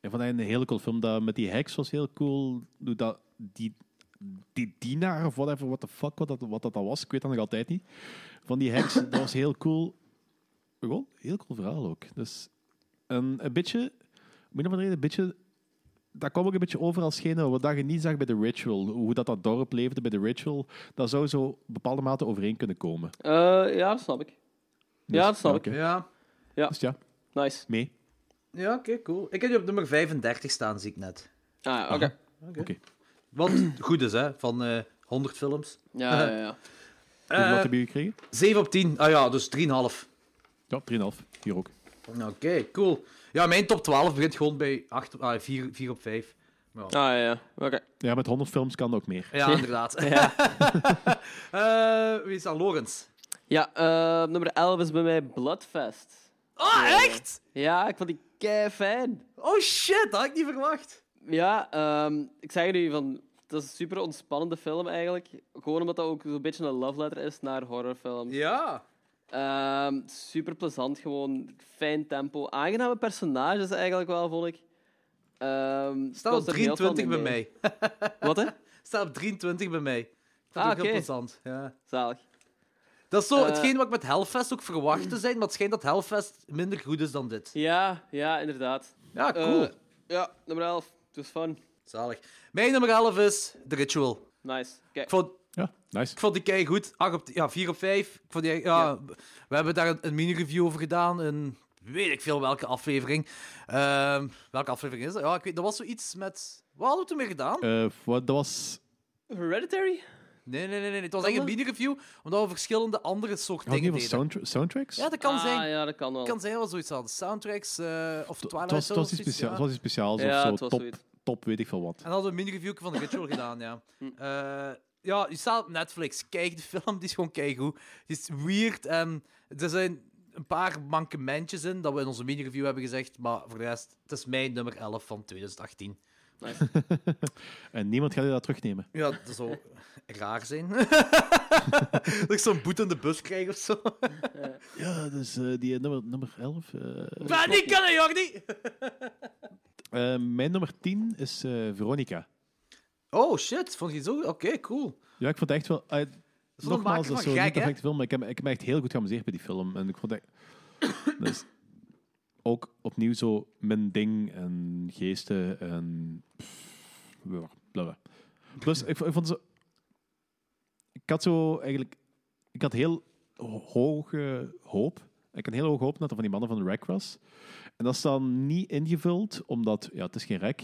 E: En van een hele cool film. Dat met die heks was heel cool. Hoe Dat, die, die dienaar of whatever, what the fuck, wat dat, wat dat dan was. Ik weet dat nog altijd niet. Van die heks, dat was heel cool. Gewoon, heel cool verhaal ook. Dus een, een beetje, om een of andere reden, een beetje dat kwam ook een beetje over als gene wat dat je niet zag bij de Ritual. Hoe dat, dat dorp leefde bij de Ritual. Dat zou zo op bepaalde mate overeen kunnen komen.
G: Eh, ja, dat snap ik. Ja, dat snap
E: oké.
G: ik.
F: Ja,
G: Ja.
E: Dus ja,
G: Nice.
E: mee.
F: Ja, oké, cool. Ik heb je op nummer 35 staan, zie ik net.
G: Ah, ja, oké.
E: Oké.
F: Wat goed is, hè, van eh 100 films.
G: Ja, ja, ja.
E: Hoeveel
F: Eh,
E: heb je gekregen?
F: 7 op 10. Ah ja, dus 3,5.
E: Ja, 3,5. Hier ook.
F: Oké, cool. Ja, mijn top 12 begint gewoon bij 8, ah, 4, 4 op 5.
G: Ah, ja, ja. Oké.
E: Ja, met 100 films kan ook meer.
F: Ja, inderdaad. Eh, wie is dat? Lorenz.
G: Ja, eh, nummer 11 is bij mij Bloodfest.
F: Oh, echt?
G: Ja, ik vond die kei fijn.
F: Oh shit, dat had ik niet verwacht.
G: Ja, ehm, ik zeg jullie van. Dat is een super ontspannende film eigenlijk. Gewoon omdat dat ook zo'n beetje een love letter is naar horrorfilms.
F: Ja.
G: super plezant gewoon. Fijn tempo. Aangename personages eigenlijk wel, vond ik. Ehm, ik
F: Staat op
G: was er heel veel
F: 23 bij
G: mee
F: mij.
G: mee. Wat hè?
F: Staat op 23 bij mij. Ik vond het
G: Ah,
F: ook heel
G: oké.
F: plezant. Ja.
G: Zalig.
F: Dat is zo
G: Eh,
F: hetgeen wat ik met Hellfest ook verwacht te zijn, maar het schijnt dat Hellfest minder goed is dan dit.
G: Ja, ja, inderdaad.
F: Ja, cool.
G: Eh, ja, nummer 11. Het was fun.
F: Zalig. Mijn nummer 11 is The Ritual.
G: Nice.
F: Ik
G: Kijk.
F: vond,
E: Ja, nice.
F: ik vond die kei goed. op, ja, 4 op 5. Ik vond die, ja,
G: Ja.
F: We hebben daar een, een mini-review over gedaan. In weet ik veel welke aflevering. Ehm, welke aflevering is dat? Ja, ik weet, dat was zoiets met. Wat hadden we toen mee gedaan?
E: Eh, wat, dat was...
G: Hereditary?
F: Nee, nee, nee, nee. nee. Het was echt een mini-review, omdat we verschillende andere soort
E: had ik
F: dingen
E: niet over
F: deden.
E: soundtra- soundtracks?
F: Ja, dat kan
G: ah,
F: zijn.
G: ja, dat kan wel.
F: Dat kan zijn dat we zoiets hadden. Soundtracks eh, of
E: Het
F: Twilight
E: was- het
F: Zone
E: was iets
F: of zoiets,
E: speciaals.
F: ja.
E: Het was iets speciaals
G: Ja,
E: of
G: het
E: zo.
G: was
E: Top,
G: zoiets.
E: top weet ik veel wat.
F: En hadden we een mini-review van de Ritual gedaan, ja. Eh, ja, die staat op Netflix. Kijk de film, die is gewoon keigoed. Die is weird en er zijn een paar mankementjes in dat we in onze mini-review hebben gezegd, maar voor de rest, het is mijn nummer 11 van 2018.
E: En niemand gaat je dat terugnemen.
F: Ja, dat zou raar zijn. dat ik zo'n boete in de bus krijg of zo.
E: Ja, dus eh, die eh, nummer, nummer 11... eh,
F: Maar niet kunnen, Jordi!
E: eh, mijn nummer 10 is eh, Veronica.
F: Oh, shit. Vond je het zo? Oké, cool.
E: Ja, ik vond het echt wel... eh,
F: Zo'n maken
E: nogmaals, dat
F: van
E: is zo'n
F: gek,
E: niet
F: hè?
E: perfecte film, maar ik heb, ik heb me echt heel goed geamuseerd bij die film. En ik vond het echt... dus ook opnieuw zo mijn ding en geesten en... pff, blah, blah. Plus, Dus ik, vond- ik vond zo... Ik had zo eigenlijk... Ik had heel ho- hoge hoop. Ik had heel hoge hoop dat er van die mannen van de rec was. En dat is dan niet ingevuld, omdat... Ja, het is geen rec.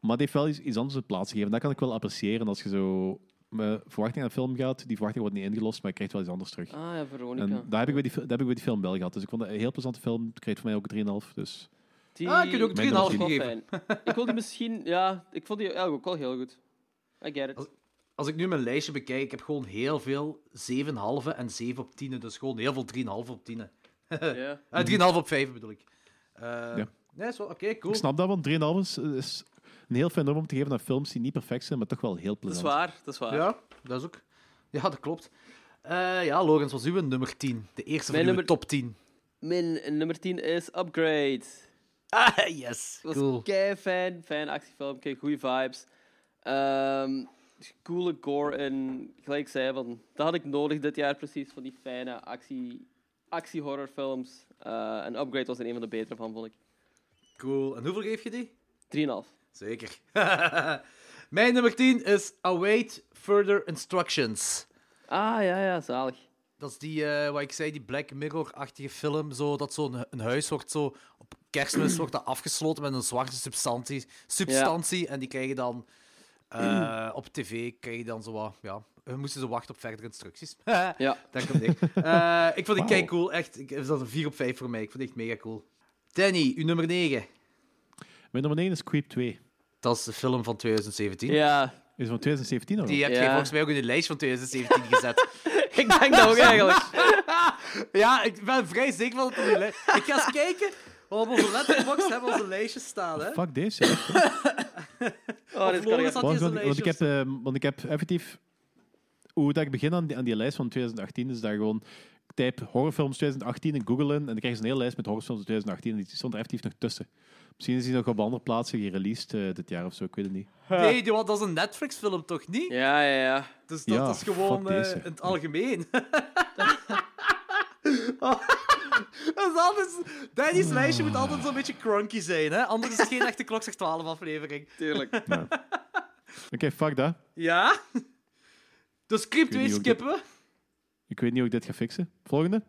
E: Maar het heeft wel iets, iets anders op plaats gegeven. Dat kan ik wel appreciëren als je zo... Mijn verwachting aan de film gaat, die verwachting wordt niet ingelost, maar je krijgt wel iets anders terug.
G: Ah ja,
E: En
G: Veronica.
E: daar heb, ik bij die, fi- dat heb ik bij die film wel gehad. Dus ik vond het een heel plezante film. Het kreeg voor mij ook 3,5. Dus
G: Die...
F: Ah, ik heb ook
E: Mijn
F: 3,5
E: nummer
F: gegeven.
G: Wel fijn. ik wil die misschien... Ja, ik vond die eigenlijk ook wel heel goed. I get it.
F: Als ik nu mijn lijstje bekijk, ik heb gewoon heel veel 7,5 en 7 op 10. Dus gewoon heel veel 3,5 op 10.
G: Ja.
F: Eh, 3,5 op 5 bedoel ik. Eh, Nee, is wel oké, cool.
E: Mhm. ik snap dat, want 3,5 is, is een heel fijn nummer om te geven aan films die niet perfect zijn, maar toch wel heel
G: Dat is
E: plezant.
G: waar, dat is waar.
F: Ja, dat is ook. Ja, dat klopt. Eh, ja, Logans, was uw nummer 10? De eerste van
G: Mijn
F: uw
G: nummer-
F: top 10.
G: Mijn nummer 10 is Upgrade.
F: Ah, yes.
G: Het was
F: Cool.
G: kei fijn, fijn actiefilm, goede vibes. Ehm, coole gore en gelijk ik zei, van, dat had ik nodig dit jaar precies, van die fijne actie, actie-horrorfilms. Eh, en Upgrade was er een van de betere van, vond ik.
F: Cool. En hoeveel geef je die?
G: 3,5.
F: Zeker. Mijn nummer 10 is Await Further Instructions.
G: Ah, ja, ja, zalig.
F: Dat is die, eh, wat ik zei, die Black Mirror-achtige film. Zo, dat zo'n een huis wordt zo... Op kerstmis wordt dat afgesloten met een zwarte substantie. substantie En die krijgen dan... eh, op tv krijg je dan zo wat... Ja, we moesten zo wachten op verdere instructies.
G: Ja.
F: Daar komt ik. Eh, ik vond die kei cool. Echt, ik, dat is een 4 op 5 voor mij. Ik vond die echt mega cool. Danny, uw nummer 9.
E: Mijn nummer 9 is Creep 2.
F: Dat is de film van 2017.
G: Ja.
E: Is van 2017 al?
F: Die heb je
E: Ja.
F: volgens mij ook in de lijst van 2017 gezet.
G: ik denk dat ook eigenlijk.
F: ja, ik ben vrij zeker van dat het op die lijst... Ik ga eens kijken. Want op onze letterbox hebben onze lijstjes staan, hè.
E: Fuck deze. hè.
G: Oh, dit kan
F: Lorenz
G: ik
F: had
G: echt-
F: hier
E: Want,
F: zo'n
E: want, want ik
F: lijstje
E: heb, ehm, want ik heb effectief... Hoe dat ik begin aan die, aan die lijst van 2018 is daar gewoon... ik Type horrorfilms 2018 in Google in en dan krijg je een hele lijst met horrorfilms uit 2018 en die stond er effectief nog tussen. Misschien is die nog op andere plaatsen gereleased eh, dit jaar of zo, ik weet het niet.
F: Nee, die- want dat is een Netflix-film, toch niet?
G: Ja, ja, ja.
F: Dus dat
E: Ja,
F: is gewoon
E: fuck
F: eh,
E: deze.
F: in het algemeen. Oh, dat is altijd...
E: Ah.
F: Danny's lijstje moet altijd zo'n beetje cronky zijn, hè. Anders is het geen echte Klok 12 aflevering.
G: Tuurlijk.
E: Oké, fuck dat.
F: Ja? Dus Creep
E: Ik weet
F: 2
E: niet hoe ik dit-
F: skippen we.
E: Ik weet niet hoe ik dit ga fixen. Volgende.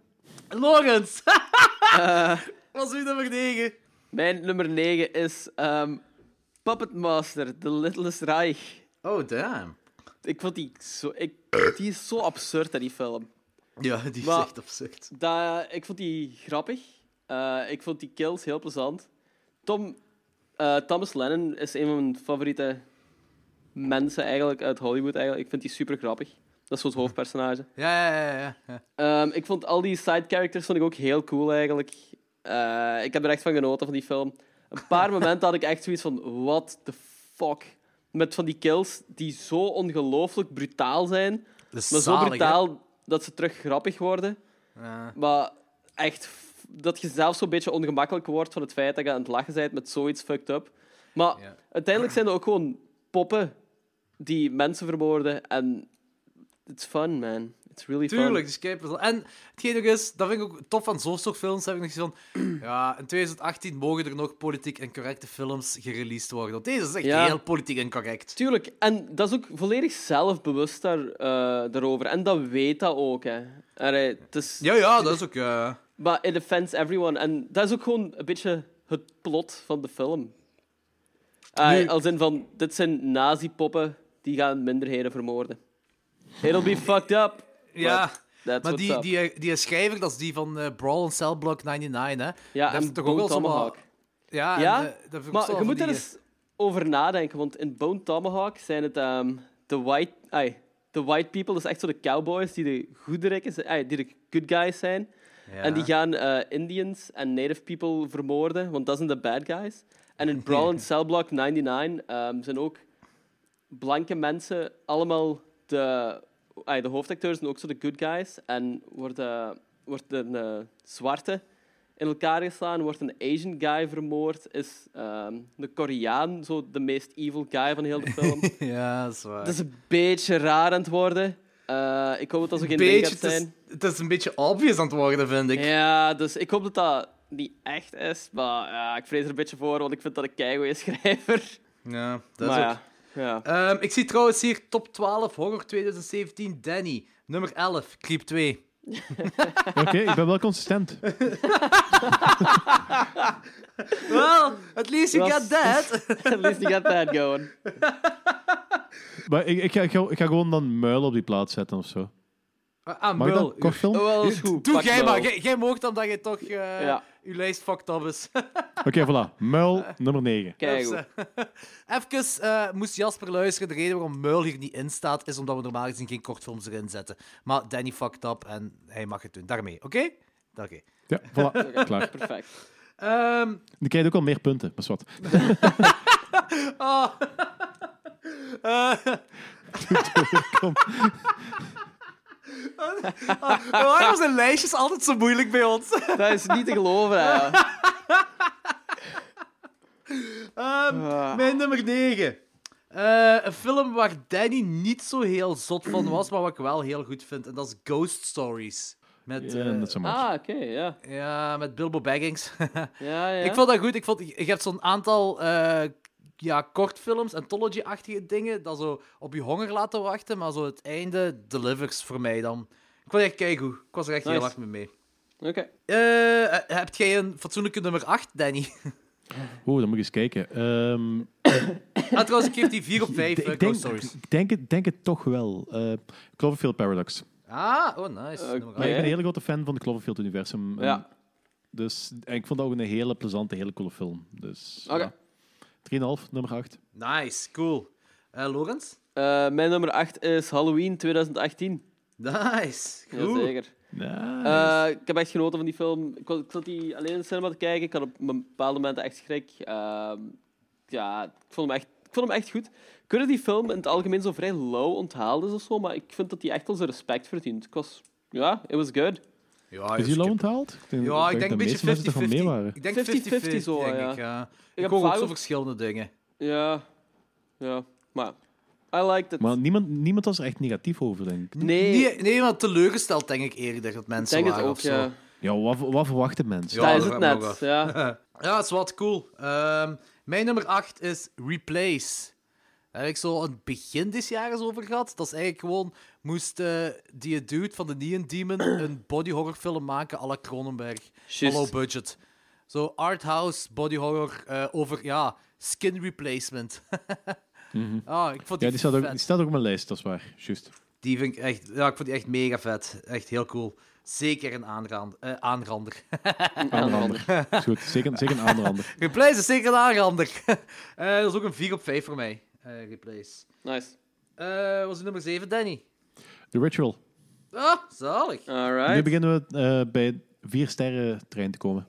F: Lawrence! Eh. Was uw nummer 9?
G: Mijn nummer 9 is ehm, Puppet Master, The Littlest Reich.
F: Oh, damn.
G: Ik vond die zo... Ik, die is zo absurd, hè, die film.
F: Ja, die
G: Maar-
F: is echt absurd.
G: Dat, eh, ik vond die grappig. Eh, ik vond die kills heel plezant. Tom, eh, Thomas Lennon is een van mijn favoriete mensen eigenlijk uit Hollywood. Eigenlijk. Ik vind die super grappig. Dat is zo'n hoofdpersonage.
F: Ja, ja, ja. ja.
G: Ehm, ik vond al die side characters vond ik ook heel cool eigenlijk. Eh, ik heb er echt van genoten van die film. Een paar momenten had ik echt zoiets van: what the fuck? Met van die kills die zo ongelooflijk brutaal zijn.
F: Dat is
G: Maar zo
F: zalig, hè?
G: brutaal dat ze terug grappig worden.
F: Ja.
G: Maar echt, f- dat je zelf zo'n beetje ongemakkelijk wordt van het feit dat je aan het lachen bent met zoiets fucked up. Maar
F: Ja.
G: uiteindelijk zijn er ook gewoon poppen die mensen vermoorden. En it's fun, man. It's really
F: Tuurlijk, die Skype is al- En hetgeen ook is, dat vind ik ook tof aan zo'n soort films, heb ik nog zoiets van... Ja, in 2018 mogen er nog politiek incorrecte films gereleased worden. Want deze is echt
G: Ja.
F: heel politiek incorrect.
G: Tuurlijk, en dat is ook volledig zelfbewust daar, eh, daarover. En dat weet dat ook, hè. Allee, het is,
F: Ja, ja, dat is ook... eh,
G: But it offends everyone. En dat is ook gewoon een beetje het plot van de film. Ah,
F: Nu-
G: Als in van, dit zijn nazi-poppen die gaan minderheden vermoorden. It'll be fucked up.
F: Ja,
G: That's
F: maar
G: what's
F: die,
G: up.
F: die, eh, die schrijver, dat is die van eh, Brawl en Cell Block 99, hè.
G: ja,
F: dat heeft
G: en
F: toch ook wel
G: Bone
F: zo wat-
G: Tomahawk.
F: Ja, en,
G: Ja,
F: eh, dat vind ik ook
G: maar
F: zo
G: je
F: van
G: moet
F: die,
G: er eens over nadenken, want in Bone Tomahawk zijn het ehm, de white... Ai, de white people, dat is echt zo de cowboys die de goederikken zijn, ai, die de good guys zijn.
F: eh, ja.
G: En die gaan eh, Indians en Native people vermoorden, want dat zijn de bad guys. En in Brawl en Cell Block 99 ehm, zijn ook blanke mensen allemaal de, ai, de hoofdacteurs en ook zo de good guys. En wordt, eh, wordt een eh, zwarte in elkaar geslaan, wordt een Asian guy vermoord, is ehm, de Koreaan zo de meest evil guy van heel de film.
F: Ja, dat is waar.
G: dat is een beetje raar aan het worden. Eh, ik hoop dat dat zo geen ding
F: beetje,
G: gaat
F: het, is,
G: zijn.
F: het is een beetje obvious aan het worden, vind ik.
G: Ja, dus ik hoop dat dat niet echt is, maar ja, ik vrees er een beetje voor, want ik vind dat een keigoeie schrijver.
F: Ja, dat
G: maar
F: is ook...
G: ja, ja.
F: Ehm, ik zie trouwens hier top 12 horror 2017 Danny. Nummer 11, Creep 2.
E: Oké, ik ben wel consistent.
F: Well, at least you
G: Was-
F: got that.
G: at least you got that going.
E: Maar ik, ik, ga, ik, ga, ik ga gewoon dan muil op die plaats zetten of zo.
F: Ah,
E: Mag ik dan
F: mul.
E: kort film?
G: Oh, wel, dat is goed.
F: Doe
G: Pak
F: jij
G: wel.
F: maar. Jij, jij moogt omdat je toch eh
G: Ja.
F: je lijst fucked up is.
E: Oké, voilà. Muil nummer 9.
G: Keigoed.
F: Even eh, moest Jasper luisteren. De reden waarom Muil hier niet in staat, is omdat we normaal gezien geen kortfilms erin zetten. Maar Danny fucked up en hij mag het doen. Daarmee, oké? Oké.
E: Ja, voilà. Klaar.
G: Perfect.
F: Ehm,
E: Dan krijg je ook al meer punten, maar wat.
F: oh. Eh, Ah, Waarom zijn lijstjes altijd zo moeilijk bij ons?
G: Dat is niet te geloven, hè. Ah.
F: Ehm, Mijn nummer 9. Eh, een film waar Danny niet zo heel zot van was, maar wat ik wel heel goed vind. En dat is Ghost Stories. Met,
E: Ja,
F: eh,
E: not so much.
G: Ah, oké, ja.
F: ja, met Bilbo Baggins.
G: Ja, ja.
F: Ik vond dat goed. Ik vond, je hebt zo'n aantal eh, ja, kortfilms, anthology-achtige dingen, dat zo op je honger laten wachten, maar zo het einde delivers voor mij dan. Ik vond het echt keigoed. Ik was er echt heel
G: Nice.
F: hard mee mee.
G: Oké.
F: Eh, eh, heb jij een fatsoenlijke nummer 8, Danny?
E: Oeh, dan moet ik eens kijken. Ehm,
F: ah, trouwens, ik geef die 4 op 5
E: ik
F: eh,
E: denk,
F: Ghost Stories.
E: ik denk, het, denk het toch wel. Eh, Cloverfield Paradox.
F: Ah, oh nice.
G: Oké.
F: Nummer
E: Maar ik
F: acht.
E: ben een hele grote fan van het Cloverfield-universum. En
G: Ja.
E: Dus en ik vond dat ook een hele plezante, hele coole film. Dus
G: Oké.
E: ja. 3,5, nummer 8.
F: Nice, cool. Eh Lorenz?
G: Eh, mijn nummer 8 is Halloween 2018.
F: Nice, cool.
G: Jazeker. Eh, ik heb echt genoten van die film. Ik, was- ik zat die alleen in de cinema te kijken. Ik had op een bepaalde momenten echt schrik. Ehm, ja, ik vond, hem echt, ik vond hem echt goed. Ik weet dat die film in het algemeen zo vrij low onthaald is of zo, maar ik vind dat die echt onze respect verdient. Ik was... Ja, it was good.
F: ja,
E: Is die low onthaald?
F: ja, ik denk een
E: de meeste mensen
F: beetje 50-50.
E: ervan mee waren.
F: Ik denk
G: 50-50
F: 50-50
G: zo,
F: denk
G: ja.
F: ik. ja. Ik,
G: heb
F: hoor ook
G: vaak
F: zo
G: ook-
F: verschillende dingen.
G: Ja, ja. Maar, I liked it.
E: Maar niemand, niemand was er echt negatief over, denk ik.
G: nee,
F: Nee, nee, maar teleurgesteld denk ik eerder dat
G: ik
F: mensen
G: denk het
F: waren
G: ook,
F: of zo.
G: ja.
E: Ja, wat, wat verwachten mensen?
F: Ja,
G: Daar is
F: dat
G: het
F: vraag ik me
G: net,
F: ook
G: ja.
F: Ja, het is wat cool. Ehm, mijn nummer 8 is Replace. Daar heb ik zo aan het begin des jaren over gehad. Dat is eigenlijk gewoon... Moest eh, die dude van de Neon Demon een body horror film maken à la Cronenberg.
G: Juist.
F: Low budget. Zo arthouse body horror eh, over ja, skin replacement. ah, ik vond
E: Ja,
F: die,
E: die staat, ook,
F: vet.
E: die staat ook op mijn lijst, dat is waar. Juist.
F: Die vind ik echt, ja, ik vond die echt mega vet. Echt heel cool. Zeker een aanraand, eh, aanrander.
E: Aanrander. Is goed, zeker, zeker een aanrander.
F: Replace is zeker een aanrander. Eh, dat is ook een 4 op 5 voor mij. eh, replace.
G: Nice.
F: Eh was het nummer 7, Danny?
E: The Ritual.
F: Ah, zalig.
E: Nu
G: Alright.
E: beginnen we eh, bij vier sterren trein te komen.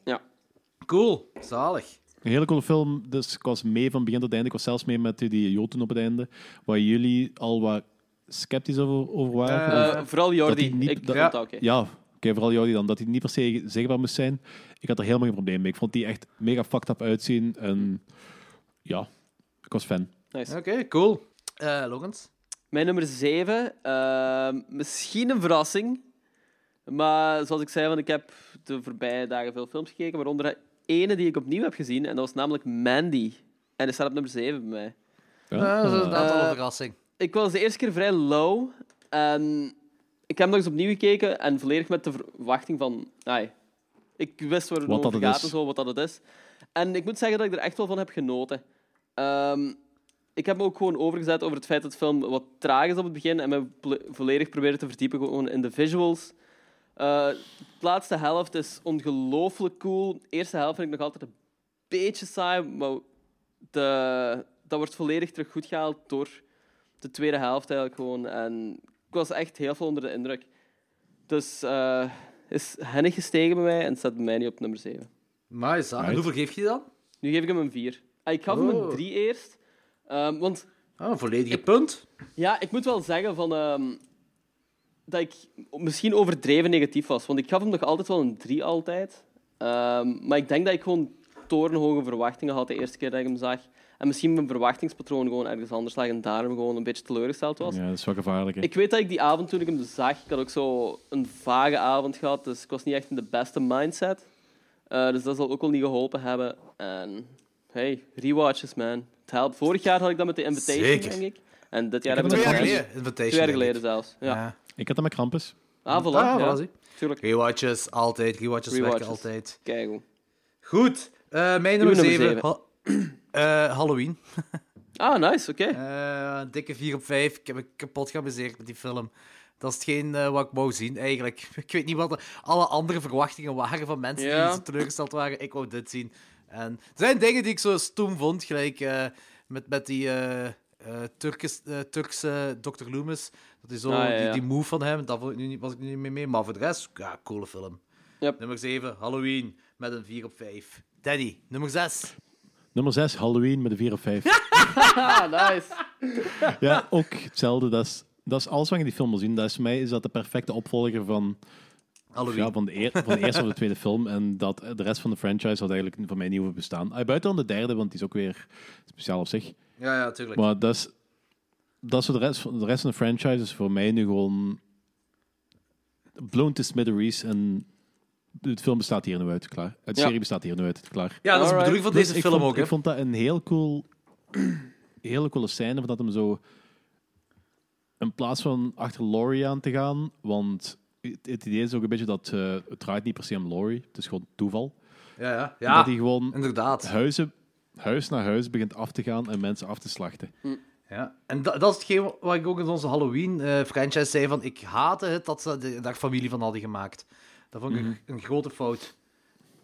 F: Cool, zalig.
E: Een hele coole film, dus ik was mee van begin tot einde. Ik was zelfs mee met die- die Joten op het einde, waar jullie al wat sceptisch over, over waren.
F: Eh,
E: Of-
G: Eh, vooral Jordi.
E: die niet-
G: ik
E: dat-
G: vond dat oké.
E: Ja, oké, vooral Jordi dan. Dat hij niet per se zichtbaar moest zijn. Ik had er helemaal geen probleem mee. Ik vond die echt mega fucked up uitzien. En ja, ik was fan.
G: Nice.
F: Oké, cool. Eh Logans?
G: Mijn nummer 7. misschien een verrassing. Maar zoals ik zei, want ik heb de voorbije dagen veel films gekeken. Waaronder ene die ik opnieuw heb gezien. En dat was namelijk Mandy. En die staat op nummer 7 bij mij.
E: Ja,
F: Ah, dat is
E: eh,
F: inderdaad al een
G: Eh,
F: verrassing.
G: Ik was de eerste keer vrij low. En ik heb hem nog eens opnieuw gekeken. En volledig met de verwachting van... Ai, ik wist waar het
E: Wat
G: over
E: dat het
G: gaat en
E: is.
G: zo, wat dat het is. En ik moet zeggen dat ik er echt wel van heb genoten. Ehm, ik heb me ook gewoon overgezet over het feit dat de film wat traag is op het begin. En me ple- volledig proberen te verdiepen gewoon in de visuals. Eh, de laatste helft is ongelooflijk cool. De eerste helft vind ik nog altijd een beetje saai. Maar de, dat wordt volledig terug goed gehaald door de tweede helft eigenlijk gewoon. En ik was echt heel veel onder de indruk. Dus eh, is Hennig gestegen bij mij en staat bij mij niet op nummer 7.
F: Maar zalig.
E: Right.
F: Hoeveel geef je dan?
G: Nu geef ik hem een 4. Ik gaf hem een
F: Oh.
G: 3 eerst. Ehm, want
F: Ah, een volledige punt.
G: ja, ik moet wel zeggen van, ehm, dat ik misschien overdreven negatief was. Want ik gaf hem nog altijd wel een 3 altijd. Ehm, maar ik denk dat ik gewoon torenhoge verwachtingen had de eerste keer dat ik hem zag. En misschien mijn verwachtingspatroon gewoon ergens anders lag en daarom gewoon een beetje teleurgesteld was.
E: Ja, dat is wel gevaarlijk. hè.
G: Ik weet dat ik die avond toen ik hem dus zag, ik had ook zo een vage avond gehad, dus ik was niet echt in de beste mindset. Eh, dus dat zal ook wel niet geholpen hebben. En hey, rewatches man, het helpt. Vorig jaar had ik dat met de Invitation,
F: Zeker.
G: denk ik. En dit jaar
E: Ik
G: heb
E: heb
G: ik
E: hem
G: dat
E: twee jaar
G: met-
F: Invitation.
G: Twee jaar
F: denk ik.
G: geleden zelfs. Ja.
F: Ja.
E: Ik had dat met Krampus.
G: Ah, voilà.
F: Ah,
G: ja.
F: voilà, zie.
G: Tuurlijk.
F: Rewatches, altijd. Rewatches, werken
G: Rewatches.
F: altijd.
G: Kijk hoe.
F: Goed, eh, mijn
G: Uw nummer
F: nummer 7.
G: zeven.
F: Halloween.
G: Ah, nice, oké.
F: Eh, een dikke 4 op 5. Ik heb me kapot geamuseerd met die film. Dat is hetgeen eh, wat ik wou zien, eigenlijk. Ik weet niet wat de- alle andere verwachtingen waren van mensen
G: Ja.
F: die zo teleurgesteld waren. Ik wou dit zien. En er zijn dingen die ik zo stoem vond, gelijk eh, met, met die eh, eh, Turkis- eh, Turkse Dr. Loomis. Dat is zo,
G: Ah, ja, ja.
F: Die, die move van hem, daar vond ik nu niet- was ik nu niet mee mee. Maar voor de rest, ja, coole film.
G: Yep.
F: Nummer 7, Halloween, met een 4 op 5. Danny, nummer 6.
E: Nummer 6, Halloween met de 4 of 5.
G: Ah, nice.
E: Ja, ook hetzelfde. Dat is, dat is alles wat je in die film wil zien. Dat is, voor mij is dat de perfecte opvolger van,
F: Halloween.
E: ja, van, de eer- van de eerste of de tweede film. En dat, eh, de rest van de franchise had eigenlijk voor mij niet hoeven bestaan. Ah, buiten dan de derde, want die is ook weer speciaal op zich.
F: Ja, ja, tuurlijk.
E: Maar dat is, dat is voor de rest, van- de rest van de franchise is voor mij nu gewoon blown to smithereens en de film bestaat hier nu uit, klaar. Het
F: Ja.
E: serie bestaat hier nu uit, klaar.
F: Ja, dat is de Alright. bedoeling van
E: Dus
F: Oh, deze
E: ik
F: film
E: vond-
F: ook, hè?
E: Ik vond dat een heel cool, hele coole scène, van dat hem zo in plaats van achter Laurie aan te gaan, want het, het idee is ook een beetje dat eh, het draait niet per se om Laurie, het is gewoon toeval.
F: Ja, ja.
E: En
F: Ja,
E: dat hij gewoon
F: inderdaad.
E: Huizen, huis naar huis begint af te gaan en mensen af te slachten.
F: Ja. En da- dat is hetgeen wat ik ook in onze Halloween-franchise zei: van ik haatte het dat ze de- daar familie van hadden gemaakt. Dat vond ik
E: Mhm.
F: een grote fout.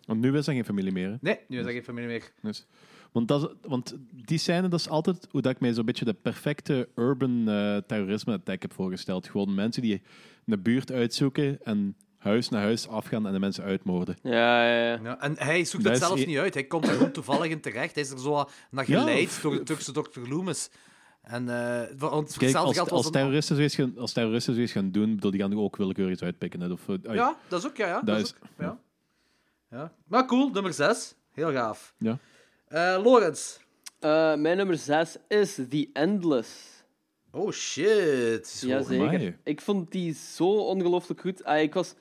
E: Want nu is er geen familie meer. hè?
F: Nee, nu is dat geen familie meer.
E: Dus, want, dat is- want die scène, dat is altijd hoe dat ik mij zo'n beetje de perfecte urban eh, terrorisme-attack heb voorgesteld. Gewoon mensen die een buurt uitzoeken en huis naar huis afgaan en de mensen uitmoorden.
G: Ja, ja,
F: en hij zoekt
E: Dat
F: het
E: is
F: zelfs
E: e-
F: niet uit. Hij komt er gewoon toevallig in terecht. Hij is er zo wat naar
E: Ja,
F: geleid
E: of-
F: door de Turkse Dr. Loomis. En eh voor ons
E: Kijk,
F: hetzelfde
E: als, als,
F: geld was een...
E: terroristen zoiets gaan, als terroristen zoiets gaan doen, bedoel, die gaan er ook willekeurig iets uitpikken. hè, Of, eh, uit-
F: Ja, dat is ook, ja. ja.
E: dat
F: dat
E: is-
F: is ook, ja. Ja. Maar cool, nummer 6. Heel gaaf.
E: Ja.
F: Eh Lorenz.
G: Eh, mijn nummer 6 is The Endless.
F: Oh shit. Zo.
G: Jazeker.
F: Amai.
G: Ik vond die zo ongelooflijk goed. Ah, ik was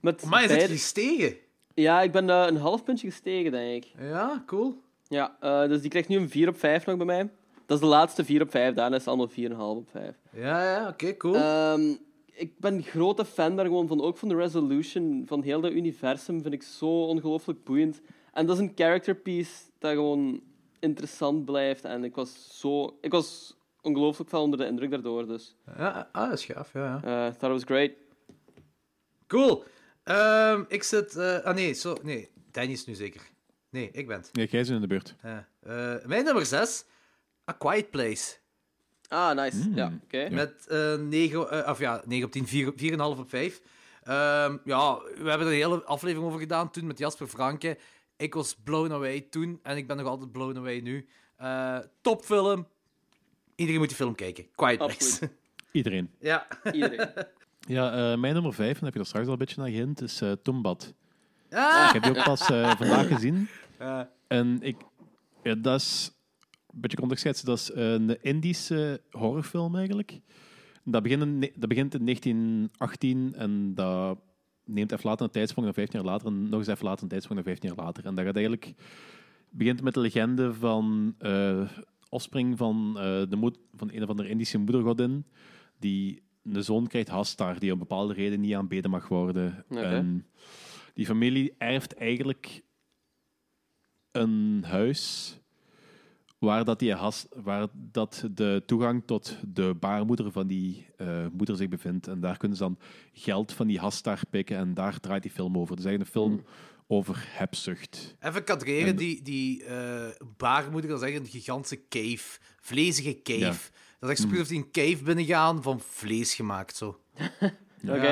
G: met
F: Amai, is het
G: beide-
F: gestegen?
G: Ja, ik ben eh, een half puntje gestegen, denk ik.
F: Ja, cool.
G: Ja, eh, dus die krijgt nu een 4 op 5 nog bij mij. Dat is de laatste 4 op 5, daarna is het allemaal 4,5 op 5.
F: Ja, ja, oké, cool.
G: Ehm, ik ben grote fan daar gewoon van, ook van de resolution, van heel dat universum, vind ik zo ongelooflijk boeiend. En dat is een character piece dat gewoon interessant blijft. En ik was zo... Ik was ongelooflijk veel onder de indruk daardoor, dus...
F: Ja, ah, dat is gaaf, ja. ja.
G: eh thought it was great.
F: Cool. Ehm, ik zit... eh, ah nee, zo, nee, Danny is nu zeker. Nee, ik ben het.
E: Nee, jij bent in de buurt.
F: Ja. Eh, mijn nummer 6, A Quiet Place.
G: Ah, nice. Ja,
E: Hmm.
G: oké.
F: Met eh 9, eh, of ja, 9 op 10, 4, 4,5 op 5. Ehm, ja, we hebben er een hele aflevering over gedaan toen met Jasper Franke. Ik was blown away toen en ik ben nog altijd blown away nu. Eh, topfilm. Iedereen moet die film kijken. Quiet Place.
E: Iedereen.
F: ja.
E: Ja, eh, mijn nummer vijf, en daar heb je er straks al een beetje naar gehind, is eh Tombad.
F: Ah!
E: Ik heb die ook pas eh, vandaag gezien.
F: Ja.
E: En ik, ja, dat is een beetje context schetsen, dat is eh, een Indische horrorfilm eigenlijk. Dat begint in, ne- dat begint in 1918 en dat neemt even later een tijdsprong naar 15 jaar later en nog eens even later een tijdsprong naar 15 jaar later. En dat gaat eigenlijk begint met de legende van eh, offspring van, eh, de moed, van een of andere Indische moedergodin, die een zoon krijgt, Hastar, die om bepaalde reden niet aanbeden mag worden.
G: Oké.
E: En die familie erft eigenlijk een huis waar, dat die has, waar dat de toegang tot de baarmoeder van die eh, moeder zich bevindt. En daar kunnen ze dan geld van die Hastar pikken en daar draait die film over. Het is eigenlijk een film over hebzucht.
F: Even kadreren,
E: En-
F: die, die eh, baarmoeder, dat is echt een gigantische cave. Vlezige cave.
E: Ja. Mm.
F: Dat is echt precies of die een cave binnengaan van vlees gemaakt, zo.
G: Oké.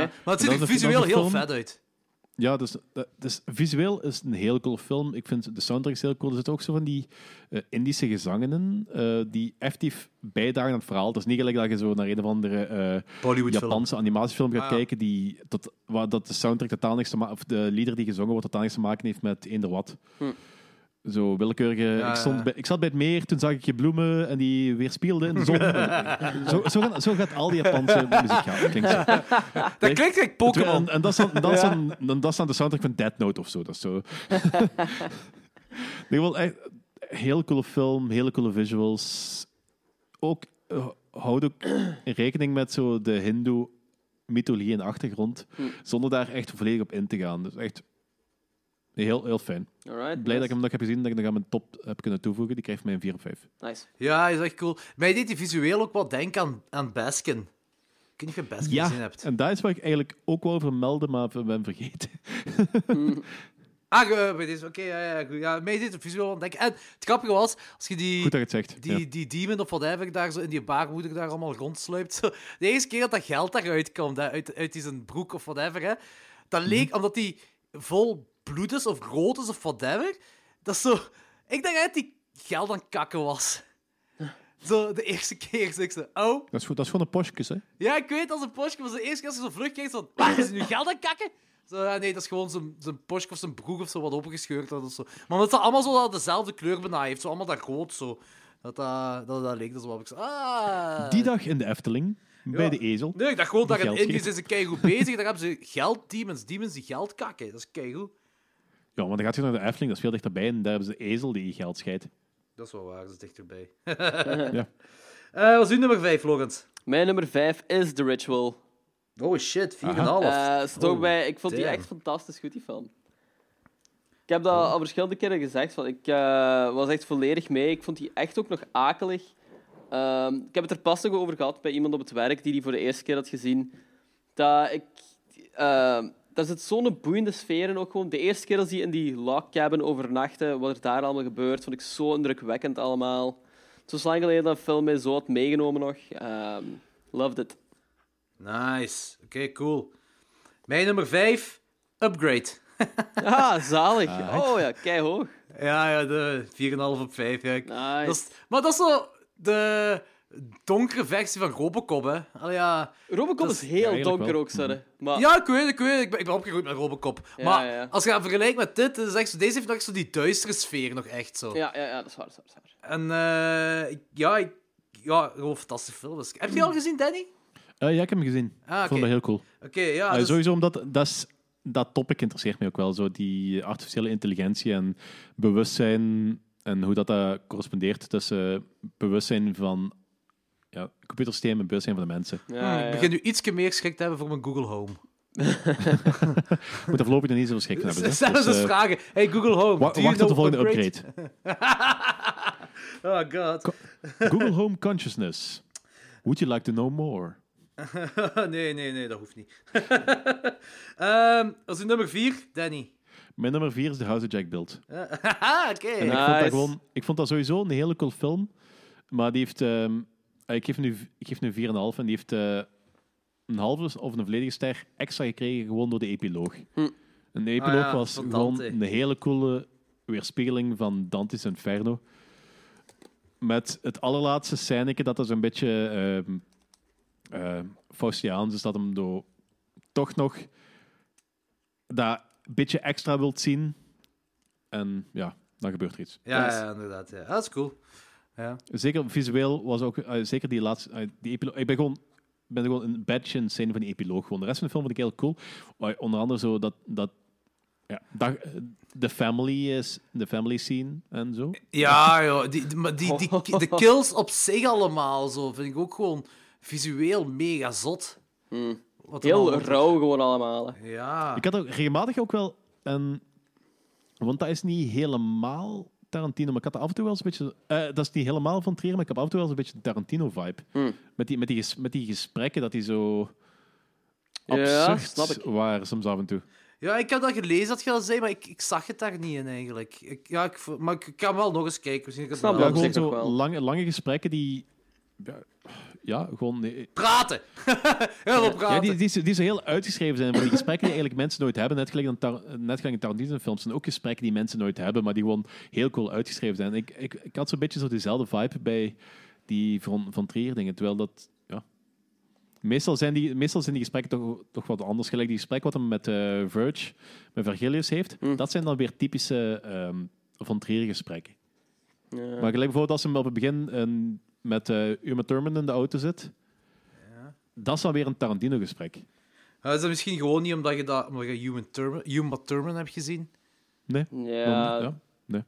F: Ja. Maar het ziet
E: En
F: er
E: dat is een-
F: visueel
E: dat is een
F: heel
E: film.
F: vet uit.
E: Ja, dus, dat- dus visueel is het een heel cool film. Ik vind de soundtrack is heel cool. Er zitten ook zo van die eh, Indische gezangen in, eh, die effectief bijdragen aan het verhaal. Het is niet gelijk dat je zo naar een of andere eh,
F: Bollywoodfilm.
E: Japanse animatiefilm gaat
F: Ah, ja.
E: kijken die, tot, waar dat de soundtrack totaal niks te ma- of de lieder die gezongen wordt totaal niks te maken heeft met eender wat.
G: Hm.
E: Zo willekeurige...
F: Ja,
E: ik, stond
F: ja.
E: bij, ik zat bij het meer, toen zag ik je bloemen en die weerspiegelden in de zon. zo, zo, gaat, zo gaat al die Japanse muziek gaan. Klinkt zo.
F: Dat klinkt like
E: En,
F: Pokémon.
E: en dat is dan, dat is dan, dan, dat is dan de soundtrack van Dead Note of zo. Dat is zo. nee, wel echt heel coole film, hele coole visuals. Ook eh, houd ook rekening met zo de Hindoe mythologie en achtergrond,
G: Hm.
E: zonder daar echt volledig op in te gaan. Dus echt heel, heel fijn.
G: Alright. dus,
E: Blij dat ik
G: nice.
E: hem nog heb gezien, dat ik nog aan mijn top heb kunnen toevoegen. Die krijgt mij een 4 op 5.
G: Nice.
F: Ja, is echt cool. Mij deed die visueel ook wat denken aan, aan Baskin. Ik weet niet of je Baskin gezien
E: Ja,
F: hebt.
E: en dat is wat ik eigenlijk ook wou vermelden, maar ben vergeten.
F: Ah, eh, bij deze, oké, ja, ja, goed. Ja, mij deed het visueel aan denken. En het grappige was, als je die...
E: Goed dat je het zegt.
F: Die,
E: ja.
F: die demon of whatever daar zo in die baarmoeder daar allemaal rondsluipt. Zo. De eerste keer dat dat geld daaruit komt, hè, uit, uit die zijn broek of whatever, hè, dat leek omdat die vol bloed is of rood is of whatever. Dat is zo. Ik dacht dat die geld aan het kakken was. Zo, de eerste keer. zo, ik zo, oh,
E: Dat, is, goed- dat is gewoon een postjes, hè?
F: Ja, ik weet, dat is een Porsche, maar de eerste keer als je zo vlug kijkt, van, waar is hij nu geld aan kakken? Zo, ja, nee, dat is gewoon zijn, zijn Porsche of zijn broek of zo wat opgescheurd had of zo. Maar omdat ze allemaal zo dat dezelfde kleur bijna heeft, zo allemaal dat rood zo. Dat Dat eh, dat, dat, dat leek. Dat is wat ik zei. Ah.
E: Die dag in de Efteling, bij de ezel.
F: Nee, ik dacht gewoon
E: die
F: dat in
E: geld
F: Indië
E: geeft.
F: zijn ze keigoed bezig. Daar hebben ze geld, demons, demons die geld kakken. Dat is keigoed.
E: Ja, want dan gaat je naar de Efteling, dat is veel dichterbij. En daar hebben ze de ezel die je geld scheidt.
F: Dat is wel waar, dat is dichterbij.
E: Ja.
F: Eh, wat is uw nummer 5, Logans?
G: Mijn nummer 5 is The Ritual.
F: Oh shit, 4,5.
G: Eh, stond ook
F: Oh,
G: bij. Ik vond die
F: damn.
G: echt fantastisch goed, die film. Ik heb dat al verschillende keren gezegd. Van, ik eh, was echt volledig mee. Ik vond die echt ook nog akelig. Ehm, ik heb het er pas nog over gehad bij iemand op het werk die die voor de eerste keer had gezien. Dat ik, ehm, daar zit zo'n boeiende sfeer in ook gewoon. De eerste keer als die in die log cabin overnachtte, wat er daar allemaal gebeurt, vond ik zo indrukwekkend allemaal. Het is zo lang geleden dat een film mij zo had meegenomen nog. Ehm, loved it.
F: Nice. Oké, cool. Mijn nummer 5, Upgrade.
G: Ah, zalig. Oh ja, kei hoog.
F: Ja, ja, de 4,5 op 5. Ja. Ik-
G: Nice.
F: Dat is, maar dat is zo de donkere versie van Robocop, hè. Allee, ja.
G: Robocop
F: Dat
G: is
F: is-
G: heel
F: Ja,
G: donker ook, sorry. Maar
F: Ja, ik weet het, ik weet het. Ik ben, ik ben opgegroeid met Robocop.
G: Ah. Ja,
F: maar
G: ja.
F: als je dat vergelijkt met dit, is echt zo, deze heeft nog echt zo die duistere sfeer nog echt zo.
G: ja, ja, ja, dat is waar, dat is waar, dat is
F: En eh, ik- ja, ik, ja, gewoon een fantastische film. Dus- Heb je die
G: Hmm.
F: al gezien, Danny?
E: Eh, ja, ik heb hem gezien.
F: Ah,
E: Ik vond
F: oké.
E: dat heel cool.
F: Oké, ja.
E: Eh,
F: dus-
E: Sowieso omdat dat, is, dat topic interesseert mij ook wel. Zo die artificiële intelligentie en bewustzijn en hoe dat, dat correspondeert tussen bewustzijn van ja, computersystemen en bewustzijn van de mensen.
G: waar.
F: Hmm,
G: Ja,
F: Ik
G: ja,
F: begin nu ietsje meer schrik te hebben voor mijn Google Home.
E: Ik moet er voorlopig nog niet zoveel schrik van hebben.
F: Zelfs
E: hè. Dus,
F: eens
E: eh,
F: vragen. Hey, Google Home.
E: wa-
F: do you
E: wacht tot de
F: know
E: volgende
F: upgrade?
E: upgrade.
F: Oh god.
E: Google Home Consciousness. Would you like to know more?
F: nee, nee, nee, dat hoeft niet. Ehm als uw nummer 4, Danny.
E: Mijn nummer vier is The House of Jack Built.
F: Haha, oké.
E: En ik, vond
G: Nice.
E: dat gewoon, ik vond dat sowieso een hele cool film. Maar die heeft... ehm, ik geef nu, ik geef nu 4,5 en die heeft eh, een halve of een volledige ster extra gekregen gewoon door de epiloog.
G: Hm.
E: En de epiloog
F: ja,
E: was
F: van
E: gewoon
F: Dante.
E: een hele coole weerspiegeling van Dante's Inferno. Met het allerlaatste scèneke dat is een beetje ehm eh, Faustiaans is, dat hem door toch nog dat beetje extra wilt zien. En ja, dan gebeurt er iets. Dus
F: Ja, ja, inderdaad. Ja. Ah, Dat is cool. Ja.
E: Zeker visueel was ook, eh, zeker die laatste, eh, die epiloog. Ik ben gewoon, ben gewoon een badge in zijn van die epiloog. Gewoon. De rest van de film vond ik heel cool. Maar onder andere zo dat, dat ja, dat, eh, de family is, de family scene en zo.
F: Ja, joh. Die, die, maar die, die, de kills op zich allemaal zo vind ik ook gewoon visueel mega zot.
G: Hmm.
F: Wat er
G: Heel
F: allemaal-
G: rauw gewoon allemaal. hè.
F: Ja.
E: Ik had ook regelmatig ook wel een. Want dat is niet helemaal Tarantino, maar ik had er af en toe wel eens een beetje. eh, dat is niet helemaal van Trier, maar ik heb af en toe wel eens een beetje een Tarantino-vibe.
G: Hmm.
E: Met, die, met, die ges- met die gesprekken dat die zo.
G: Ja,
E: absurd
G: snap ik.
E: waren soms af en toe.
F: ja, ik heb dat gelezen dat je dat zei, maar ik, ik zag het daar niet in eigenlijk. Ik, ja, ik, vo- maar ik kan wel nog eens kijken. Misschien kan ik het
G: Snap
F: wel-
E: Ja,
G: dat op
E: gewoon
G: zich nog
E: zo
G: wel.
E: lange, lange gesprekken die. Ja, ja gewoon. nee,
F: Praten! Heel veel praten.
E: Ja, die, die, zo- die zo heel uitgeschreven zijn van die gesprekken die eigenlijk mensen nooit hebben. Net gelijk, aan Tar- net gelijk in Tarantino-films zijn ook gesprekken die mensen nooit hebben, maar die gewoon heel cool uitgeschreven zijn. Ik, ik, ik had zo'n beetje zo dezelfde vibe bij die van, van Trier dingen, terwijl dat... Ja. Meestal, zijn die, meestal zijn die gesprekken toch, toch wat anders. Gelijk die gesprekken wat hem met eh, Verge, met Vergilius heeft, dat zijn dan weer typische ehm, van Trier gesprekken.
G: Ja.
E: Maar gelijk bijvoorbeeld als hem op het begin een- met eh Uma Thurman in de auto zit, dat is dan weer een Tarantino-gesprek.
F: Ja, is dat misschien gewoon niet omdat je, dat, omdat je Human Turman, Human Turman hebt gezien?
E: Nee?
G: Ja.
E: Ja. Nee.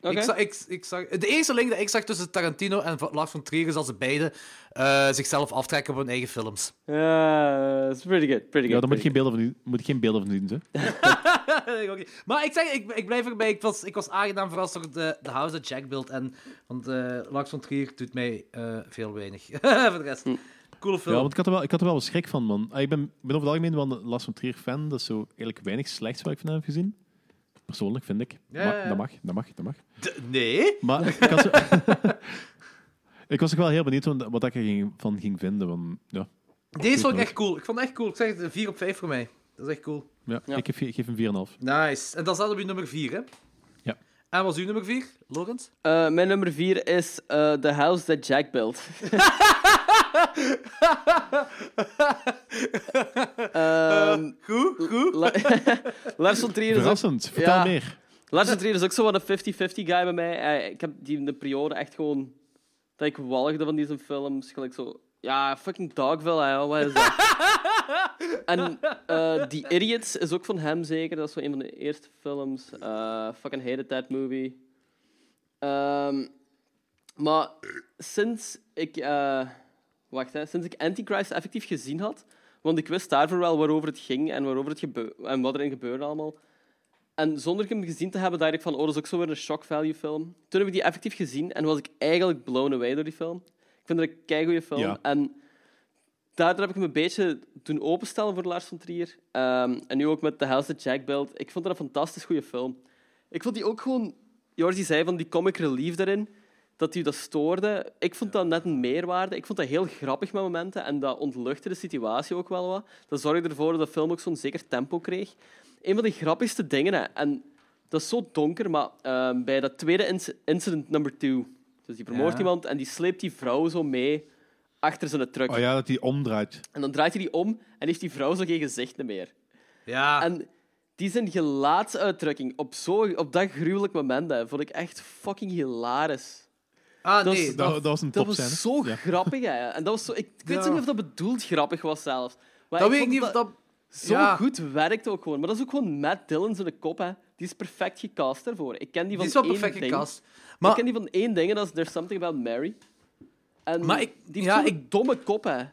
G: Oké.
F: Ik zag, ik, ik zag, de enige link dat ik zag tussen Tarantino en Va- Lars van Trier is dat ze beiden eh, zichzelf aftrekken op hun eigen films.
G: Ja, it's Eh, pretty good. Pretty
E: Ja,
G: good
E: daar moet je geen
G: pretty
E: beelden van, u- moet je geen beelden van u doen. Hè?
F: Oké. Maar ik zeg, ik, ik blijf erbij. Ik was, ik was aangenaam verrast door de, de House of Jack Build. En, want eh Lars van Trier doet mij eh, veel weinig. Voor de rest. Coole
E: Ja,
F: film.
E: want ik had, er wel, ik had er wel wat schrik van, man. Ah, Ik ben, ik ben over het algemeen wel een Lars van Trier fan. Dat is zo eigenlijk weinig slechts wat ik van hem heb gezien. Persoonlijk, vind ik.
F: Ja,
E: Maar
F: ja, ja.
E: dat mag, dat mag, dat mag.
F: De- nee?
E: Maar ik, had zo- ik was ook wel heel benieuwd wat wat ik ervan ging vinden. Want, ja,
F: Deze vond ik
E: ook.
F: echt cool. Ik vond het echt cool. Ik zeg het, 4 op 5 voor mij. Dat is echt cool.
E: ja,
G: Ja.
E: Ik, geef, ik geef hem 4,5.
F: Nice. En dat staat op je nummer 4, hè?
E: Ja.
F: En wat is uw nummer 4, Logans?
G: good. Eh, mijn nummer 4 is eh, The House That Jack Built. Ehm,
F: Goed, goed.
G: La- Lars von Trier is ook
E: Verrassend, vertel
G: ja.
E: meer.
G: Lars van Trier is ook zo wat een 50-50 guy bij mij. Eh, Ik heb die in de periode echt gewoon dat ik walgde van deze films. Gelijk zo... Ja, fucking Dogville, hè, wat is dat? en eh The Idiots is ook van hem zeker. Dat is zo een van de eerste films. Eh, fucking hated that movie. Ehm, maar sinds ik... eh, wacht, hè, sinds ik Antichrist effectief gezien had... Want ik wist daarvoor wel waarover het ging en, waarover het gebe- en wat erin gebeurde allemaal. En zonder ik hem gezien te hebben, dacht ik van, oh, dat is ook zo weer een shock value film. Toen heb ik die effectief gezien en was ik eigenlijk blown away door die film. Ik vind dat een keigoeie film.
E: Ja.
G: En daardoor heb ik me een beetje doen openstellen voor Lars von Trier. Ehm, en nu ook met The House That Jack Built. Ik vond dat een fantastisch goede film. Ik vond die ook gewoon... Jordi zei van die comic relief daarin, dat u dat stoorde. Ik vond dat net een meerwaarde. Ik vond dat heel grappig met momenten en dat ontluchtte de situatie ook wel wat. Dat zorgde ervoor dat de film ook zo'n zeker tempo kreeg een van de grappigste dingen. Hè. En dat is zo donker, maar ehm, bij dat tweede inc- incident number two. Dus die vermoordt
E: Ja.
G: iemand en die sleept die vrouw zo mee achter zijn truck.
E: Oh ja, dat hij omdraait.
G: En dan draait hij die om en heeft die vrouw zo geen gezicht meer.
F: Ja.
E: Ah.
G: En die zijn gelaatsuitdrukking op, zo, op dat gruwelijk moment hè, vond ik echt fucking hilarisch.
F: Ah,
E: nee, Dat- dat- dat was een
G: Dat
E: topscène.
G: was zo grappig, hè. En dat was zo, ik, ik weet
F: Ja.
G: zo niet of dat bedoeld grappig was zelfs. Maar
F: Dat
G: ik
F: weet ik
G: vond
F: niet of dat...
G: zo
F: Ja.
G: goed werkt ook gewoon. Maar dat is ook gewoon Matt Dillon zijn kop, hè. Die is perfect gecast daarvoor. Ik ken die van
F: Die is wel
G: één
F: perfect
G: ding.
F: gecast. Maar-
G: Ik ken die van één ding en dat is There's Something About Mary. En
F: Maar ik-
G: die heeft
F: ja,
G: zo'n domme kop, hè.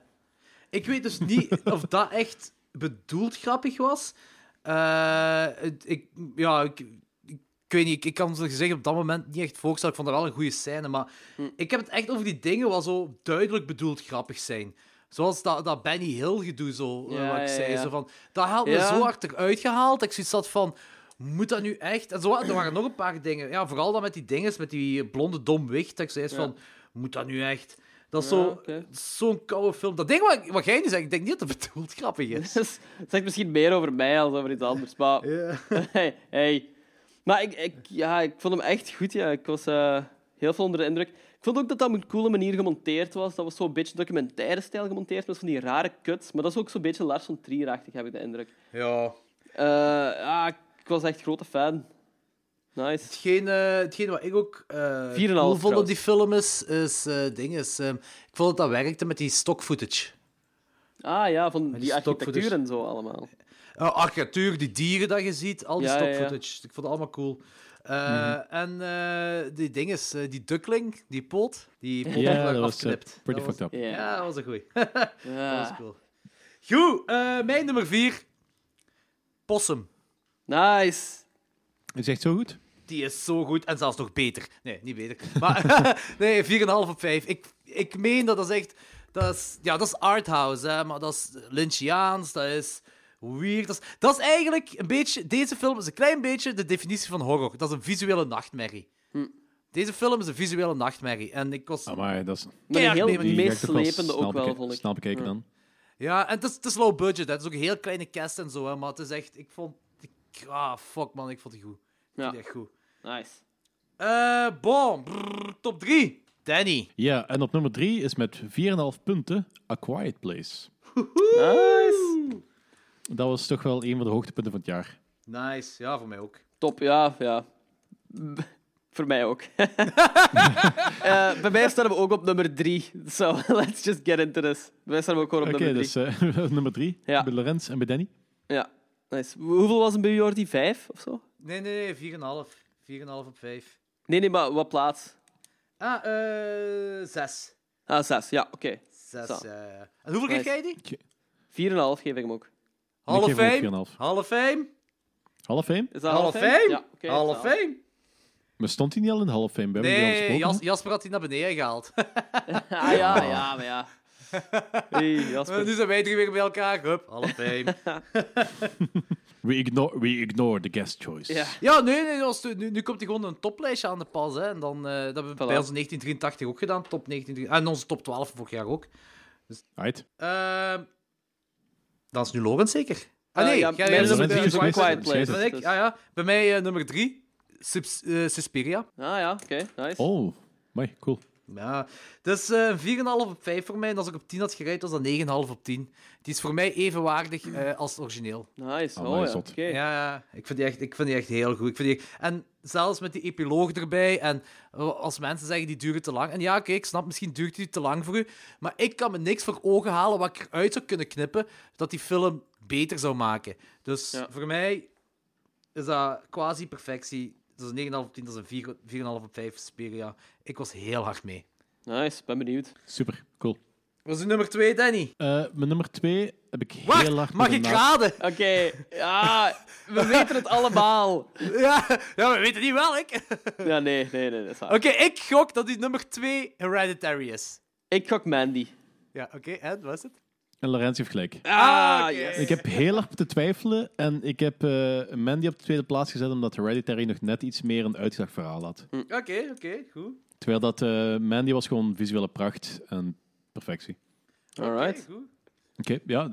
F: Ik weet dus niet of dat echt bedoeld grappig was. Eh, het- ik, ja, ik, ik weet niet. Ik, ik kan ze gezegd op dat moment niet echt voorstellen. Ik vond dat wel een goede scène. Maar
G: Hm.
F: ik heb het echt over die dingen wat zo duidelijk bedoeld grappig zijn. Zoals dat, dat Benny Hill gedoe, zo, eh,
G: Ja,
F: wat ik
G: ja,
F: zei.
G: ja.
F: Zo van, dat had me
G: Ja.
F: zo hard eruit gehaald. dat Ik zoiets had van, moet dat nu echt? En zo, er waren nog een paar dingen. Ja, vooral dan met die dinges, met die blonde domwicht. Dat ik zei eens
G: Ja.
F: van, moet dat nu echt? Dat is
G: Ja,
F: zo
G: oké.
F: zo'n koude film. Dat ding wat, wat jij nu zegt, ik denk niet dat het bedoeld grappig is.
G: Dus het zegt misschien meer over mij als over iets anders. Maar hey, hey. Maar ik, ik, ja, ik vond hem echt goed. Ja. Ik was eh, heel veel onder de indruk. Ik vond ook dat dat op een coole manier gemonteerd was. Dat was zo'n beetje documentaire stijl gemonteerd met van die rare cuts. Maar dat is ook zo'n beetje Lars van Trier-achtig, heb ik de indruk.
F: Ja.
G: Eh, ja, ik was echt grote fan. Nice.
F: Hetgeen, eh, hetgeen wat ik ook eh
G: 4,5
F: cool vond op
G: trouwens.
F: die film is, is eh, ding is, ehm, ik vond dat dat werkte met die stock footage.
G: Ah ja, van
F: die
G: die architectuur
F: stokfooters.
G: en zo allemaal.
F: Eh, architectuur, die dieren dat je ziet, al die
G: Ja, ja,
F: stock
G: ja.
F: footage. Ik vond het allemaal cool. Eh, En eh, die ding is, eh, die duckling, die poot, die poot werd
E: Ja, dat was eh,
F: afgeknipt.
E: pretty
F: Dat was-
E: fucked up.
G: Ja.
F: Ja, dat was een goeie.
G: Ja.
F: Dat was cool. Goed, eh, mijn nummer vier. Possum.
G: Nice.
E: Is echt zo goed?
F: Die is zo goed en zelfs nog beter. Nee, niet beter. Maar nee, 4,5 op 5. Ik, ik meen dat dat is echt. Dat is, ja, dat is arthouse, hè, maar dat is Lynchiaans, dat is weird. Dat is, dat is eigenlijk een beetje. Deze film is een klein beetje de definitie van horror. Dat is een visuele nachtmerrie.
G: Hm.
F: Deze film is een visuele nachtmerrie. En ik was.
E: Amai, dat is...
G: Met Oh. een
F: Keihard
G: heel
F: mee met
E: die ga ik toch wel
G: meeslepende
E: snel
G: ook wel,
E: beke-
G: vond ik.
E: Snel bekeken dan.
F: Ja, en het is, het is low budget, hè. het is ook een heel kleine cast en zo, hè, maar het is echt. Ik vond. Ik, ah, fuck man, ik vond het goed. Ik
G: Ja.
F: vond het echt goed.
G: Nice.
F: Eh, bon, brrr, top 3. Danny.
E: Ja, en op nummer 3 is met 4,5 punten A Quiet Place.
G: Nice.
E: Dat was toch wel een van de hoogtepunten van het jaar.
F: Nice, ja, voor mij ook.
G: Top, ja, ja. B- Voor mij ook. Eh, bij mij staan we ook op nummer drie. So, let's just get into this. Bij mij staan we ook gewoon op
E: Oké,
G: nummer drie.
E: dus eh, nummer 3
G: Ja.
E: bij Lorenz en bij Danny.
G: Ja, nice. Hoe- Hoeveel was het bij Jordi? Vijf of zo?
F: Nee, nee, nee, 4,5. 4,5 op 5.
G: Nee, nee, maar wat plaats?
F: Ah, eh, 6.
G: Ah, zes. Ja, oké.
F: 6,
G: Zo.
F: ja. En hoeveel geef
G: Nice.
F: jij die?
G: Vier en een half geef ik hem ook.
F: Half
E: geef hem ook
F: 5.
E: 4,5.
F: Half 5.
E: Half Fame?
G: Is dat
F: Half
G: half
F: 5.
G: Ja, oké.
F: Half
G: zalig.
F: 5.
E: Maar stond hij niet al in Half Fame? We hebben die al
F: Nee,
E: besproken.
F: Jas- Jasper had die naar beneden gehaald.
G: Ah ja, ja, maar ja. Hey, Jasper.
F: nu zijn wij drie weer bij elkaar. Hup, half 5.
E: We ignore, we ignore the guest choice.
G: Ja.
F: ja, nee, nee als de- nu, nu komt hij gewoon een toplijstje aan de pas. Hè, en dan, eh, dat hebben we
G: Voilà.
F: bij ons in 1983 ook gedaan. Top 1983. En onze top 12 vorig jaar ook.
E: Right.
F: Ehm dan is nu Lorenz zeker. Ah
G: Eh,
F: nee,
G: ja,
F: jij-
G: mijn
F: jij-
G: nummer
E: drie is
F: jij-
E: Quiet
F: jij-
E: Place,
F: Dan ik,
G: dus.
F: ah, ja. Bij mij eh, nummer drie, Subs- eh, Suspiria.
G: Ah ja, oké. nice.
E: Oh, mooi, cool.
F: Ja, het is eh, een 4,5 op 5 voor mij. En als ik op 10 had gereid, was dat 9,5 op 10. Het is voor mij evenwaardig eh, als het origineel.
G: Nice, oh Amai, ja, zot. oké.
F: Ja, ja, ik vind, die echt, ik vind die echt heel goed. Ik vind die echt- En zelfs met die epiloog erbij. En eh, als mensen zeggen, die duren te lang. En ja, oké, ik snap, misschien duurt die te lang voor u. Maar ik kan me niks voor ogen halen wat ik eruit zou kunnen knippen, dat die film beter zou maken. Dus voor mij is dat quasi perfectie. Dat is een 9,5 op 10, dat is een 4 4,5 op 5 Spiria. Ik was heel hard mee.
G: Nice, ben benieuwd.
E: Super, cool.
F: Wat is uw nummer 2, Danny?
E: Eh, mijn nummer twee heb ik
F: Wacht,
E: heel hard...
F: mag
E: moeten
F: ik
E: na-
F: raden?
G: Oké, ja, we weten het allemaal.
F: Ja, ja we weten niet welk.
G: Ja, nee, nee, nee, dat is waar.
F: Oké, ik gok dat die nummer 2 Hereditary is.
G: Ik gok Mandy.
F: Ja, oké, en was het?
E: En Laurenti heeft gelijk.
G: Ah,
E: Ik heb heel hard te twijfelen en ik heb eh, Mandy op de tweede plaats gezet omdat Hereditary nog net iets meer een uitslagverhaal had.
F: Oké, oké, goed.
E: Terwijl dat eh, Mandy was gewoon visuele pracht en perfectie.
G: Alright.
F: Oké, goed.
E: Oké, ja,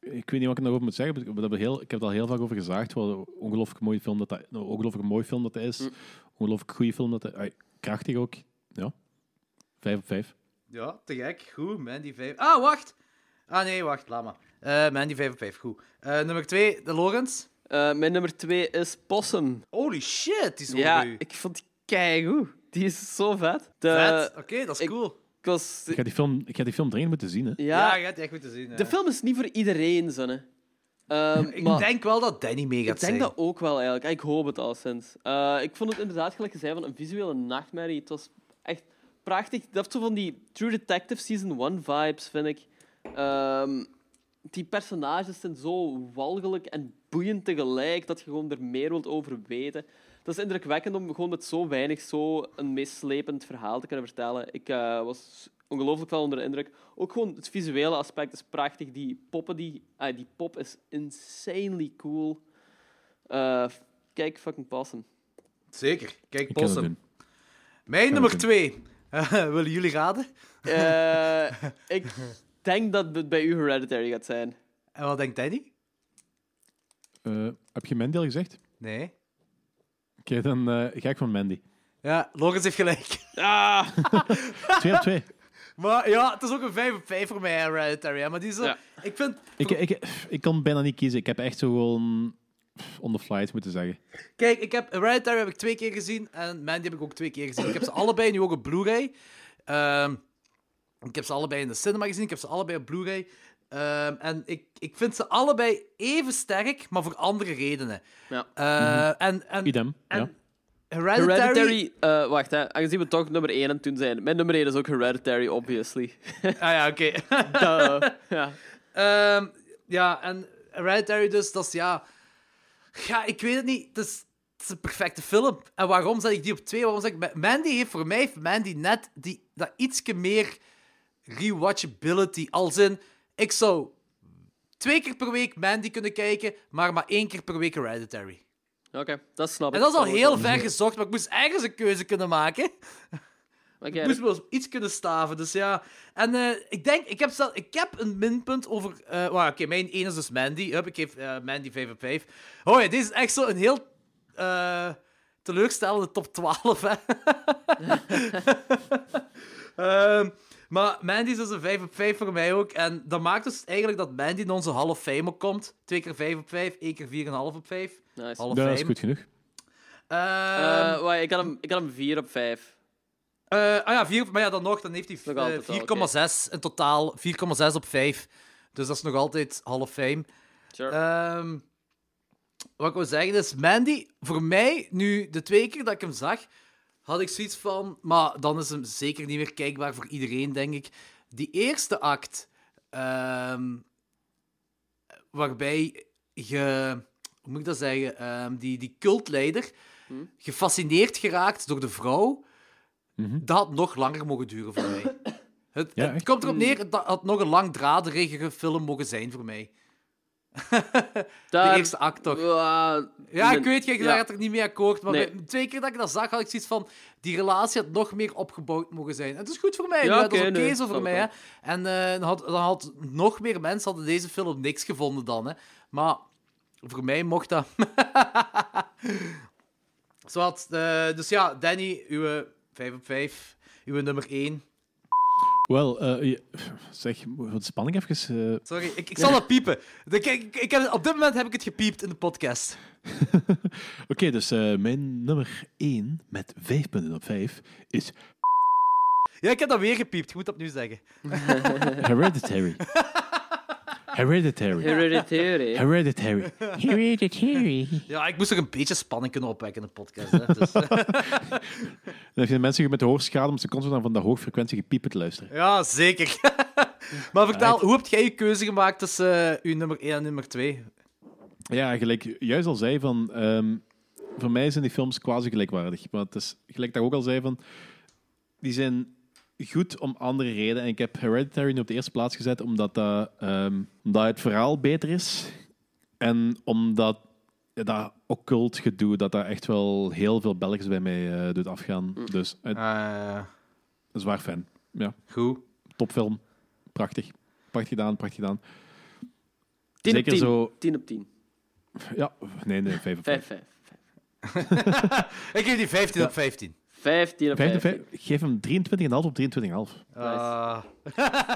E: ik weet niet wat ik er nog over moet zeggen. maar We hebben heel, ik heb er al heel vaak over gezaagd. Wat een ongelooflijk mooie film dat, dat, een ongelooflijk mooi film dat dat is. Ongelooflijk goede film dat dat ai, Krachtig ook. Ja. Vijf op vijf.
F: Ja, te gek. Goed, Mandy 5. Ah, wacht! Ah nee, wacht, laat maar. Eh, Mandy 5 op 5, goed. Eh, nummer 2, de Lawrence.
G: Eh, mijn nummer twee is Possum.
F: Holy shit, die is
G: Ja,
F: over u.
G: ik vond die keigoed. Die is zo vet. De-
F: Vet, oké, dat is
G: ik-
F: cool.
G: Ik was...
E: Ik ga die film, ik ga die film dringend moeten zien. Hè.
G: Ja,
F: je hebt die echt moeten zien. eh.
G: de film is niet voor iedereen, zonne. Ehm,
F: Ik
G: maar-
F: denk wel dat Danny mee gaat
G: Ik denk
F: zijn.
G: dat ook wel eigenlijk. Ik hoop het al sinds. Eh, ik vond het inderdaad, gelijk je zei, van een visuele nachtmerrie. Het was echt prachtig. Dat heeft zo van die True Detective Season 1 vibes, vind ik. Ehm, die personages zijn zo walgelijk en boeiend tegelijk dat je gewoon er meer wilt over weten. Dat is indrukwekkend om gewoon met zo weinig zo een meeslepend verhaal te kunnen vertellen. Ik eh, was ongelooflijk wel onder de indruk. Ook gewoon het visuele aspect is prachtig. Die poppen, die, ah, die pop is insanely cool. Eh, f- kijk, fucking Possum.
F: Zeker. Kijk,
E: Ik kan het
F: Possum.
E: doen.
F: Mijn
E: Gaan we
F: nummer
E: doen.
F: 2. willen jullie raden?
G: Eh, ik denk dat het bij u Hereditary gaat zijn.
F: En wat denkt Danny?
E: Eh, heb je Mandy al gezegd?
F: Nee.
E: Oké, dan eh, ga ik van Mandy.
F: Ja, Lawrence heeft gelijk.
G: Ah,
E: Twee op twee.
F: Maar ja, het is ook een 5 op 5 voor mij, Hereditary. hè, Maar die is zo...
G: Ja.
F: Ik vind...
E: Ik, ik, ik kon bijna niet kiezen. Ik heb echt zo gewoon pff, on the fly het moeten zeggen.
F: Kijk, ik heb Hereditary heb ik twee keer gezien en Mandy heb ik ook twee keer gezien. Ik heb ze allebei nu ook op Blu-ray. Ehm, ik heb ze allebei in de cinema gezien. Ik heb ze allebei op Blu-ray. Ehm, en ik, ik vind ze allebei even sterk, maar voor andere redenen.
G: Ja.
F: Eh, en, en,
E: Idem.
F: en
E: Ja.
F: Hereditary...
G: Hereditary, eh, wacht, hè, aangezien we toch nummer 1 en toen zijn. Mijn nummer 1 is ook Hereditary, obviously.
F: Ah ja, oké.
G: Duh. ja.
F: Ehm, ja, en Hereditary dus, dat is ja... Ja, ik weet het niet. Het is, het is een perfecte film. En waarom zet ik die op twee? Waarom zeg ik... Ma- Mandy heeft voor mij heeft Mandy net die, dat ietsje meer rewatchability. Als in, ik zou twee keer per week Mandy kunnen kijken, maar maar één keer per week Hereditary.
G: Oké, Oh, dat snap ik.
F: En dat is al
G: wordt
F: heel
G: wel.
F: ver gezocht, maar ik moest ergens een keuze kunnen maken.
G: Maar
F: Ik
G: kijk,
F: moest wel iets kunnen staven, dus ja. En eh, ik denk, ik heb, zelf, ik heb een minpunt over... eh well, Oké, mijn één is dus Mandy. Hup, ik geef eh, Mandy 5 op 5. Oh ja, deze is echt zo een heel eh, teleurstellende top 12, hè. Ehm, maar Mandy is dus een 5 op 5 voor mij ook. En dat maakt dus eigenlijk dat Mandy in onze half fame ook komt. Twee keer 5 op 5, één keer 4,5 op 5.
G: Nice.
F: Half
E: Dat is
F: fame.
E: goed genoeg.
F: Ehm,
G: Eh, wacht, ik had hem- ik had hem 4 op 5.
F: Eh, ah ja, vier, maar ja, dan nog, dan heeft hij
G: Nog
F: eh,
G: altijd wel,
F: 4,6 in totaal. 4,6 op 5. Dus dat is nog altijd half fame.
G: Sure.
F: Ehm, wat ik wil zeggen is, Mandy, voor mij, nu de twee keer dat ik hem zag, had ik zoiets van... Maar dan is hem zeker niet meer kijkbaar voor iedereen, denk ik. Die eerste act, ehm, waarbij je... Hoe moet ik dat zeggen? Ehm, die, die cultleider, gefascineerd geraakt door de vrouw, dat had nog langer mogen duren voor mij. Het,
E: Mhm. Ja,
F: het
E: echt?
F: komt erop neer, het had nog een langdraderigere film mogen zijn voor mij.
G: Daar-
F: De eerste act toch?
G: Ah,
F: Ja, ik
G: mijn-
F: weet, jij
G: ja.
F: gaat er niet mee akkoord. Maar
G: Nee.
F: bij- twee keer dat ik dat zag, had ik zoiets van... Die relatie had nog meer opgebouwd mogen zijn. En het is goed voor mij.
G: Ja,
F: nu, hè. dat is
G: oké,
F: oké
G: nee,
F: zo voor
G: snap
F: mij. Hè.
G: ik
F: En eh, dan, had, dan had nog meer mensen hadden deze film niks gevonden dan. Hè. Maar voor mij mocht dat. Zwat, eh, dus ja, Danny, uw 5 op 5. uw nummer 1.
E: Wel, eh, je- zeg, moet wat spanning even. eh,
F: Sorry, ik, ik zal dat piepen. Ik, ik, ik heb, op dit moment heb ik het gepiept in de podcast.
E: Oké, dus eh, mijn nummer 1 met 5 punten op 5 is
F: Ja, ik heb dat weer gepiept. Je moet dat nu zeggen.
E: Hereditary. Hereditary.
F: Hereditary.
E: Hereditary. Hereditary.
F: Ja, ik moest er een beetje spanning kunnen opwekken in de podcast. Hè, dus.
E: Dan heb je mensen met hoorschade om ze constant aan van de hoogfrequentie gepiepen te luisteren.
F: ja, zeker. maar vertel, hoe heb jij je keuze gemaakt tussen eh, uw nummer 1 en nummer 2?
E: Ja, gelijk je juist al zei van... ehm, voor mij zijn die films quasi gelijkwaardig. Maar het is, gelijk dat ik ook al zei van... Die zijn goed om andere redenen. En ik heb Hereditary nu op de eerste plaats gezet omdat, dat, ehm, omdat het verhaal beter is. En omdat ja, dat occult gedoe, dat daar echt wel heel veel Belgisch bij mij eh, doet afgaan.
G: Mm.
E: Dus het, een zwaar fan. Ja.
F: Eh, Goed.
E: Topfilm. Prachtig. Prachtig gedaan, prachtig gedaan.
G: Tien op
E: Zeker
G: tien.
E: zo...
G: Tien op tien.
E: Ja, nee, nee, vijf op
G: Vijf, vijf.
F: Ik geef die 15 op 15.
G: 15 op
E: Vijf op
G: 15.
E: vijf. Geef hem 23,5 op 23,5.
F: Ah.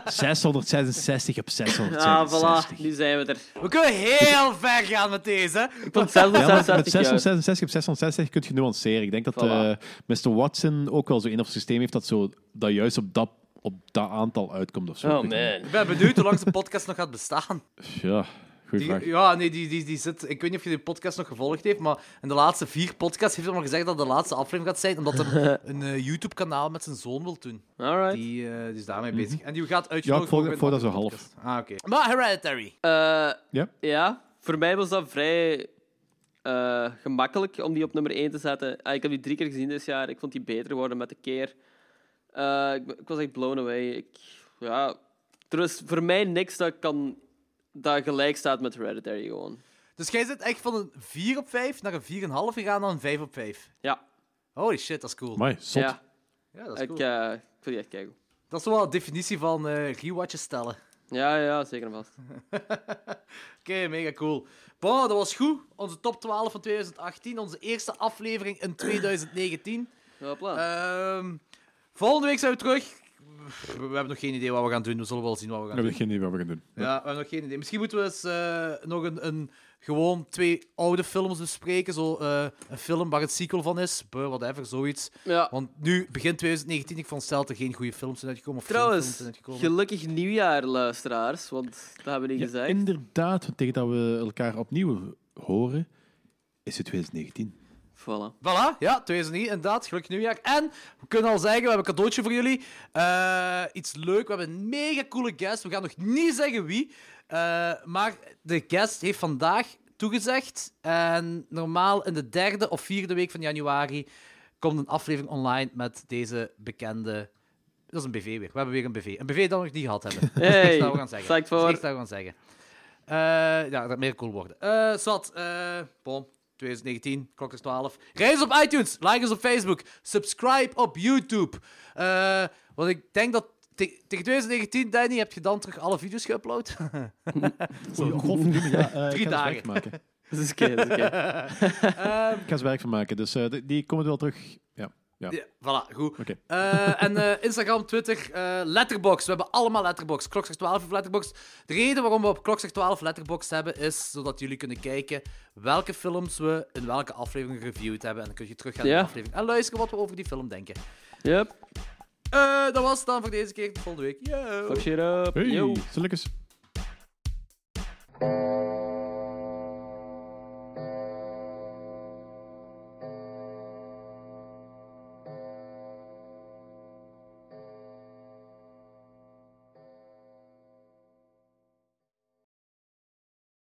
E: 666 op 666.
G: Ah, voilà. Nu zijn we er.
F: We kunnen heel ver gaan met deze. hè.
G: Tot zelfs
E: Ja, maar met
G: 66 juist.
E: 666 op 666 kun je nuanceren. Ik denk dat
G: Voilà.
E: eh, Mr. Watson ook wel zo'n een of systeem heeft dat, zo, dat juist op dat, op dat aantal uitkomt. Of zo.
G: Oh,
E: Ik weet het
F: Ik ben benieuwd hoe lang de podcast nog gaat bestaan.
E: niet. Ja, goede
F: Die-
E: vraag.
F: ja, nee, die, die, die zit... Ik weet niet of je die podcast nog gevolgd heeft, maar in de laatste vier podcasts heeft hij maar gezegd dat de laatste aflevering gaat zijn, omdat hij een eh, YouTube-kanaal met zijn zoon wil doen.
G: Alright.
F: Die, eh, die is daarmee
E: Mhm.
F: bezig. En die gaat
E: Ja, ik
F: uitgenodigd
E: volg,
F: worden
E: ik volg
F: bij
E: dat
F: de
E: zo half.
F: podcast. Ah, oké. Maar Hereditary.
G: Eh,
E: Ja.
G: voor mij was dat vrij eh, gemakkelijk om die op nummer 1 te zetten. Ah, ik heb die drie keer gezien dit jaar. Ik vond die beter worden met de keer. Eh, ik, ben- ik was echt blown away. Ik, ja, er is voor mij niks dat, kan, dat gelijk staat met Hereditary gewoon.
F: Dus jij zit echt van een 4 op 5 naar een 4,5 gegaan dan een 5 op 5.
G: Ja.
F: Holy shit, dat is cool.
E: Amai, zot.
G: Ja.
F: Ja, dat is
G: ik,
F: cool.
G: eh, ik vond die echt kijken.
F: Dat is wel de definitie van eh rewatches stellen.
G: Ja, ja, zeker en vast.
F: Oké, mega cool. Bon, dat was goed. Onze top 12 van 2018. Onze eerste aflevering in 2019.
G: Hopla.
F: Ehm, volgende week zijn we terug. We, we hebben nog geen idee wat we gaan doen. We zullen wel zien wat we
E: We
F: gaan doen.
E: hebben geen idee wat we gaan doen.
F: Ja, we hebben nog geen idee. Misschien moeten we eens eh, nog een, een, gewoon twee oude films bespreken. Zo, eh, een film waar het sequel van is. Buh, whatever, zoiets.
G: Ja.
F: Want nu, begin 2019, ik vond stelt er geen goede films zijn uitgekomen. Of geen films
G: Trouwens,
F: zijn uitgekomen.
G: gelukkig nieuwjaar, luisteraars. Want dat hebben we niet
E: Ja,
G: gezegd.
E: inderdaad, want tegen dat we elkaar opnieuw horen, is het 2019.
G: Voilà.
F: Voilà, ja, 2009 inderdaad. Gelukkig nieuwjaar. En we kunnen al zeggen, we hebben een cadeautje voor jullie. Eh, iets leuk, we hebben een mega coole guest. We gaan nog niet zeggen wie. eh, maar de guest heeft vandaag toegezegd. En normaal in de derde of vierde week van januari komt een aflevering online met deze bekende... Dat is een BV weer. We hebben weer een BV. Een BV dat we nog niet gehad hebben. Dat is
G: Hey,
F: niks dat we gaan zeggen.
G: psyched
F: Dat is
G: voor.
F: niks dat we gaan zeggen. Eh, ja, dat meer cool worden. Eh Zat, eh bom, 2019, klok is 12. Rij eens op iTunes, like eens op Facebook, subscribe op YouTube. Eh, want ik denk dat te- tegen 2019, Danny, heb je dan terug alle video's geüpload?
E: Oei, godverdomme, ja, eh, ik ga
F: Drie
E: eens
F: dagen.
E: werk maken.
G: Dat is oké, dat is oké.
F: Ehm,
E: Ik ga er werk van maken, dus eh, die- die komen wel terug. Ja, ja.
F: ja, voilà, goed.
E: Oké.
F: Eh, en eh, Instagram, Twitter, eh Letterbox. We hebben allemaal Letterbox. Klokslag 12 heeft Letterbox. De reden waarom we op Klokslag 12 Letterbox hebben, is zodat jullie kunnen kijken welke films we in welke aflevering gereviewd hebben. En dan kun je terug gaan naar
G: Ja.
F: de aflevering en luisteren wat we over die film denken.
G: Yep.
F: Eh, dat was het dan voor deze keer. Tot volgende week. Yo.
G: Fuck shit up.
E: Hey,
G: Yo.
E: zal ik eens-